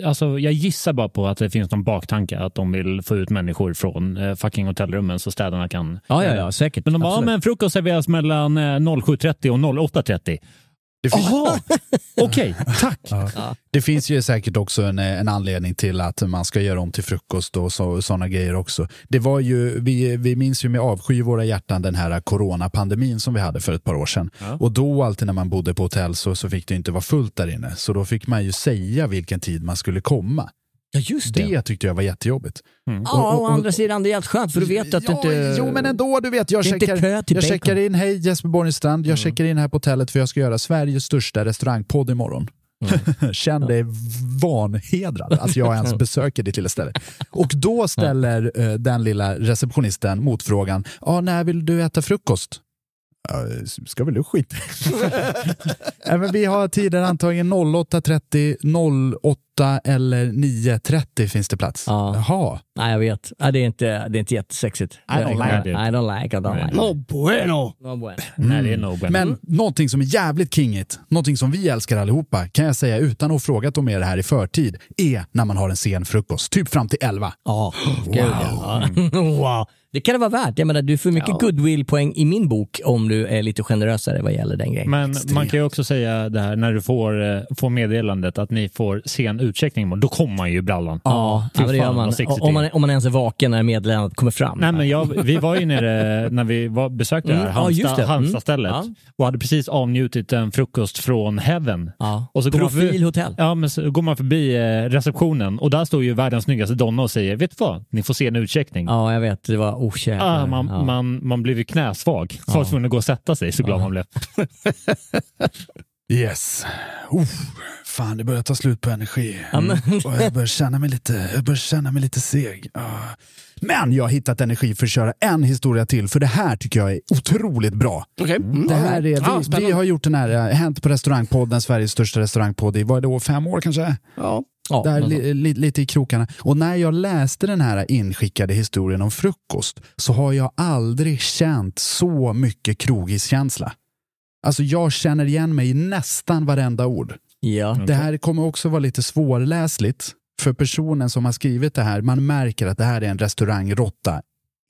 [SPEAKER 4] alltså, jag gissar bara på att det finns någon baktanke att de vill få ut människor från eh, fucking hotellrummen så städarna kan... eh,
[SPEAKER 3] Ja, ja, ja, säkert.
[SPEAKER 4] Men de bara, ja,
[SPEAKER 3] Absolut.
[SPEAKER 4] men frukost serveras mellan eh, 07.30 och 08.30. Jaha! <laughs> Okej, tack!
[SPEAKER 2] Det finns ju säkert också en, eh, en anledning till att man ska göra om till frukost och sådana grejer också. Det var ju, vi, vi minns ju med avsky i våra hjärtan den här coronapandemin som vi hade för ett par år sedan. Och då alltid när man bodde på hotell så, så fick det inte vara fullt där inne. Så då fick man ju säga vilken tid man skulle komma.
[SPEAKER 3] Ja, just det.
[SPEAKER 2] Det tyckte jag var jättejobbigt.
[SPEAKER 3] Ja, å andra sidan, det är helt skönt för du vet att
[SPEAKER 2] Mm. ja,
[SPEAKER 3] du inte...
[SPEAKER 2] Jo, men ändå, du vet. Jag,
[SPEAKER 3] Det är inte kö
[SPEAKER 2] checkar,
[SPEAKER 3] till
[SPEAKER 2] jag
[SPEAKER 3] bacon. Mm.
[SPEAKER 2] checkar in, hej Jesper Borgenstrand, jag checkar in här på hotellet för jag ska göra Sveriges största restaurangpodd imorgon.
[SPEAKER 3] Mm.
[SPEAKER 2] <laughs> Känn dig vanhedrad att
[SPEAKER 3] <laughs>
[SPEAKER 2] jag ens besöker ditt lilla ställe. Och då ställer eh, den lilla receptionisten motfrågan, ah, när vill du äta frukost? "Ja, Ska väl du <laughs> skit? Nej, men vi har tider antagligen 08.30, 08 eller 9.30 finns det plats.
[SPEAKER 3] Ja.
[SPEAKER 2] Jaha.
[SPEAKER 3] Nej, jag vet. Ja, det, är inte, det är inte jättesexigt. I
[SPEAKER 2] don't like
[SPEAKER 3] I
[SPEAKER 4] it.
[SPEAKER 3] don't like it. I don't like it.
[SPEAKER 5] No bueno.
[SPEAKER 3] No bueno.
[SPEAKER 4] Nej, det är no
[SPEAKER 3] Mm.
[SPEAKER 4] bueno.
[SPEAKER 2] Men någonting som är jävligt kingigt, någonting som vi älskar allihopa, kan jag säga utan att ha frågat om er det här i förtid, är när man har en sen frukost, typ fram till 11.
[SPEAKER 3] Ja, Ah, gud, ja. <laughs> wow. Det kan det vara värt. Jag menar, du får mycket goodwill-poäng i min bok om du är lite generösare vad gäller den grejen.
[SPEAKER 4] Men man kan ju också säga det här när du får, eh, får meddelandet att ni får sen utcheckning imorgon, då kommer man ju i brallan.
[SPEAKER 3] ja,
[SPEAKER 4] Fy
[SPEAKER 3] ja, men det gör
[SPEAKER 4] fan,
[SPEAKER 3] man.
[SPEAKER 4] vad sexigt
[SPEAKER 3] Om
[SPEAKER 4] det är.
[SPEAKER 3] man, om man ens är vaken när meddelandet kommer fram.
[SPEAKER 4] Nej, men jag, vi var ju nere när vi var, besökte det här
[SPEAKER 3] Mm, ja, just
[SPEAKER 4] Halmstad,
[SPEAKER 3] det. Mm.
[SPEAKER 4] Halmstadstället
[SPEAKER 3] Ja.
[SPEAKER 4] och hade precis avnjutit en frukost från Heaven.
[SPEAKER 3] Ja.
[SPEAKER 4] Och så går man förbi-
[SPEAKER 3] Profilhotell.
[SPEAKER 4] Ja, men så går man förbi eh, receptionen och där står ju världens snyggaste donna och säger, vet du vad, ni får se en utcheckning.
[SPEAKER 3] Ja, jag vet. Det var oh, okärt.
[SPEAKER 4] Ah, man, man, man blev ju knäsvag. Så var tvungen att gå och sätta sig, så glad man blev.
[SPEAKER 2] Yes. Uff, fan, det börjar ta slut på energi. Mm. Och jag, börjar känna mig lite, jag börjar känna mig lite seg. Ah. Men jag har hittat energi för att köra en historia till, för det här tycker jag är otroligt bra.
[SPEAKER 5] Okej. Mm.
[SPEAKER 2] Det här är,
[SPEAKER 5] Ah,
[SPEAKER 2] vi, vi
[SPEAKER 5] spännande.
[SPEAKER 2] har gjort den här eh, Hänt på restaurangpodden, Sveriges största restaurangpodd i, vad är det, år, fem år kanske?
[SPEAKER 5] Ja.
[SPEAKER 3] Ja,
[SPEAKER 2] Där,
[SPEAKER 3] men då.
[SPEAKER 2] li, li, lite i krokarna. Och när jag läste den här inskickade historien om frukost så har jag aldrig känt så mycket krogiskänsla. Alltså jag känner igen mig i nästan varenda ord.
[SPEAKER 3] Ja.
[SPEAKER 2] Det här kommer också vara lite svårläsligt för personen som har skrivit det här. Man märker att det här är en restaurangrotta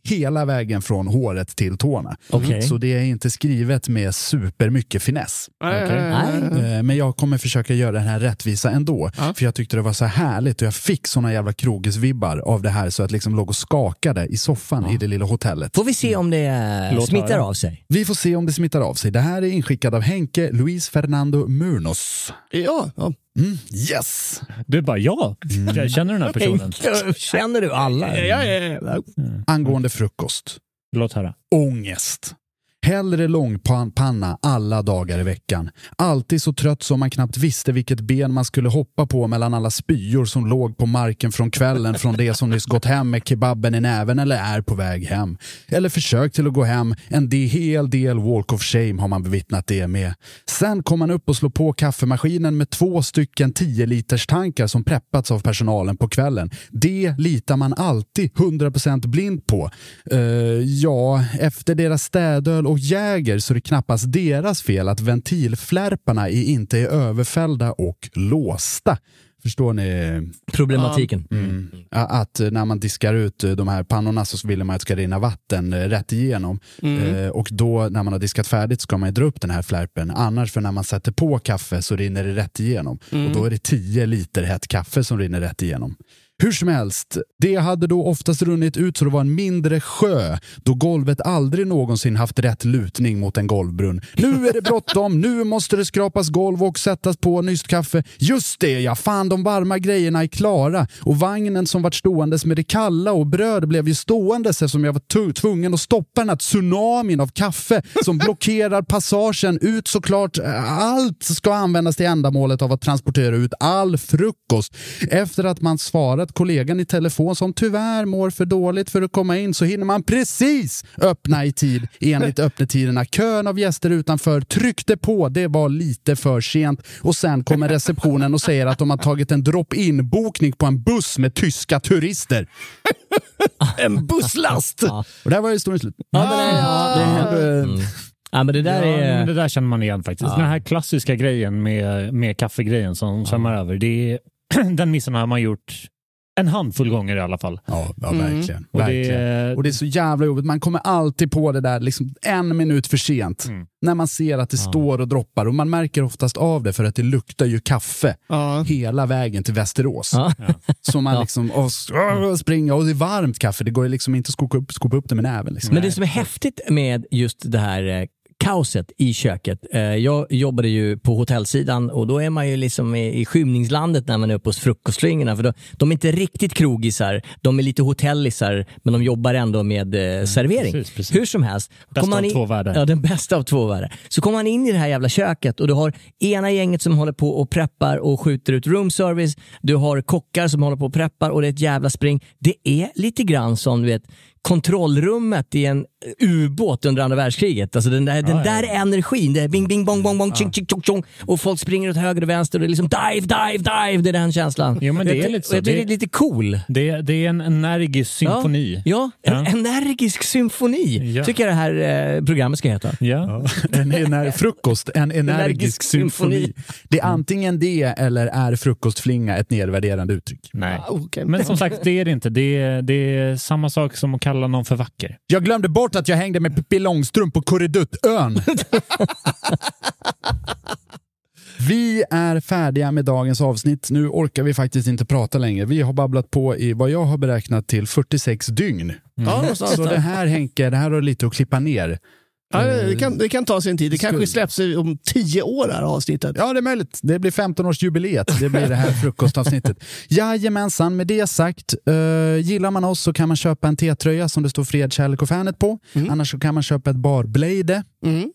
[SPEAKER 2] hela vägen från håret till tårna.
[SPEAKER 3] Okej.
[SPEAKER 2] Så det är inte skrivet med supermycket finess.
[SPEAKER 5] Nej, Okej. nej, nej.
[SPEAKER 2] Eh, Men jag kommer försöka göra den här rättvisa ändå. För jag tyckte det var så härligt och jag fick såna jävla krogisvibbar av det här så att liksom låg och skakade i soffan i det lilla hotellet.
[SPEAKER 3] Får vi se om det eh,
[SPEAKER 2] Låt
[SPEAKER 3] smittar
[SPEAKER 2] höra.
[SPEAKER 3] av sig?
[SPEAKER 2] Vi får se om det smittar av sig. Det här är inskickat av Henke Luis Fernando Murnos.
[SPEAKER 5] Ja.
[SPEAKER 2] Mm, yes!
[SPEAKER 4] Du bara ja.
[SPEAKER 3] Mm.
[SPEAKER 4] Jag känner den här
[SPEAKER 3] <laughs>
[SPEAKER 4] personen.
[SPEAKER 3] Känner du alla?
[SPEAKER 5] Ja, ja, ja.
[SPEAKER 2] Angående frukost.
[SPEAKER 4] Låt höra.
[SPEAKER 2] Ångest. Hellre långpanna alla dagar i veckan. Alltid så trött som man knappt visste vilket ben man skulle hoppa på mellan alla spyor som låg på marken från kvällen från det som nyss gått hem med kebaben i näven eller är på väg hem. Eller försök till att gå hem. En de- hel del walk of shame har man bevittnat det med. Sen kom man upp och slår på kaffemaskinen med två stycken 10 liters tankar som preppats av personalen på kvällen. Det litar man alltid 100% blind på. Eh, ja, efter deras städöl och Jäger så är det knappast deras fel att ventilflärparna i- inte är överfällda och låsta. Förstår ni?
[SPEAKER 3] Problematiken.
[SPEAKER 2] Mm. A- Att eh, när man diskar ut eh, de här pannorna så vill man att det ska rinna vatten eh, rätt igenom.
[SPEAKER 3] Mm.
[SPEAKER 2] Eh, Och då när man har diskat färdigt ska man ju dra upp den här flärpen. Annars för när man sätter på kaffe så rinner det rätt igenom.
[SPEAKER 3] Mm.
[SPEAKER 2] Och då är det 10 liter hett kaffe som rinner rätt igenom. Hur som helst, det hade då oftast runnit ut så det var en mindre sjö då golvet aldrig någonsin haft rätt lutning mot en golvbrunn. Nu är det bråttom, nu måste det skrapas golv och sättas på nyst kaffe. Just det ja, fan de varma grejerna är klara och vagnen som vart ståendes med det kalla och bröd blev ju ståendes eftersom jag var tu- tvungen att stoppa den här tsunamin av kaffe som blockerar passagen ut såklart. Allt ska användas till ändamålet av att transportera ut all frukost. Efter att man svarat kollegan i telefon som tyvärr mår för dåligt för att komma in så hinner man precis öppna i tid
[SPEAKER 4] <laughs>
[SPEAKER 2] enligt öppettiderna. Kön av gäster utanför tryckte på, det var lite för sent och sen kommer receptionen och säger att de har tagit en drop-in bokning på en buss med tyska turister.
[SPEAKER 5] En busslast!
[SPEAKER 2] Och där var historien slut.
[SPEAKER 3] Ja, men, det- ja, det händer. Mm. ja, men det där
[SPEAKER 4] Ja, men
[SPEAKER 3] är...
[SPEAKER 4] det där känner man igen faktiskt. Den här klassiska grejen med, med kaffegrejen som svämmar över, det är, <clears throat> den missen har man gjort en handfull gånger i alla fall.
[SPEAKER 2] Ja, ja
[SPEAKER 4] Mm.
[SPEAKER 2] verkligen.
[SPEAKER 4] Och det-
[SPEAKER 2] verkligen. Och det är så jävla jobbigt. Man kommer alltid på det där liksom en minut för sent.
[SPEAKER 3] Mm.
[SPEAKER 2] När man ser att det står och droppar. Och man märker oftast av det för att det luktar ju kaffe hela vägen till Västerås.
[SPEAKER 3] <laughs> Ja.
[SPEAKER 2] Så man liksom och, och springa och det är varmt kaffe. Det går ju liksom inte att skopa upp, skopa upp det med näven. Liksom.
[SPEAKER 3] Men det som är häftigt med just det här eh, kaoset i köket. Eh, Jag jobbade ju på hotellsidan och då är man ju liksom i i skymningslandet när man är uppe hos frukostflingorna. För då, de är inte riktigt krogisar, de är lite hotellisar, men de jobbar ändå med eh, servering.
[SPEAKER 4] Mm. precis, precis.
[SPEAKER 3] Hur som helst.
[SPEAKER 4] Bästa
[SPEAKER 3] kommer man
[SPEAKER 4] av
[SPEAKER 3] in-
[SPEAKER 4] två världar.
[SPEAKER 3] Ja, den bästa av två världar. Så kommer man in i det här jävla köket och du har ena gänget som håller på och preppar och skjuter ut room service. Du har kockar som håller på och preppar och det är ett jävla spring. Det är lite grann som du vet, kontrollrummet i en eh, ubåt under andra världskriget. Alltså den där, den där energin, det är bing, bing, bong, bong, bong, ching, ching, chong, chong. Och folk springer åt höger och vänster och det är liksom dive, dive, dive. Det är den känslan.
[SPEAKER 4] Jo, men det
[SPEAKER 3] Jag-
[SPEAKER 4] är lite så.
[SPEAKER 3] och Jag tycker det
[SPEAKER 4] Det-
[SPEAKER 3] är lite cool.
[SPEAKER 4] Det, det är en energisk symfoni.
[SPEAKER 3] Ja, en
[SPEAKER 4] Ja.
[SPEAKER 3] energisk symfoni
[SPEAKER 4] Ja.
[SPEAKER 3] tycker jag det här eh, programmet ska heta.
[SPEAKER 2] <laughs>
[SPEAKER 4] Ja.
[SPEAKER 2] En ener- frukost, en energisk,
[SPEAKER 3] Energisk
[SPEAKER 2] symfoni.
[SPEAKER 3] symfoni.
[SPEAKER 2] Det är antingen det eller är frukostflinga ett nedvärderande uttryck.
[SPEAKER 4] Nej.
[SPEAKER 5] Okay.
[SPEAKER 4] Men som sagt, det är det inte. Det är, det är samma sak som att kalla någon för vacker.
[SPEAKER 2] Jag glömde bort att jag hängde med Pippi Långstrump på Korriduttön. <laughs> Vi är färdiga med dagens avsnitt. Nu orkar vi faktiskt inte prata längre. Vi har babblat på i vad jag har beräknat till 46 dygn. Mm.
[SPEAKER 5] Ja, någonstans
[SPEAKER 2] Så det
[SPEAKER 5] där.
[SPEAKER 2] här Henke, det här har du lite att klippa ner.
[SPEAKER 5] Ja, det, kan, det kan ta sin tid. Det kanske släpps om tio år, det här avsnittet.
[SPEAKER 2] Ja, det är möjligt. Det blir 15-årsjubileet. Det blir det här frukostavsnittet. Jajamensan, med det sagt. eh, gillar man oss så kan man köpa en T-tröja som det står Fred, Kärlek och Fanet på. Annars så kan man köpa ett barblade.
[SPEAKER 5] Mm.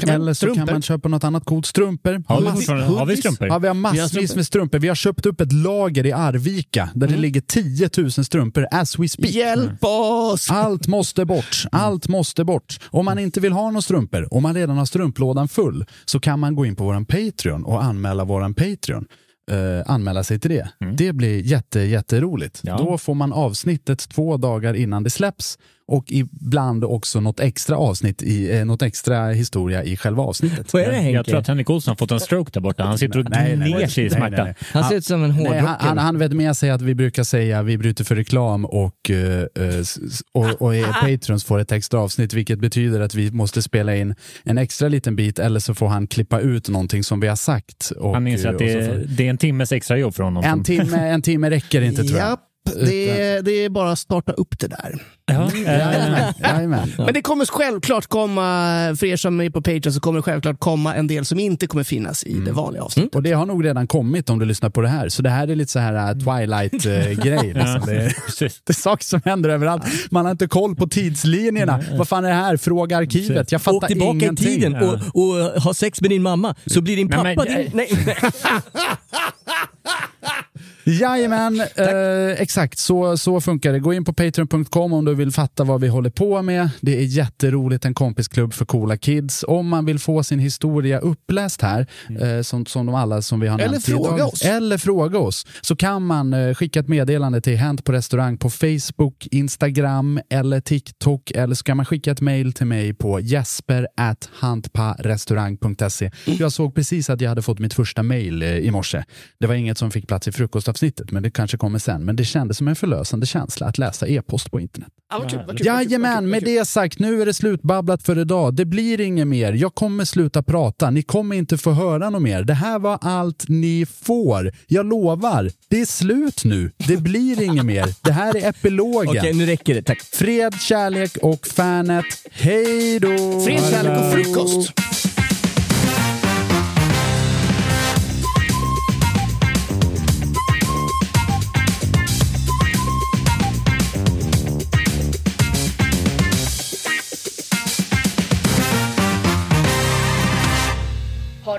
[SPEAKER 5] Kan man-
[SPEAKER 2] Eller så
[SPEAKER 5] strumpor?
[SPEAKER 2] kan man köpa något annat coolt. Strumpor.
[SPEAKER 4] Har vi,
[SPEAKER 2] Mass-
[SPEAKER 4] fortfarande- har vi
[SPEAKER 5] hoodies?
[SPEAKER 4] strumpor?
[SPEAKER 2] Ja, vi har
[SPEAKER 5] Vi har
[SPEAKER 2] massvis
[SPEAKER 5] strumpor.
[SPEAKER 2] med strumpor. Vi har köpt upp ett lager i Arvika där det ligger 10 000 strumpor as we speak.
[SPEAKER 5] Hjälp oss!
[SPEAKER 2] Allt måste bort. Allt måste bort. Om man inte vill ha några strumpor, om man redan har strumplådan full, så kan man gå in på vår Patreon och anmäla vår Patreon. eh, anmäla sig till det. Det blir jätte, jätteroligt. Då får man avsnittet två dagar innan det släpps och ibland också något extra avsnitt i, eh, något extra historia i själva avsnittet.
[SPEAKER 3] Vad är det, Henke?
[SPEAKER 4] Jag tror att Henrik Olsson har fått en stroke där borta. Han sitter och
[SPEAKER 2] Nej, nej,
[SPEAKER 4] gner sig i
[SPEAKER 2] nej, nej,
[SPEAKER 4] smärta.
[SPEAKER 2] nej.
[SPEAKER 3] Han ser ut som en
[SPEAKER 2] Nej, han,
[SPEAKER 3] hårdrocker.
[SPEAKER 2] han, han vet med sig att vi brukar säga vi bryter för reklam och, eh, eh, s- s- och, och
[SPEAKER 5] Ah,
[SPEAKER 2] är patrons får ett extra avsnitt, vilket betyder att vi måste spela in en extra liten bit eller så får han klippa ut någonting som vi har sagt. Och,
[SPEAKER 4] Han inser
[SPEAKER 2] eh,
[SPEAKER 4] att
[SPEAKER 2] och
[SPEAKER 4] det
[SPEAKER 2] så
[SPEAKER 4] är,
[SPEAKER 3] liksom-
[SPEAKER 2] får-
[SPEAKER 4] det är en timmes extra jobb för honom.
[SPEAKER 2] en timme, en timme räcker inte tror jag.
[SPEAKER 5] Japp, det, är- det är bara att starta upp det där.
[SPEAKER 4] <laughs> Ja,
[SPEAKER 2] Jajamän, <laughs> jajamän.
[SPEAKER 5] Men det kommer självklart komma, för er som är på Patreon, så kommer det självklart komma en del som inte kommer finnas i det vanliga avsnittet.
[SPEAKER 2] Och det har nog redan kommit om du lyssnar på det här. Så det här är lite så här eh, Twilight-grej. Liksom. Det, är-
[SPEAKER 4] precis.
[SPEAKER 2] det är saker som händer överallt. Man har inte koll på tidslinjerna. Vad fan är det här? Fråga arkivet. Jag
[SPEAKER 3] Åk
[SPEAKER 2] fattar
[SPEAKER 3] tillbaka
[SPEAKER 2] ingenting.
[SPEAKER 3] i tiden och, och ha sex med din mamma, så blir din
[SPEAKER 4] Nej,
[SPEAKER 3] pappa
[SPEAKER 4] men-
[SPEAKER 3] din... Nej.
[SPEAKER 2] Jajamän, eh, exakt så, så funkar det. Gå in på patreon.com om du vill fatta vad vi håller på med. Det är jätteroligt, en kompisklubb för coola kids. Om man vill få sin historia uppläst här, eh, som, som de alla som vi har
[SPEAKER 5] Mm. Eller
[SPEAKER 2] nämnt
[SPEAKER 5] fråga
[SPEAKER 2] idag,
[SPEAKER 5] oss.
[SPEAKER 2] eller fråga oss, så kan man eh, skicka ett meddelande till Hänt på restaurang på Facebook, Instagram eller TikTok, eller så kan man skicka ett mejl till mig på jesper.hantparestaurang.se. Jag såg precis att jag hade fått mitt första mejl eh, i morse. Det var inget som fick plats i frukostavsnittet, men det kanske kommer sen. Men det kändes som en förlösande känsla att läsa e-post på internet.
[SPEAKER 5] Ja, vad kul, vad kul, vad kul, vad kul,
[SPEAKER 2] Jajamän,
[SPEAKER 5] vad
[SPEAKER 2] med
[SPEAKER 5] kul.
[SPEAKER 2] det sagt, nu är det slutbabblat för idag. Det blir inget mer. Jag kommer sluta prata. Ni kommer inte få höra något mer. Det här var allt ni får. Jag lovar, det är slut nu. Det blir inget mer. Det här är epilogen.
[SPEAKER 3] <laughs> <laughs> Okej, nu räcker det. Tack.
[SPEAKER 2] Fred, kärlek och fanet. Hej då!
[SPEAKER 5] Fred, kärlek och frukost.
[SPEAKER 7] Har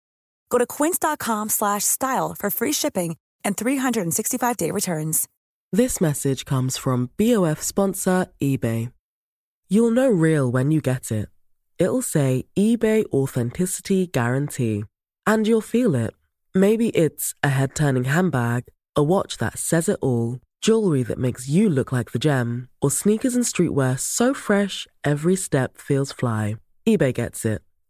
[SPEAKER 8] Go to quince.com slash style for free shipping and 365-day returns.
[SPEAKER 9] This message comes from BOF sponsor eBay. You'll know real when you get it. It'll say eBay Authenticity Guarantee. And you'll feel it. Maybe it's a head turning handbag, a watch that says it all, jewelry that makes you look like the gem, or sneakers and streetwear so fresh every step feels fly. eBay gets it.